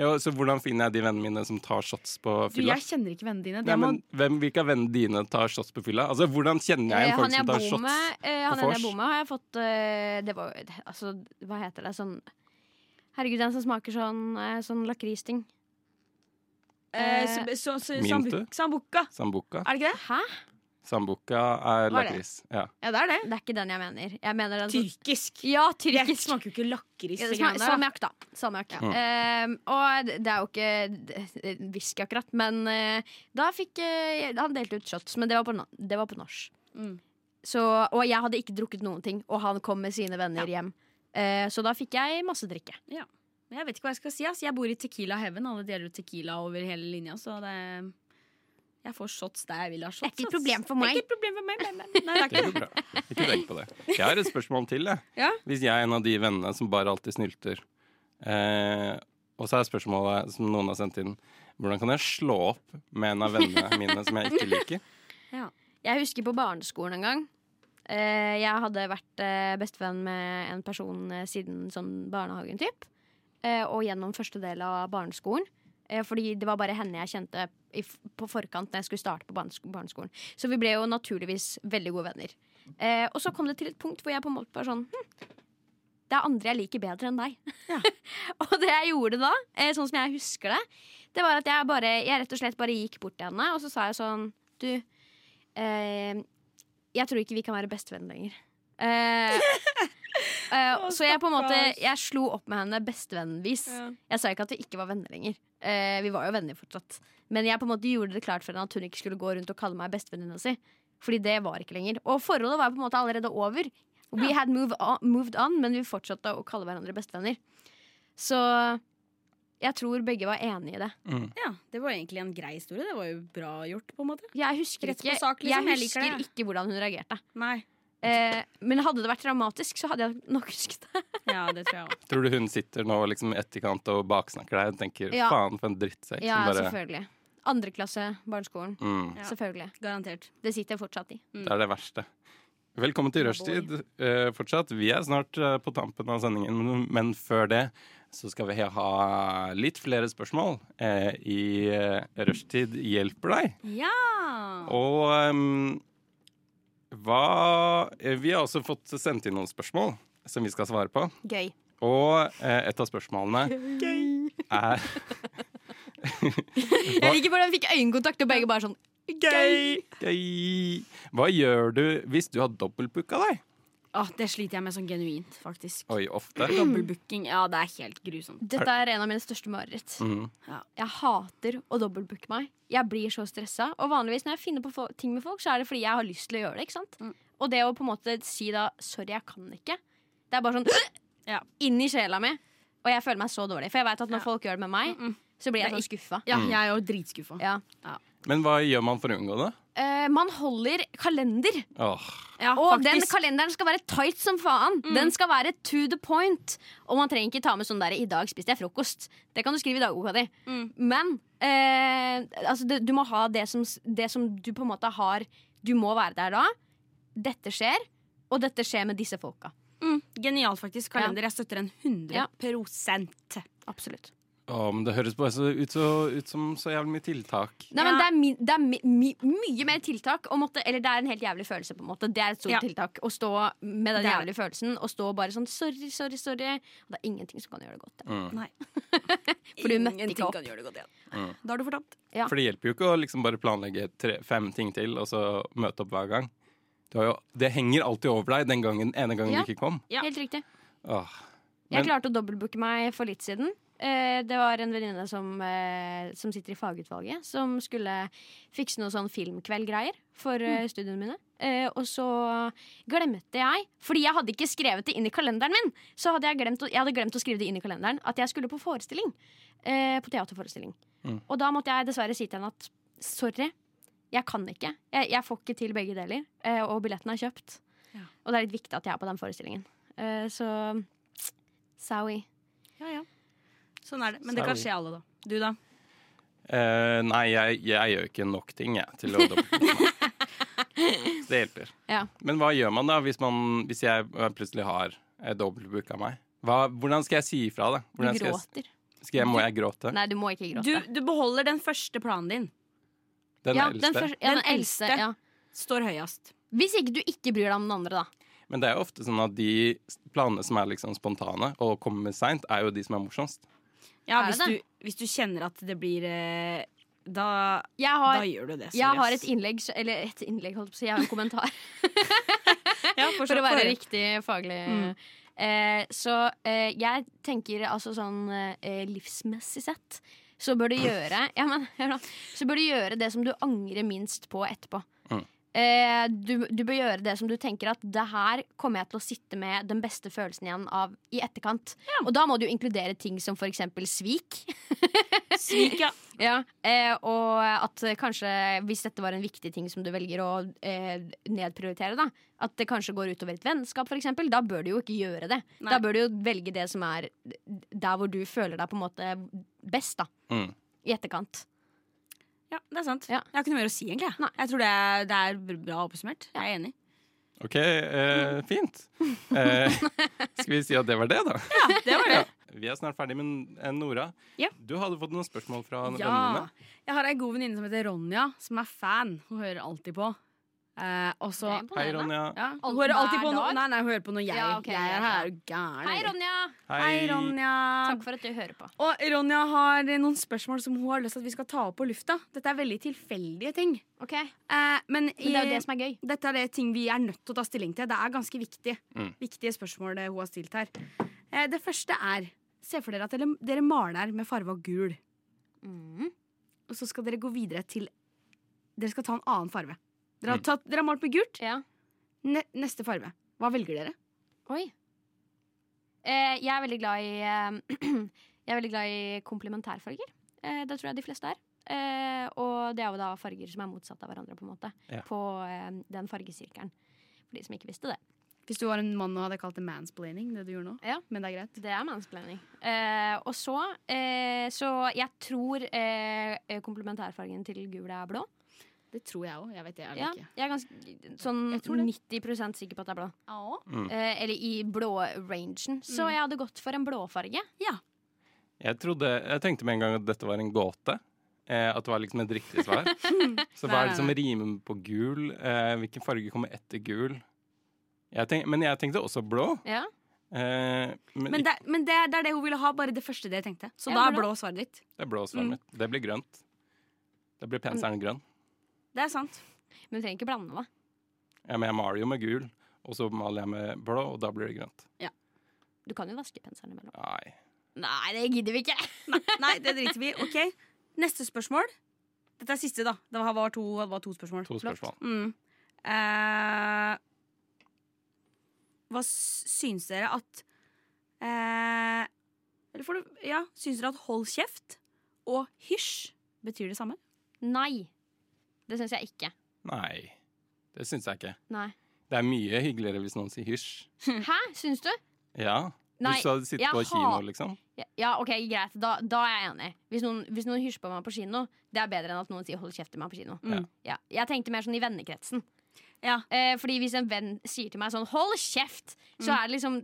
Speaker 8: ja, Så hvordan finner jeg de vennene mine som tar shots på
Speaker 6: Du,
Speaker 8: fylla?
Speaker 6: jeg kjenner ikke vennene dine.
Speaker 8: Nei,
Speaker 6: Det må
Speaker 8: men hvem, Hvilke av vennene dine tar shots på fylla? Altså, Hvordan kjenner
Speaker 7: Eh,
Speaker 8: jeg igjen
Speaker 7: han
Speaker 8: folk
Speaker 7: jeg
Speaker 8: som
Speaker 7: bor
Speaker 8: tar shots?
Speaker 7: med, eh, han
Speaker 8: på
Speaker 7: ene jeg
Speaker 8: vors?
Speaker 7: bor med, har jeg fått eh, Det var Altså, hva heter det? Sånn Herregud, den som smaker sånn, eh, sånn lakristing.
Speaker 6: eh, så, så, så,
Speaker 8: Mintu?
Speaker 6: sambu- Sambuca.
Speaker 8: Sambuca?
Speaker 6: Er det ikke det?
Speaker 7: Hæ?
Speaker 8: Sambuca er
Speaker 9: Hva er det?
Speaker 8: lakris. Ja.
Speaker 9: Ja, det er det.
Speaker 7: Det er ikke den jeg mener. Jeg mener den som-
Speaker 9: Altså, Tyrkisk.
Speaker 7: Ja,
Speaker 9: Jeg
Speaker 7: tyrkisk.
Speaker 9: smaker jo ikke lakris.
Speaker 7: Ja,
Speaker 9: i
Speaker 7: det
Speaker 9: greiene
Speaker 7: smaker-
Speaker 9: der, da.
Speaker 7: Salmiakk, da. Salmiakk.
Speaker 8: Mm.
Speaker 7: Ehm, og det det er jo ikke det- det- whisky akkurat, men eh, da fikk eh, Han delte ut shots, men det var på, na- det var på norsk.
Speaker 6: Mm.
Speaker 7: Så, og jeg hadde ikke drukket noen ting, og han kom med sine venner hjem. Eh, så da fikk jeg masse drikke.
Speaker 9: Men Jeg vet ikke hva jeg skal si. ass. Jeg bor i Tequila Heaven. Alle deler ut Tequila over hele linja, så det Jeg får shots der jeg vil ha shots.
Speaker 7: ikke et
Speaker 9: ass.
Speaker 7: problem for
Speaker 9: Det er
Speaker 7: meg.
Speaker 9: ikke et problem for meg, men-
Speaker 6: *laughs*
Speaker 9: men- Nei, det er
Speaker 8: Det
Speaker 9: ikke
Speaker 8: går bra. Ikke tenk på det. Jeg har et spørsmål til. Jeg.
Speaker 9: Ja.
Speaker 8: Hvis jeg er en av de vennene som bare alltid snylter, eh, og så er spørsmålet som noen har sendt inn, hvordan kan jeg slå opp med en av vennene mine som jeg ikke liker?
Speaker 7: Jeg husker på barneskolen en gang. Eh, jeg hadde vært eh, bestevenn med en person eh, siden sånn barnehagen, typ. Eh, og gjennom første del av barneskolen. Eh, fordi det var bare henne jeg kjente i, f- på forkant når jeg skulle starte på barnes- barneskolen. Så vi ble jo naturligvis veldig gode venner. Eh, og så kom det til et punkt hvor jeg på en måte var sånn hm, Det er andre jeg liker bedre enn deg. *laughs* og det jeg gjorde da, eh, sånn som jeg husker det, det var at jeg bare Jeg rett og slett bare gikk bort til henne, og så sa jeg sånn Du Eh, jeg tror ikke vi kan være bestevenner lenger. Eh, eh,
Speaker 9: Å,
Speaker 7: så jeg på en måte
Speaker 9: stakkars.
Speaker 7: Jeg slo opp med henne bestevennvis. Jeg sa ikke at vi ikke var venner lenger. Eh, vi var jo venner fortsatt. Men jeg på en måte gjorde det klart for henne at hun ikke skulle gå rundt og kalle meg bestevenninna si. Fordi det var ikke lenger. Og forholdet var på en måte allerede over. We had move on, moved on, men vi fortsatte å kalle hverandre bestevenner. Så jeg tror begge var enige i det.
Speaker 6: Ja, det var egentlig en grei historie. Det var jo bra gjort, på en måte.
Speaker 7: Jeg husker,
Speaker 6: Rett på
Speaker 7: ikke,
Speaker 6: sak, liksom.
Speaker 7: jeg
Speaker 6: Jeg liker
Speaker 7: husker
Speaker 6: det.
Speaker 7: ikke hvordan hun reagerte.
Speaker 6: Nei.
Speaker 7: Eh, men hadde det vært dramatisk, så hadde jeg nok husket
Speaker 6: *laughs*
Speaker 7: det.
Speaker 6: Ja, det tror jeg også.
Speaker 8: Tror du hun sitter nå liksom i etterkant og baksnakker deg og tenker
Speaker 7: Ja.
Speaker 8: faen for en drittsekk
Speaker 7: Ja,
Speaker 8: som bare
Speaker 7: selvfølgelig. Andre klasse barneskolen.
Speaker 8: mm,
Speaker 6: Ja.
Speaker 7: Selvfølgelig.
Speaker 6: Garantert.
Speaker 7: Det sitter jeg fortsatt i.
Speaker 8: Det er det verste. Velkommen til rushtid eh, fortsatt. Vi er snart eh, på tampen av sendingen, men- men før det så skal vi ha litt flere spørsmål eh, i eh, Rushtid hjelper deg.
Speaker 9: Ja!
Speaker 8: Og ehm, hva eh, Vi har også fått sendt inn noen spørsmål som vi skal svare på.
Speaker 7: Gøy.
Speaker 8: Og eh, et av spørsmålene er
Speaker 7: Jeg liker hvordan jeg fikk øyekontakt, og begge bare sånn
Speaker 8: Gøy! Gøy! Hva gjør du hvis du har dobbeltbooka deg?
Speaker 9: Åh, det sliter jeg med sånn genuint, faktisk.
Speaker 8: Oi, ofte.
Speaker 6: Mm.
Speaker 9: Dobbeltbooking. Ja, det er helt grusomt.
Speaker 7: Dette er en av mine største mareritt.
Speaker 8: Mm.
Speaker 7: Jeg hater å dobbeltbooke meg. Jeg blir så stressa. Og vanligvis når jeg finner på fo- ting med folk, så er det fordi jeg har lyst til å gjøre det. ikke sant?
Speaker 9: Mm.
Speaker 7: Og det å på en måte si da 'sorry, jeg kan ikke', det er bare sånn
Speaker 9: *clears throat* Ja.
Speaker 7: inn i sjela mi. Og jeg føler meg så dårlig. For jeg veit at når
Speaker 9: Ja.
Speaker 7: folk gjør det med meg, så blir jeg
Speaker 9: Det er
Speaker 7: sånn skuffa.
Speaker 9: Ja, jeg er jo dritskuffa.
Speaker 7: Ja.
Speaker 8: Men hva gjør man for å unngå det?
Speaker 7: Eh, man holder kalender.
Speaker 8: Åh,
Speaker 9: Ja, faktisk.
Speaker 7: Og
Speaker 9: Mm.
Speaker 7: den kalenderen skal være tight som faen. Den skal være to the point. Og man trenger ikke ta med sånn der 'i dag spiste jeg frokost'. Det kan du skrive i dagboka di.
Speaker 9: Mm,
Speaker 7: Men eh, altså, det, du må ha det som, s- det som du på en måte har Du må være der da. Dette skjer, og dette skjer med disse folka.
Speaker 9: Mm, genialt, faktisk. Kalender. Jeg støtter en 100
Speaker 7: Ja.
Speaker 9: Absolutt.
Speaker 8: Åh, men det høres bare så ut, så ut som så jævlig mye tiltak.
Speaker 7: Nei,
Speaker 9: Ja.
Speaker 7: men det er, mi, det er mi, mi, mye mer tiltak. Å måtte, eller det er en helt jævlig følelse. på en måte Det er et stort
Speaker 9: Ja.
Speaker 7: tiltak å stå med den
Speaker 9: Det er
Speaker 7: jævlige følelsen og stå bare sånn 'sorry, sorry, sorry'. Og det er ingenting som kan gjøre det godt.
Speaker 8: Mm.
Speaker 9: *laughs*
Speaker 7: For du møtte
Speaker 9: Ingenting
Speaker 7: ikke opp.
Speaker 9: kan gjøre det godt igjen.
Speaker 8: Mm.
Speaker 9: Da har du fortapt.
Speaker 7: Ja.
Speaker 8: For det hjelper jo ikke å liksom bare planlegge tre, fem ting til og så møte opp hver gang. Du har jo, det henger alltid over deg den gangen, ene gangen
Speaker 7: Ja.
Speaker 8: du ikke kom.
Speaker 9: Ja.
Speaker 7: Helt riktig.
Speaker 8: Åh.
Speaker 7: Jeg
Speaker 8: Men-
Speaker 7: klarte å dobbeltbooke meg for litt siden. Eh, Det var en venninne som, eh, som sitter i fagutvalget, som skulle fikse noe sånn filmkveldgreier for
Speaker 8: Mm.
Speaker 7: eh, studiene mine. Eh, Og så glemte jeg, fordi jeg hadde ikke skrevet det inn i kalenderen min, så hadde jeg glemt, å- jeg hadde glemt å skrive det inn i kalenderen at jeg skulle på forestilling. eh, På teaterforestilling.
Speaker 8: Mm.
Speaker 7: Og da måtte jeg dessverre si til henne at sorry, jeg kan ikke. Jeg, jeg får ikke til begge deler. eh, Og billetten er kjøpt. Og det er litt viktig at jeg er på den forestillingen. Eh, Så Sorry.
Speaker 9: Ja, ja. Sånn er det. Men det kan skje alle, da. Du, da?
Speaker 8: Eh, nei, jeg, jeg gjør ikke nok ting jeg,
Speaker 7: *laughs*
Speaker 8: til å Det hjelper.
Speaker 7: Ja.
Speaker 8: Men hva gjør man da hvis, man, hvis jeg eh, plutselig har eh, dobbeltbook av meg? Hva, hvordan skal jeg si ifra? da?
Speaker 7: Du
Speaker 8: Hvordan skal jeg,
Speaker 7: gråter.
Speaker 8: skal jeg, må jeg gråte?
Speaker 7: Nei, du må ikke
Speaker 9: Du,
Speaker 7: gråte.
Speaker 9: du beholder den første planen din.
Speaker 8: Den
Speaker 7: ja,
Speaker 8: eldste.
Speaker 7: Den, første- ja, den,
Speaker 9: Den
Speaker 7: eldste.
Speaker 9: eldste.
Speaker 7: Ja.
Speaker 9: Står høyest.
Speaker 7: Hvis ikke du ikke bryr deg om den andre, da.
Speaker 8: Men det er jo ofte sånn at de planene som er liksom spontane og kommer seint, er jo de som er morsomst.
Speaker 9: Ja,
Speaker 7: Er
Speaker 9: hvis
Speaker 7: det
Speaker 9: du, hvis du kjenner at det blir eh,
Speaker 6: da,
Speaker 7: Jeg
Speaker 6: da
Speaker 7: har,
Speaker 6: gjør du det.
Speaker 7: jeg har et
Speaker 6: seriøst.
Speaker 7: innlegg, så- eller et innlegg, holdt på å si, jeg har en kommentar.
Speaker 9: *laughs*
Speaker 6: Ja,
Speaker 7: For å være
Speaker 6: riktig.
Speaker 7: riktig faglig.
Speaker 6: Mm.
Speaker 7: Eh, så eh, jeg tenker altså sånn eh, livsmessig sett så bør du gjøre ja, men, hør nå. Så bør du gjøre det som du angrer minst på etterpå.
Speaker 8: Mm.
Speaker 7: Eh, du, du bør gjøre det som du tenker at det her kommer jeg til å sitte med den beste følelsen igjen av i etterkant. Og da må du jo inkludere ting som for eksempel svik.
Speaker 6: Svik, ja.
Speaker 7: Ja, eh, og at kanskje hvis dette var en viktig ting som du velger å eh, nedprioritere, da, at det kanskje går utover et vennskap, for eksempel, da bør du jo ikke gjøre det.
Speaker 6: Nei.
Speaker 7: Da bør du jo velge det som er der hvor du føler deg på en måte best, da.
Speaker 8: Mm.
Speaker 7: I etterkant.
Speaker 6: Ja, det er sant.
Speaker 7: Ja.
Speaker 6: Jeg har ikke noe mer å si, egentlig. jeg.
Speaker 7: Nei.
Speaker 6: Jeg tror det er, det er bra oppsummert. Jeg er enig.
Speaker 8: OK, eh,
Speaker 6: Mm.
Speaker 8: fint. Eh, skal vi si at det var det, da?
Speaker 6: Ja, det var det.
Speaker 8: Vi er snart ferdig med eh, Nora.
Speaker 6: Ja.
Speaker 8: Du hadde fått noen spørsmål fra vennene
Speaker 6: Ja. Jeg har ei god venninne som heter Ronja, som er fan. Hun hører alltid på. Eh, og så
Speaker 7: Det er
Speaker 8: dine. Hei,
Speaker 7: imponerende.
Speaker 8: Ronja.
Speaker 6: ja, Hun
Speaker 7: Alt-
Speaker 6: hører alltid
Speaker 7: hver
Speaker 6: på når,
Speaker 7: dag?
Speaker 6: nei, nei, hun hører på når jeg,
Speaker 7: Ja, ok,
Speaker 6: jeg
Speaker 7: ja,
Speaker 6: er
Speaker 7: ja.
Speaker 6: her. Er du gæren?
Speaker 7: Hei, Ronja!
Speaker 6: Hei, Ronja.
Speaker 7: Takk for at du hører på.
Speaker 6: Og Ronja har noen spørsmål som hun har lyst til at vi skal ta opp på lufta. Dette er veldig tilfeldige ting.
Speaker 7: Ok, Men
Speaker 6: Eh, men
Speaker 7: det er jo
Speaker 6: i-
Speaker 7: det som er gøy.
Speaker 6: dette er det ting vi er nødt til å ta stilling til. Det er ganske viktig.
Speaker 8: Mm.
Speaker 6: viktige spørsmål det hun har stilt her. Eh, Det første er Se for dere at dere, dere maler med farge av gul,
Speaker 7: Mm.
Speaker 6: og så skal dere gå videre til Dere skal ta en annen farge. Dere har, tatt, dere har malt med gult.
Speaker 7: Ja.
Speaker 6: Ne, neste farge. Hva velger dere?
Speaker 7: Oi. Eh, jeg er veldig glad i eh, *clears throat* Jeg er veldig glad i komplementærfarger. Eh, det tror jeg de fleste er. Eh, og det er jo da farger som er motsatt av hverandre, på en måte.
Speaker 8: Ja.
Speaker 7: På eh, den fargesirkelen. For de som ikke visste det.
Speaker 6: Hvis du var en mann og hadde kalt det mansplaining, det du gjorde nå.
Speaker 7: Ja.
Speaker 6: Men det er greit.
Speaker 7: Det er mansplaining. Eh, og så eh, Så jeg tror eh, komplementærfargen til gul er blå.
Speaker 6: Det tror jeg òg. Jeg vet det. Jeg
Speaker 7: Ja,
Speaker 6: vet ikke.
Speaker 7: jeg er ganske sånn
Speaker 6: Jeg tror det.
Speaker 7: 90 sikker på at det er blå.
Speaker 8: Mm.
Speaker 7: Eh, eller i blå-rangen. Så
Speaker 6: Mm.
Speaker 7: jeg hadde gått for en blåfarge.
Speaker 8: Jeg, trodde, jeg tenkte med en gang at dette var en gåte. Eh, at det var liksom et riktig
Speaker 6: *laughs*
Speaker 8: svar. Så hva er det som rimer på gul? Eh, hvilken farge kommer etter gul? Jeg tenk, men jeg tenkte også blå.
Speaker 7: Ja.
Speaker 8: Eh, men
Speaker 6: Men,
Speaker 8: ikke,
Speaker 6: det, men det, det er det hun ville ha, bare det første dere tenkte. Så
Speaker 7: Ja,
Speaker 6: da er
Speaker 7: blå.
Speaker 6: blå svaret ditt.
Speaker 8: det er blå svaret
Speaker 6: Mm.
Speaker 8: mitt. Det blir grønt. Da blir penselen grønn.
Speaker 6: Det er sant.
Speaker 7: Men du trenger ikke blande, da.
Speaker 8: Ja, men jeg maler jo med gul, og så maler jeg med blå, og da blir det grønt.
Speaker 7: Du kan jo vaske penselen imellom.
Speaker 8: Nei.
Speaker 7: Nei, det gidder vi ikke.
Speaker 6: Nei, det driter vi i. Ok, Neste spørsmål. Dette er siste, da. Det var- var to, det var to spørsmål.
Speaker 8: To
Speaker 7: Flott.
Speaker 8: spørsmål.
Speaker 6: Mm. Eh, hva s- syns dere at eh, Eller får du Ja, syns dere at hold kjeft og hysj betyr det samme?
Speaker 7: Nei. Det syns jeg ikke.
Speaker 8: Nei. Det syns jeg ikke.
Speaker 7: Nei.
Speaker 8: Det er mye hyggeligere hvis noen sier hysj.
Speaker 7: *laughs* Hæ, syns du?
Speaker 8: Ja.
Speaker 7: Nei,
Speaker 8: hvis du hadde sittet
Speaker 7: jeg
Speaker 8: på kino,
Speaker 7: har-
Speaker 8: liksom.
Speaker 7: Ja, Ja, OK, greit. Da, da er jeg enig. Hvis noen, hvis noen hysjer på meg på kino, det er bedre enn at noen sier 'hold kjeft' til meg på kino.
Speaker 8: Mm.
Speaker 7: Ja, jeg tenkte mer sånn i vennekretsen.
Speaker 6: Ja.
Speaker 7: Eh, fordi hvis en venn sier til meg sånn 'hold kjeft', så er det liksom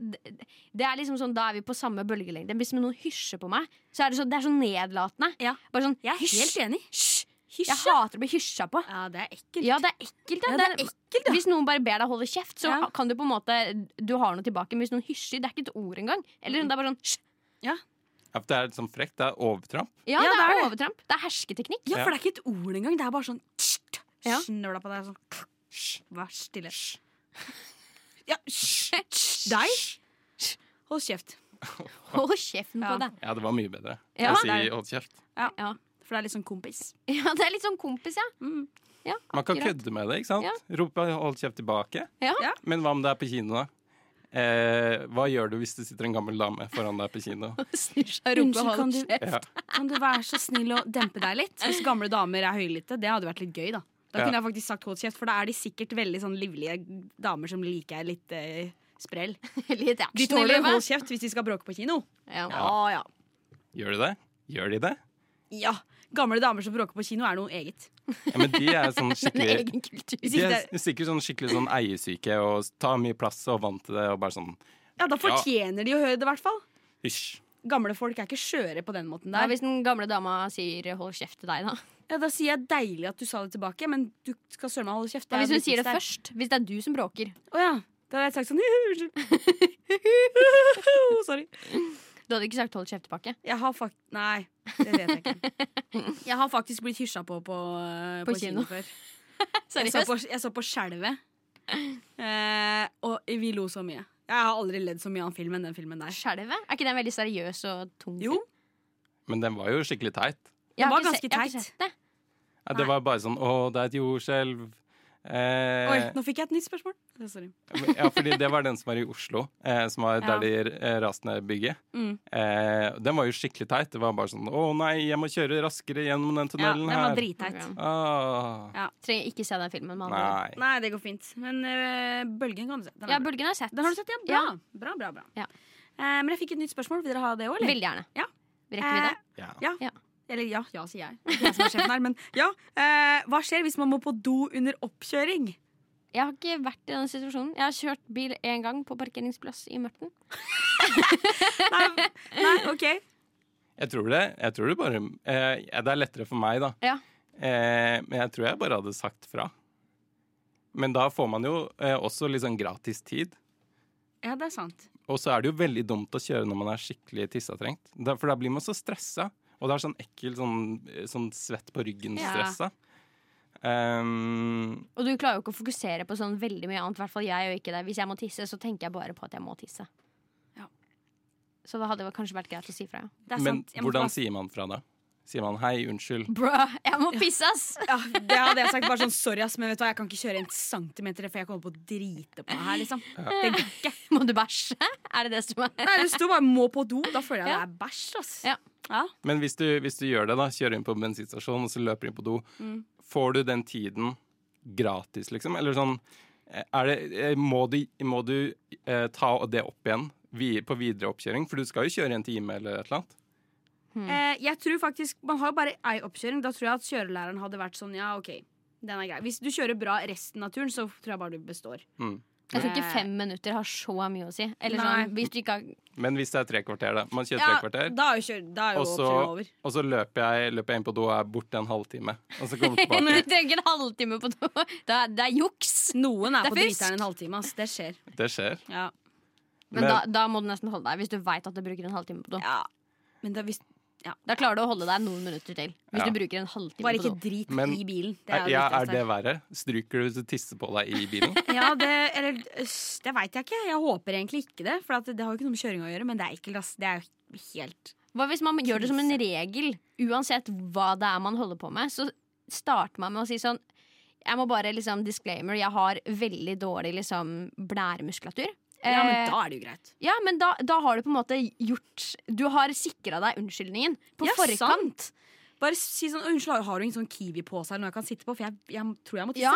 Speaker 7: Det er liksom sånn, Da er vi på samme bølgelengde. Hvis noen hysjer på meg, så er det så, det er så nedlatende.
Speaker 6: Ja.
Speaker 7: Bare sånn
Speaker 6: Jeg er helt
Speaker 7: hysj!
Speaker 6: enig.
Speaker 7: Hysj! Jeg
Speaker 6: Hysj.
Speaker 7: hater å bli hysja på.
Speaker 6: Ja, det er ekkelt.
Speaker 7: Ja, det er ekkelt. Ja.
Speaker 6: Ja, det er
Speaker 7: ekkelt Hvis noen bare ber deg holde kjeft, så
Speaker 6: Ja.
Speaker 7: kan du på en måte Du har noe tilbake. Men hvis noen hysjer, det er ikke et ord engang. Eller det er bare sånn «Hysj!»
Speaker 8: Ja, for det er litt sånn frekt. Det er overtramp.
Speaker 7: Ja,
Speaker 6: Ja,
Speaker 7: det
Speaker 6: det
Speaker 7: er
Speaker 6: er det.
Speaker 7: overtramp. Det er hersketeknikk.
Speaker 6: Ja, for det er ikke et ord engang. Det er bare sånn tsk,
Speaker 7: Ja.
Speaker 6: snøvla på deg. Sånn. Hysj, Vær stille. Ja, hysj. Deg? Hold kjeft.
Speaker 7: *laughs* Hold kjeften
Speaker 6: Ja.
Speaker 7: på deg.
Speaker 8: Ja, det var mye bedre.
Speaker 7: Ja.
Speaker 8: å si hold kjeft.
Speaker 6: For det er litt sånn kompis.
Speaker 7: *laughs* Ja, det er litt sånn kompis, ja.
Speaker 6: Mm.
Speaker 7: ja
Speaker 8: Man kan
Speaker 7: akkurat.
Speaker 8: kødde med det, ikke sant? Rope hold kjeft tilbake.
Speaker 7: Ja.
Speaker 6: Ja.
Speaker 8: Men hva om det er på kino, da? Eh, hva gjør du hvis det sitter en gammel dame foran deg på
Speaker 7: *laughs*
Speaker 8: kino?
Speaker 7: *laughs* Snur seg rundt og
Speaker 6: Unnskyld, kan
Speaker 7: holder
Speaker 6: du-
Speaker 7: kjeft.
Speaker 8: Ja.
Speaker 6: Kan du være så snill å dempe deg litt? Hvis gamle damer er høylytte, det hadde vært litt gøy, da. Da
Speaker 8: Ja.
Speaker 6: kunne jeg faktisk sagt hold kjeft, for da er de sikkert veldig sånn livlige damer som liker litt eh, sprell.
Speaker 7: *laughs* Litt
Speaker 6: De
Speaker 7: action i
Speaker 6: tåler hold
Speaker 7: livet.
Speaker 6: kjeft hvis de skal bråke på kino.
Speaker 7: Ja. *laughs*
Speaker 6: ja.
Speaker 8: Gjør de det? Gjør de det?
Speaker 6: Ja, Gamle damer som bråker på kino, er noe eget.
Speaker 8: Ja, men de er sånn
Speaker 7: En
Speaker 8: skikkelig
Speaker 7: egen kultur.
Speaker 6: Hvis
Speaker 8: De
Speaker 6: ikke
Speaker 8: er
Speaker 6: det,
Speaker 8: s- sikkert sånn skikkelig sånn eiesyke og s- tar mye plass og er vant til det og bare sånn
Speaker 6: ja, da fortjener de å høre det, i hvert fall.
Speaker 8: hysj.
Speaker 6: Gamle folk er ikke skjøre på den måten
Speaker 7: Nei,
Speaker 6: der.
Speaker 7: hvis den gamle dama sier 'hold kjeft' til deg, da.
Speaker 6: Ja, da sier jeg deilig at du sa det tilbake, men du skal søren meg holde kjeft.
Speaker 7: Ja,
Speaker 6: er
Speaker 7: hvis hun sier det
Speaker 6: viktigste her.
Speaker 7: først. Hvis det er du som *laughs* bråker.
Speaker 6: Å ja. Da hadde jeg sagt sånn *laughs* Unnskyld. Sorry.
Speaker 7: Du hadde ikke sagt 'hold kjeft' tilbake.
Speaker 6: Jeg har fakt... Nei. Det vet jeg ikke.
Speaker 7: *laughs*
Speaker 6: Jeg har faktisk blitt hysja på på, eh,
Speaker 7: På
Speaker 6: på kino.
Speaker 7: kino. *laughs*
Speaker 6: før. Jeg så
Speaker 7: Seriøst?
Speaker 6: på, jeg så på Skjelvet, eh, og vi lo så mye. Jeg har aldri ledd så mye av en film enn den filmen der.
Speaker 7: Skjelvet? Er ikke den veldig seriøs og tung?
Speaker 6: Jo,
Speaker 8: Men den var jo skikkelig teit.
Speaker 7: Jeg har
Speaker 6: var
Speaker 7: ikke se-
Speaker 6: ganske
Speaker 7: jeg har ikke
Speaker 6: teit.
Speaker 7: sett det.
Speaker 8: Ja, det
Speaker 7: Nei.
Speaker 8: var bare sånn Å, det er et jordskjelv. Eh,
Speaker 6: Oi, nå fikk jeg et nytt spørsmål. Sorry.
Speaker 8: ja, fordi det var den som var i Oslo, eh, som var
Speaker 6: Ja.
Speaker 8: der de eh, raste ned bygget.
Speaker 6: Mm.
Speaker 8: Eh, den var jo skikkelig teit. Det var bare sånn Å nei, jeg må kjøre raskere gjennom
Speaker 6: Ja, den
Speaker 8: den tunnelen
Speaker 6: var
Speaker 8: her.
Speaker 6: dritteit.
Speaker 7: Ok.
Speaker 8: Ah,
Speaker 7: Trenger ikke se den filmen. Med andre ord.
Speaker 8: nei.
Speaker 6: Nei, det går fint. Men eh, Bølgen kan du se. Den,
Speaker 7: Ja,
Speaker 6: er bra.
Speaker 7: Bølgen har jeg sett.
Speaker 6: den har du sett, ja? Bra.
Speaker 7: Ja.
Speaker 6: bra, bra, bra.
Speaker 7: Ja.
Speaker 6: Eh, men jeg fikk et nytt spørsmål. Vil dere ha det òg, eller?
Speaker 7: Veldig gjerne.
Speaker 6: Ja.
Speaker 7: Rekker vi det?
Speaker 6: Eh,
Speaker 8: Ja.
Speaker 6: ja.
Speaker 7: Ja.
Speaker 6: Eller ja, ja, sier jeg. Det er jeg som er sjefen her, men ja. Eh, hva skjer hvis man må på do under oppkjøring?
Speaker 7: Jeg har ikke vært i den situasjonen. Jeg har kjørt bil én gang på parkeringsplass i Mørten.
Speaker 6: Nei, nei OK.
Speaker 8: Jeg tror det. Jeg tror det bare eh, ja, Det er lettere for meg, da.
Speaker 7: Ja.
Speaker 8: Eh, men jeg tror jeg bare hadde sagt fra. Men da får man jo eh, også litt sånn gratis tid.
Speaker 6: Ja, det er sant.
Speaker 8: Og så er det jo veldig dumt å kjøre når man er skikkelig tissatrengt. Da- For da blir man så stressa. Og det er sånn ekkel sånn, sånn svett på
Speaker 6: Ja.
Speaker 8: ryggen-stressa. Ehm,
Speaker 7: Og du klarer jo ikke å fokusere på sånn veldig mye annet. Hvertfall jeg gjør ikke det. Hvis jeg må tisse, så tenker jeg bare på at jeg må tisse.
Speaker 6: Ja.
Speaker 7: Så det hadde vel kanskje vært greit å si fra. ja.
Speaker 6: Det er
Speaker 8: men
Speaker 6: sant. Jeg måtte
Speaker 8: hvordan
Speaker 6: bare-
Speaker 8: sier man fra da? Sier man 'hei, unnskyld'?
Speaker 7: Bruh, jeg må pisse, ass!
Speaker 6: Ja, det hadde jeg sagt bare sånn sorry, ass, men vet du hva, jeg kan ikke kjøre en centimeter, for jeg kommer på å drite på meg her, liksom. Det går ikke.
Speaker 7: Må du bæsje? Er det det som er
Speaker 6: Nei, det sto bare 'må på do'. Da føler jeg
Speaker 7: Ja.
Speaker 6: det er bæsj, ass.
Speaker 7: Ja.
Speaker 8: Men hvis du, hvis du gjør det, da, kjører inn på bensinstasjonen og så løper inn på do, får du den tiden gratis, liksom? Eller sånn eh, er det, eh, Må du, må du eh, ta det opp igjen vi- på videre oppkjøring? For du skal jo kjøre i en time eller et eller annet.
Speaker 6: Eh, jeg tror faktisk, Man har jo bare ei oppkjøring. Da tror jeg at kjørelæreren hadde vært sånn ja, OK, den er grei. Hvis du kjører bra resten av turen, så tror jeg bare du består.
Speaker 7: Jeg tror ikke fem minutter har så mye å si. Eller sånn, hvis du ikke har
Speaker 8: Men hvis det er tre kvarter, da. Man kjører tre kvarter.
Speaker 6: da er jo, kjør, da er jo
Speaker 8: Og så,
Speaker 6: oppkjøringen over.
Speaker 8: og så løper, jeg, løper jeg inn på do og er borte en halvtime. Og så *laughs* kommer jeg
Speaker 7: *laughs* Du
Speaker 8: tilbake.
Speaker 7: trenger en halvtime på do. Det er, det er juks!
Speaker 6: Noen er
Speaker 7: Det er
Speaker 6: på
Speaker 7: fusk.
Speaker 6: driteren en halvtime. ass. Det skjer.
Speaker 8: Det skjer.
Speaker 6: Ja.
Speaker 7: Men,
Speaker 8: Men-
Speaker 7: da, da må du nesten holde deg, hvis du veit at du bruker en halvtime på do.
Speaker 6: ja. Men da, hvis,
Speaker 7: Da klarer du å holde deg noen minutter til. Hvis
Speaker 8: Ja.
Speaker 7: du bruker en halvtime
Speaker 6: bare
Speaker 7: på do.
Speaker 6: ikke drit
Speaker 8: Men-
Speaker 6: i bilen. Det
Speaker 8: Er,
Speaker 6: er, jo
Speaker 8: ja,
Speaker 6: viktigst
Speaker 8: er det verre? Stryker du hvis du tisser på deg i bilen?
Speaker 6: her. ja, det, eller, øss, det veit jeg ikke. Jeg håper egentlig ikke det. For at det har jo ikke noe med kjøringa å gjøre, men det er ekkelt. ass. Det er jo helt
Speaker 7: Hva hvis man gjør det som en regel, uansett hva det er man holder på med, så starter man med å si sånn Jeg må bare liksom disclaimer, jeg har veldig dårlig liksom blæremuskulatur.
Speaker 6: Ja, men
Speaker 7: Eh,
Speaker 6: da er det jo greit.
Speaker 7: Ja, men da, da har du på en måte gjort Du har sikra deg unnskyldningen på
Speaker 6: Ja,
Speaker 7: forkant.
Speaker 6: sant. Bare si sånn Unnskyld, har du ingen sånn Kiwi-pose her noe jeg kan sitte på? For jeg, jeg tror jeg må tisse.
Speaker 7: Ja,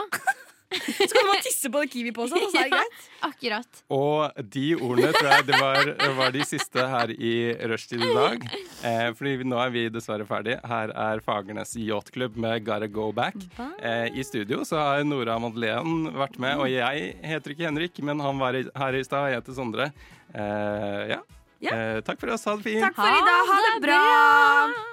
Speaker 6: Så kan du bare tisse *laughs* på den Kiwi-posen, og så er
Speaker 7: Ja.
Speaker 6: det greit.
Speaker 7: akkurat.
Speaker 8: Og de ordene tror jeg det var, var de siste her i rushtid i dag. Eh, fordi vi- nå er vi dessverre ferdig. Her er Fagernes yachtklubb med Gotta Go Back. Eh, I studio så har Nora Madeleine vært med, og jeg heter ikke Henrik, men han var i- her i stad. Jeg heter Sondre. Eh, ja.
Speaker 6: Ja.
Speaker 8: Eh, takk for oss. Ha det fint.
Speaker 6: Takk for i dag. Ha det bra.